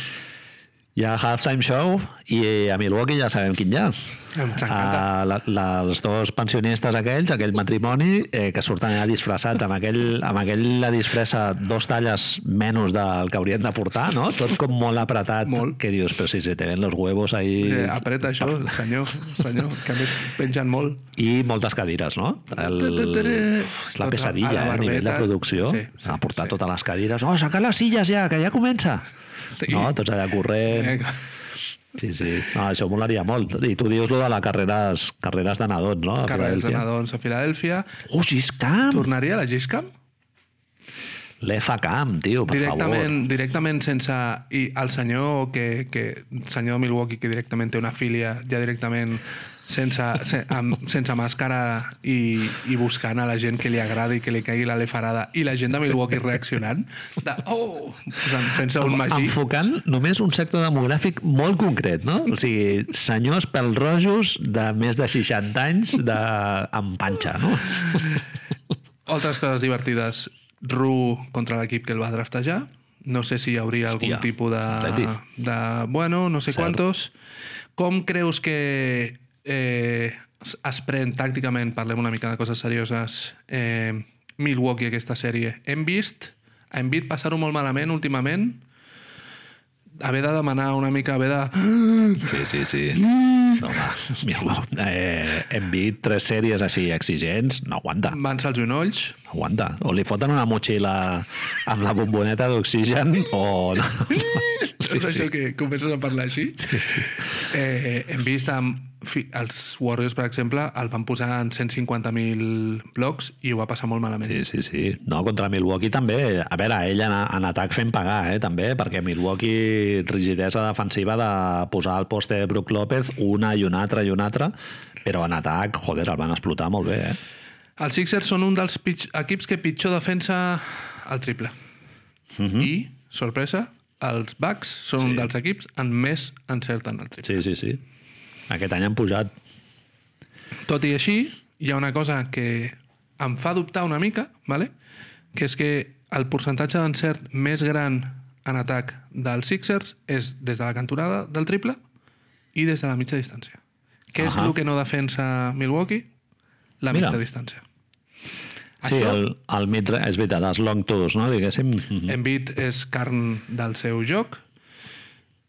Speaker 1: Hi ha Halftime Show i a Milwaukee ja sabem quin hi ha.
Speaker 2: Ens encanta.
Speaker 1: Ah, la, la, els dos pensionistes aquells, aquell matrimoni, eh, que surten allà disfressats amb aquell, amb aquell la disfressa dos talles menys del que haurien de portar, no? Tot com molt apretat.
Speaker 2: Molt.
Speaker 1: Que dius, però si se te ven los huevos ahí...
Speaker 2: Eh, apreta això, senyor, senyor, que a més pengen molt.
Speaker 1: I moltes cadires, no? El... És la
Speaker 2: Tota-
Speaker 1: pesadilla,
Speaker 2: a la
Speaker 1: eh, a nivell de
Speaker 2: barbeta.
Speaker 1: producció.
Speaker 2: Sí,
Speaker 1: Sí,
Speaker 2: sí,
Speaker 1: sí, portar
Speaker 2: sí.
Speaker 1: totes les cadires. Oh, sacar les silles ja, que ja comença!
Speaker 2: Sí.
Speaker 1: No, tots allà corrent.
Speaker 2: Vinga.
Speaker 1: Sí, sí. No, això molaria molt. I tu dius lo de les carreres, carreres de nadons, no? A
Speaker 2: Carles de
Speaker 1: Filadèlfia.
Speaker 2: Nadons a Filadèlfia.
Speaker 1: Oh, Giscamp!
Speaker 2: Tornaria a la Giscam?
Speaker 1: L'EFA Camp, tio, per
Speaker 2: directament, directament sense... I el senyor que, que senyor de Milwaukee que directament té una filia ja directament sense, se, amb, sense màscara i, i buscant a la gent que li agrada i que li caigui la lefarada i la gent de Milwaukee reaccionant de, oh, posant- fent-se un
Speaker 1: favor.
Speaker 2: magí
Speaker 1: Enfocant només un sector demogràfic molt concret, no? O sigui, senyors pèl-rojos de més de 60 anys de... amb panxa, no?
Speaker 2: Altres coses divertides. Ru contra l'equip que el va draftejar. No sé si hi hauria algun
Speaker 1: Hòstia,
Speaker 2: tipus
Speaker 1: Atleti.
Speaker 2: de, de... Bueno, no sé
Speaker 1: Cert.
Speaker 2: quantos. Com creus que eh, es- es pren tàcticament, parlem una mica de coses serioses, eh, Milwaukee aquesta sèrie? Hem vist a Embiid passar-ho molt malament últimament, haver de demanar una mica, haver de...
Speaker 3: Sí, sí, sí.
Speaker 1: No, va, mira, eh, hem vist tres sèries així exigents, no aguanta, no
Speaker 2: Van-se els genolls,
Speaker 1: aguanta. O li foten una motxilla amb la bomboneta d'oxigen o... No.
Speaker 2: sí, sí. això que comences a parlar així.
Speaker 1: Sí, sí.
Speaker 2: Eh, hem vist amb, fi, els Warriors, per exemple, el van posar en 150.000 blocs i ho va passar molt malament.
Speaker 1: Sí, sí, sí. No, contra Milwaukee també. A veure, ell en, en atac fent pagar, eh, també, perquè Milwaukee, rigidesa defensiva de posar al poste de Brook López una i una altra i una altra, però en atac, joder, el van explotar molt bé, eh?
Speaker 2: Els Sixers són un dels pitj- equips que pitjor defensa el triple. I, sorpresa, els Bucks són Mhm. sí. un dels equips en més encerten el triple.
Speaker 1: Sí, sí, sí. Aquest any han pujat.
Speaker 2: Tot i així, hi ha una cosa que em fa dubtar una mica, vale? que és que el percentatge d'encert més gran en atac dels Sixers és des de la cantonada del triple i des de la mitja distància. Què és
Speaker 1: Ahà.
Speaker 2: el que no defensa Milwaukee? La
Speaker 1: Mira.
Speaker 2: mitja distància.
Speaker 1: Sí,
Speaker 2: Això-
Speaker 1: el, el mid, és veritat, els long tours, no? Diguéssim. Mhm.
Speaker 2: Embiid és carn del seu joc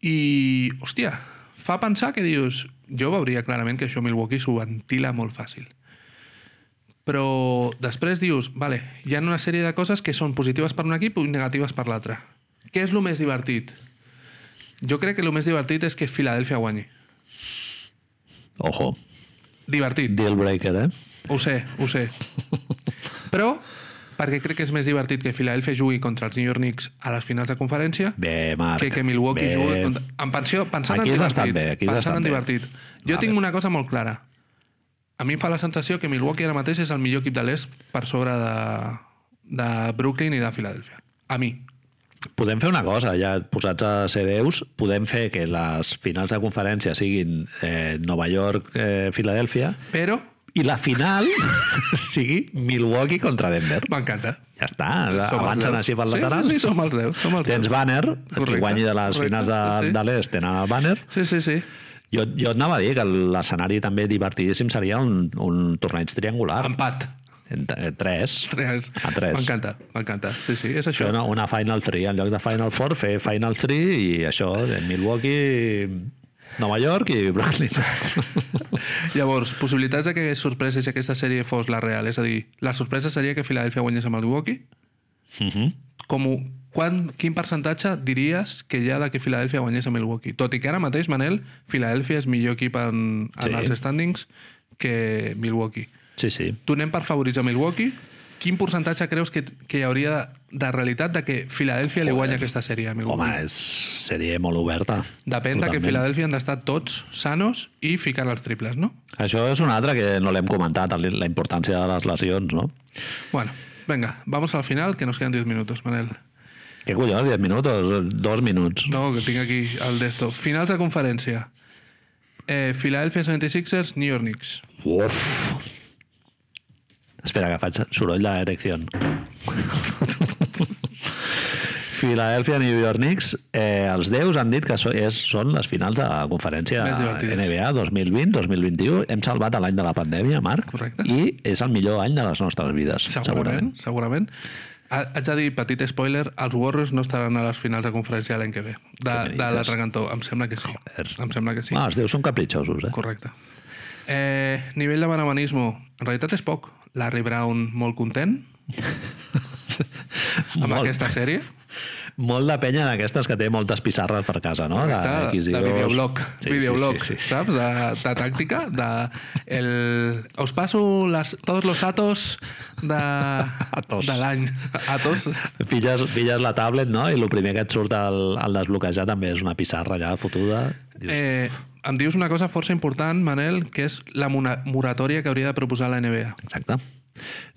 Speaker 2: i, hòstia, fa pensar que dius... Jo veuria clarament que això Milwaukee s'ho ventila molt fàcil. Però després dius, vale, hi ha una sèrie de coses que són positives per un equip i negatives per l'altre. Què és el més divertit? Jo crec que el més divertit és que Filadèlfia guanyi.
Speaker 1: Ojo,
Speaker 2: Divertit.
Speaker 1: deal breaker, eh?
Speaker 2: Ho sé, ho sé. Però, perquè crec que és més divertit que Filadèlfia jugui contra els New York Knicks a les finals de conferència
Speaker 1: Bé, Marc.
Speaker 2: que, que Milwaukee
Speaker 1: bé.
Speaker 2: juga contra... En pensió, pensant
Speaker 1: Aquí
Speaker 2: en
Speaker 1: has
Speaker 2: divertit.
Speaker 1: estat bé, aquí has
Speaker 2: pensant
Speaker 1: estat
Speaker 2: en
Speaker 1: bé.
Speaker 2: divertit. Jo
Speaker 1: Vale.
Speaker 2: tinc una cosa molt clara. A mi em fa la sensació que Milwaukee ara mateix és el millor equip de l'est per sobre de, de Brooklyn i de Filadèlfia. A mi.
Speaker 1: Podem fer una cosa, ja posats a ser déus, podem fer que les finals de conferència siguin eh, Nova York, eh, Filadèlfia,
Speaker 2: Però
Speaker 1: i la final sigui Milwaukee contra Denver.
Speaker 2: m'encanta.
Speaker 1: Ja està, la-
Speaker 2: Som els
Speaker 1: avancen
Speaker 2: deu.
Speaker 1: així pel
Speaker 2: sí,
Speaker 1: lateral.
Speaker 2: Sí, sí, som els 10. Som els
Speaker 1: Tens
Speaker 2: deu.
Speaker 1: banner, qui
Speaker 2: Correcte,
Speaker 1: guanyi de les
Speaker 2: correcte,
Speaker 1: finals de,
Speaker 2: sí, sí.
Speaker 1: de l'est tenen el banner.
Speaker 2: Sí, sí, sí.
Speaker 1: Jo, jo et anava a dir que l'escenari també divertidíssim seria un, un torneig triangular.
Speaker 2: Empat.
Speaker 1: En, eh, tres.
Speaker 2: Tres.
Speaker 1: A tres.
Speaker 2: M'encanta, m'encanta. Sí, sí, és
Speaker 1: Això
Speaker 2: això.
Speaker 1: una, una Final 3, en lloc de Final 4, fer Final 3 i això, de Milwaukee, Nova York i Brooklyn.
Speaker 2: Llavors, possibilitats de que hi hagués sorpreses si aquesta sèrie fos la real. És a dir, la sorpresa seria que Filadèlfia guanyés amb el Milwaukee.
Speaker 1: Mhm.
Speaker 2: Com ho, quan, quin percentatge diries que hi ha de que Filadèlfia guanyés a Milwaukee? Tot i que ara mateix, Manel, Filadèlfia és millor equip en, en
Speaker 1: Sí.
Speaker 2: sí. els standings que Milwaukee.
Speaker 1: Sí, sí.
Speaker 2: Donem per favorits a Milwaukee. Quin percentatge creus que, que hi hauria de, de realitat de que Filadèlfia li guanya aquesta sèrie a Milwaukee?
Speaker 1: Home, és, seria molt oberta.
Speaker 2: Depèn de que
Speaker 1: Totalment.
Speaker 2: Filadèlfia han d'estar tots sanos i ficant els triples, no?
Speaker 1: Això és una altra que no l'hem comentat, el- la importància de les lesions, no?
Speaker 2: Bueno, venga, vamos al final, que nos quedan 10 minutos, Manel.
Speaker 1: Què collons, 10 minuts? Dos minuts.
Speaker 2: No, que tinc aquí el d'esto. Finals de conferència. Eh, Philadelphia 76ers, New York Knicks.
Speaker 1: Uf! Espera, que faig soroll d'erecció. Filadèlfia, New York Knicks, eh, els déus han dit que so, és, són les finals de la conferència
Speaker 2: Més divertides.
Speaker 1: NBA 2020-2021. Hem salvat l'any de la pandèmia, Marc,
Speaker 2: Correcte.
Speaker 1: i és el millor any de les nostres vides, segurament.
Speaker 2: Segurament, segurament. Ha- Haig de dir, petit spoiler, els Warriors no estaran a les finals de conferència l'any que ve. De,
Speaker 1: Què me
Speaker 2: de
Speaker 1: dices?
Speaker 2: l'altre cantó, em sembla que sí.
Speaker 1: Joder.
Speaker 2: Em sembla que sí.
Speaker 1: Ah, els déus són capritxosos, eh?
Speaker 2: Correcte. Eh, nivell de benemanisme, en realitat és poc. Larry Brown molt content amb
Speaker 1: Molt.
Speaker 2: aquesta sèrie.
Speaker 1: Molt de penya d'aquestes que té moltes pissarres per casa, no?
Speaker 2: De, de videoblog, sí, videoblog sí, sí, sí. saps? De, de tàctica, de... El... Us passo les, tots los atos de,
Speaker 1: Atos.
Speaker 2: de l'any. Atos.
Speaker 1: Pilles, pilles la tablet, no? I el primer que et surt al, al desbloquejar també és una pissarra allà fotuda. Dius, eh...
Speaker 2: Eh, em dius una cosa força important, Manel, que és la mona- moratòria que hauria de proposar la NBA.
Speaker 1: Exacte.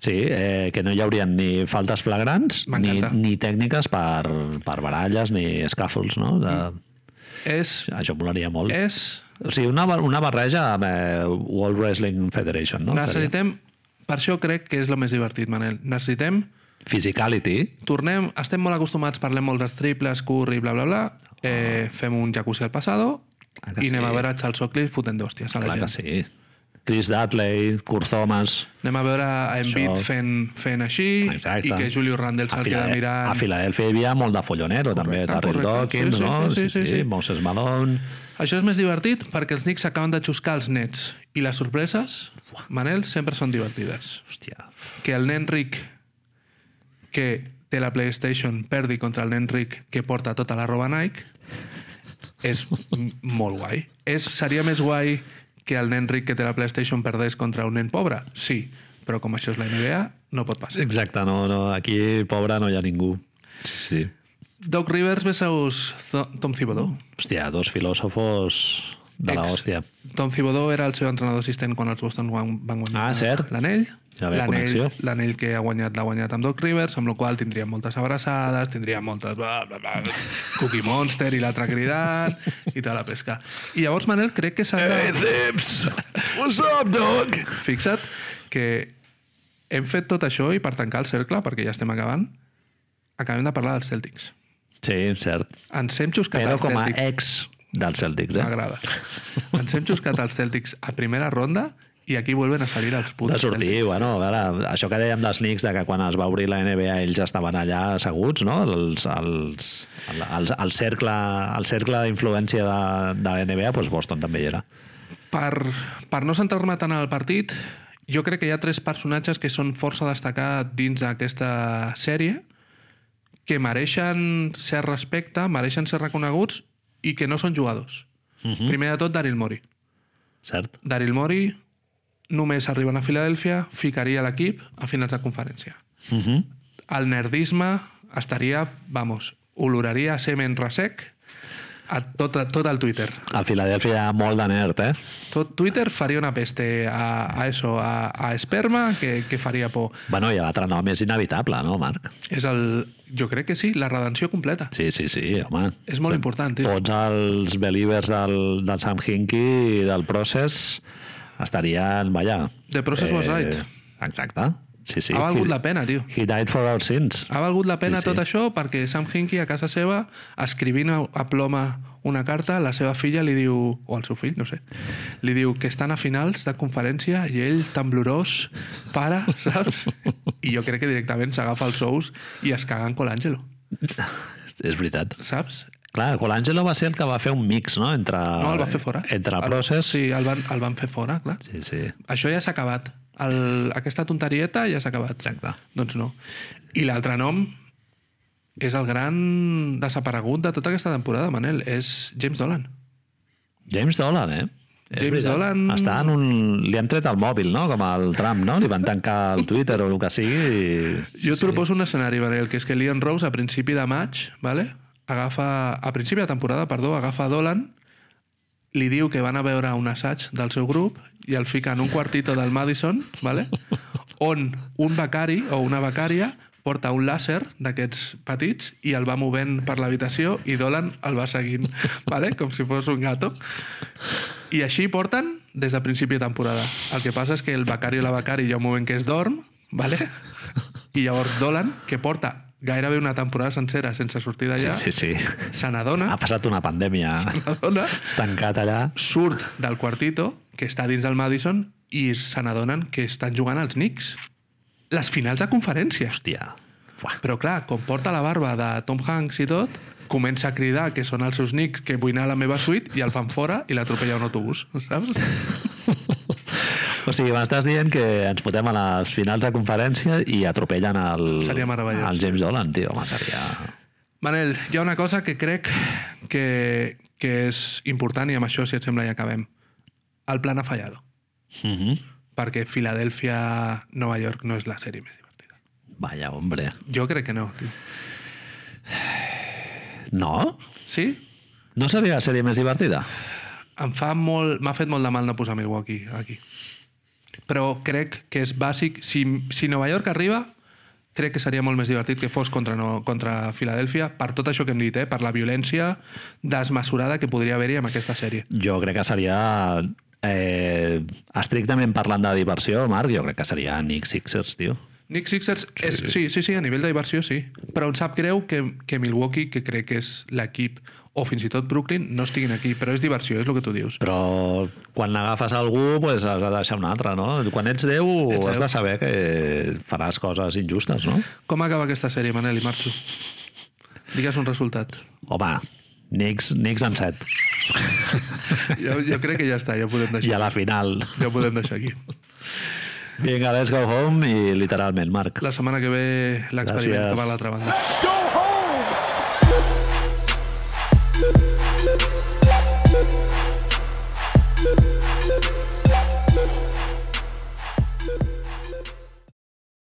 Speaker 1: Sí, eh, que no hi haurien ni faltes flagrants, ni,
Speaker 2: M'encanta.
Speaker 1: ni tècniques per, per baralles, ni escàfols, no? De...
Speaker 2: És,
Speaker 1: Això molaria molt.
Speaker 2: és
Speaker 1: O sigui, una, bar- una barreja amb eh, World Wrestling Federation, no?
Speaker 2: Ah,
Speaker 1: Seria.
Speaker 2: necessitem... Per això crec que és el més divertit, Manel. Necessitem...
Speaker 1: Physicality,
Speaker 2: Tornem, estem molt acostumats, parlem molt dels triples, curri, bla, bla, bla. Eh, fem un jacuzzi al passado
Speaker 1: Clar que
Speaker 2: i anem
Speaker 1: sí.
Speaker 2: a veure Charles Oakley fotent d'hòsties a la
Speaker 1: clar
Speaker 2: gent.
Speaker 1: que sí. Chris Dudley, Kurt Thomas...
Speaker 2: Anem a veure a Embiid
Speaker 1: Això.
Speaker 2: fent, fent així
Speaker 1: Exacte. eh?
Speaker 2: i que Julio Randle se'l queda
Speaker 1: Filade-
Speaker 2: mirant.
Speaker 1: A Filadelfia hi havia molt de follonero, també. Terrell
Speaker 2: correcte.
Speaker 1: Dawkins,
Speaker 2: Sí, sí,
Speaker 1: no?
Speaker 2: sí, sí, sí, sí.
Speaker 1: Moses Malone...
Speaker 2: Això és més divertit perquè els Knicks acaben de xuscar els nets i les sorpreses, Manel, sempre són divertides.
Speaker 1: Hòstia,
Speaker 2: Que el nen ric que té la PlayStation perdi contra el nen ric que porta tota la roba Nike és m- molt guai. És, seria més guai que el nen ric que té la PlayStation perdés contra un nen pobre? Sí, però com això és la NBA, no pot passar.
Speaker 1: Exacte, no, no, aquí, pobre, no hi ha ningú. Sí, sí.
Speaker 2: Doc Rivers versus Tho- Tom Thibodeau.
Speaker 1: Hòstia, dos filòsofos de la
Speaker 2: Ex.
Speaker 1: hòstia.
Speaker 2: Tom Thibodeau era el seu entrenador assistent quan els Boston van, van guanyar
Speaker 1: Ah, cert.
Speaker 2: l'anell.
Speaker 1: Ja ve
Speaker 2: L'anell
Speaker 1: connexió.
Speaker 2: l'anell que ha guanyat l'ha guanyat amb Doc Rivers, amb la qual cosa tindríem moltes abraçades, tindríem moltes... Bla, bla, bla, Cookie Monster i l'altre cridant i tota la pesca. I llavors, Manel, crec que s'ha
Speaker 1: Eh,
Speaker 2: de...
Speaker 1: Zips! What's up, dog?
Speaker 2: Fixa't que hem fet tot això i per tancar el cercle, perquè ja estem acabant, acabem de parlar dels Celtics.
Speaker 1: Sí, cert.
Speaker 2: Ens hem xuscat
Speaker 1: Però
Speaker 2: als
Speaker 1: com a
Speaker 2: Celtics.
Speaker 1: ex dels Celtics, eh?
Speaker 2: M'agrada. Ens hem xuscat als Celtics a primera ronda i aquí vuelven a salir els putos
Speaker 1: De sortir, bueno, a veure, això que dèiem dels Knicks, de que quan es va obrir la NBA ells estaven allà asseguts, no? Els, els, el, el, el cercle, el cercle d'influència de, de la NBA, doncs Boston també hi era.
Speaker 2: Per, per no centrar-me tant en el partit, jo crec que hi ha tres personatges que són força destacar dins d'aquesta sèrie, que mereixen ser respecte, mereixen ser reconeguts i que no són jugadors. Uh -huh. Primer de tot, Daryl Mori.
Speaker 1: Cert?
Speaker 2: Daryl Mori només arribant a Filadèlfia ficaria l'equip a finals de conferència.
Speaker 1: Uh
Speaker 2: Mhm.
Speaker 1: -huh.
Speaker 2: el nerdisme estaria, vamos, oloraria a semen resec a tot, a tot el Twitter.
Speaker 1: A Filadèlfia hi ha molt de nerd, eh?
Speaker 2: Tot Twitter faria una peste a, a eso, a, a esperma, que, que faria por.
Speaker 1: Bueno, i l'altre nom és inevitable, no, Marc?
Speaker 2: És el... Jo crec que sí, la redenció completa.
Speaker 1: Sí, sí, sí, home.
Speaker 2: És molt important, tio.
Speaker 1: Tots els believers del, del Sam Hinkie i del Process estarien ballar.
Speaker 2: The Process was right.
Speaker 1: Exacte. Sí, sí.
Speaker 2: Ha valgut
Speaker 1: He-
Speaker 2: la pena, tio.
Speaker 1: He died for our sins.
Speaker 2: Ha valgut la pena
Speaker 1: Sí,
Speaker 2: sí,
Speaker 1: sí.
Speaker 2: sí. tot això perquè Sam Hinkie a casa seva, escrivint a, a ploma una carta, la seva filla li diu, o el seu fill, no sé, li diu que estan a finals de conferència i ell, temblorós, para, saps? I jo crec que directament s'agafa els ous i es caga en Colangelo,
Speaker 1: És veritat.
Speaker 2: saps?
Speaker 1: Clar, Colangelo va ser el que va fer un mix, no? Entre,
Speaker 2: No, el va fer fora.
Speaker 1: Entre Process...
Speaker 2: El, sí, el van, el van fer fora, clar.
Speaker 1: sí, sí.
Speaker 2: Això ja s'ha acabat. El, aquesta tonterieta ja s'ha acabat.
Speaker 1: Exacte.
Speaker 2: Doncs no. I l'altre nom és el gran desaparegut de tota aquesta temporada, Manel. És James Dolan.
Speaker 1: James Dolan, eh? És
Speaker 2: James
Speaker 1: veritat.
Speaker 2: Dolan-
Speaker 1: Està en un... Li han tret el mòbil, no? Com al Trump, no? Li van tancar el Twitter o el que sigui. I...
Speaker 2: Jo et proposo un escenari, Manel, que és que Leon Rose a principi de maig, vale? agafa, a principi de temporada, perdó, agafa Dolan, li diu que van a veure un assaig del seu grup i el fica en un quartito del Madison, vale? on un becari o una becària porta un làser d'aquests petits i el va movent per l'habitació i Dolan el va seguint, vale? com si fos un gato. I així porten des de principi de temporada. El que passa és que el becari o la becari hi ha un moment que es dorm, ¿vale? i llavors Dolan, que porta gairebé una temporada sencera sense sortir d'allà,
Speaker 1: Sí, Ah, sí, sí.
Speaker 2: se n'adona,
Speaker 1: Ha passat una pandèmia
Speaker 2: n'adona,
Speaker 1: tancat allà.
Speaker 2: surt del quartito, que està dins del Madison, i se n'adonen que estan jugant als Knicks. Les finals de conferència.
Speaker 1: Hòstia. Buah.
Speaker 2: Però clar, com porta la barba de Tom Hanks i tot, comença a cridar que són els seus Knicks, que vull anar a la meva suite, i el fan fora i l'atropella un autobús, saps?
Speaker 1: O sigui, m'estàs dient que ens fotem a les finals de conferència i atropellen el,
Speaker 2: Seria meravellós.
Speaker 1: el James Dolan, tio. Home, seria...
Speaker 2: Manel, hi ha una cosa que crec que, que és important i amb això, si et sembla, ja acabem. El plan ha fallado,
Speaker 1: Uh
Speaker 2: Mhm.
Speaker 1: -huh.
Speaker 2: perquè Filadèlfia-Nova York no és la sèrie més divertida.
Speaker 1: Vaya, hombre.
Speaker 2: Jo crec que no, tio.
Speaker 1: No?
Speaker 2: Sí?
Speaker 1: No seria la sèrie més divertida?
Speaker 2: Em fa molt... M'ha fet molt de mal no posar Milwaukee aquí. Però crec que és bàsic... Si, si Nova York arriba, crec que seria molt més divertit que fos contra, no, contra Filadèlfia, per tot això que hem dit, eh? per la violència desmesurada que podria haver-hi amb aquesta sèrie.
Speaker 1: Jo crec que seria... Eh, estrictament parlant de diversió, Marc, jo crec que seria Nick Sixers, tio.
Speaker 2: Nick Sixers, sí, és, sí, sí, sí, a nivell de diversió, sí. Però em sap greu que, que Milwaukee, que crec que és l'equip, o fins i tot Brooklyn, no estiguin aquí. Però és diversió, és el que tu dius.
Speaker 1: Però quan n'agafes algú, pues, has de deixar un altre, no? Quan ets Déu,
Speaker 2: Ets
Speaker 1: ets has
Speaker 2: Déu.
Speaker 1: de saber que faràs coses injustes, no?
Speaker 2: Com acaba aquesta sèrie, Manel i Marxo? Digues un resultat.
Speaker 1: Home, Knicks, Knicks en set.
Speaker 2: Jo, jo crec que ja està, ja ho podem
Speaker 1: I
Speaker 2: deixar.
Speaker 1: a la final.
Speaker 2: Ja ho podem deixar aquí.
Speaker 1: Vinga, let's go home i literalment, Marc.
Speaker 2: La setmana que ve l'experiment
Speaker 1: Gràcies.
Speaker 2: va a l'altra banda.
Speaker 3: Go home!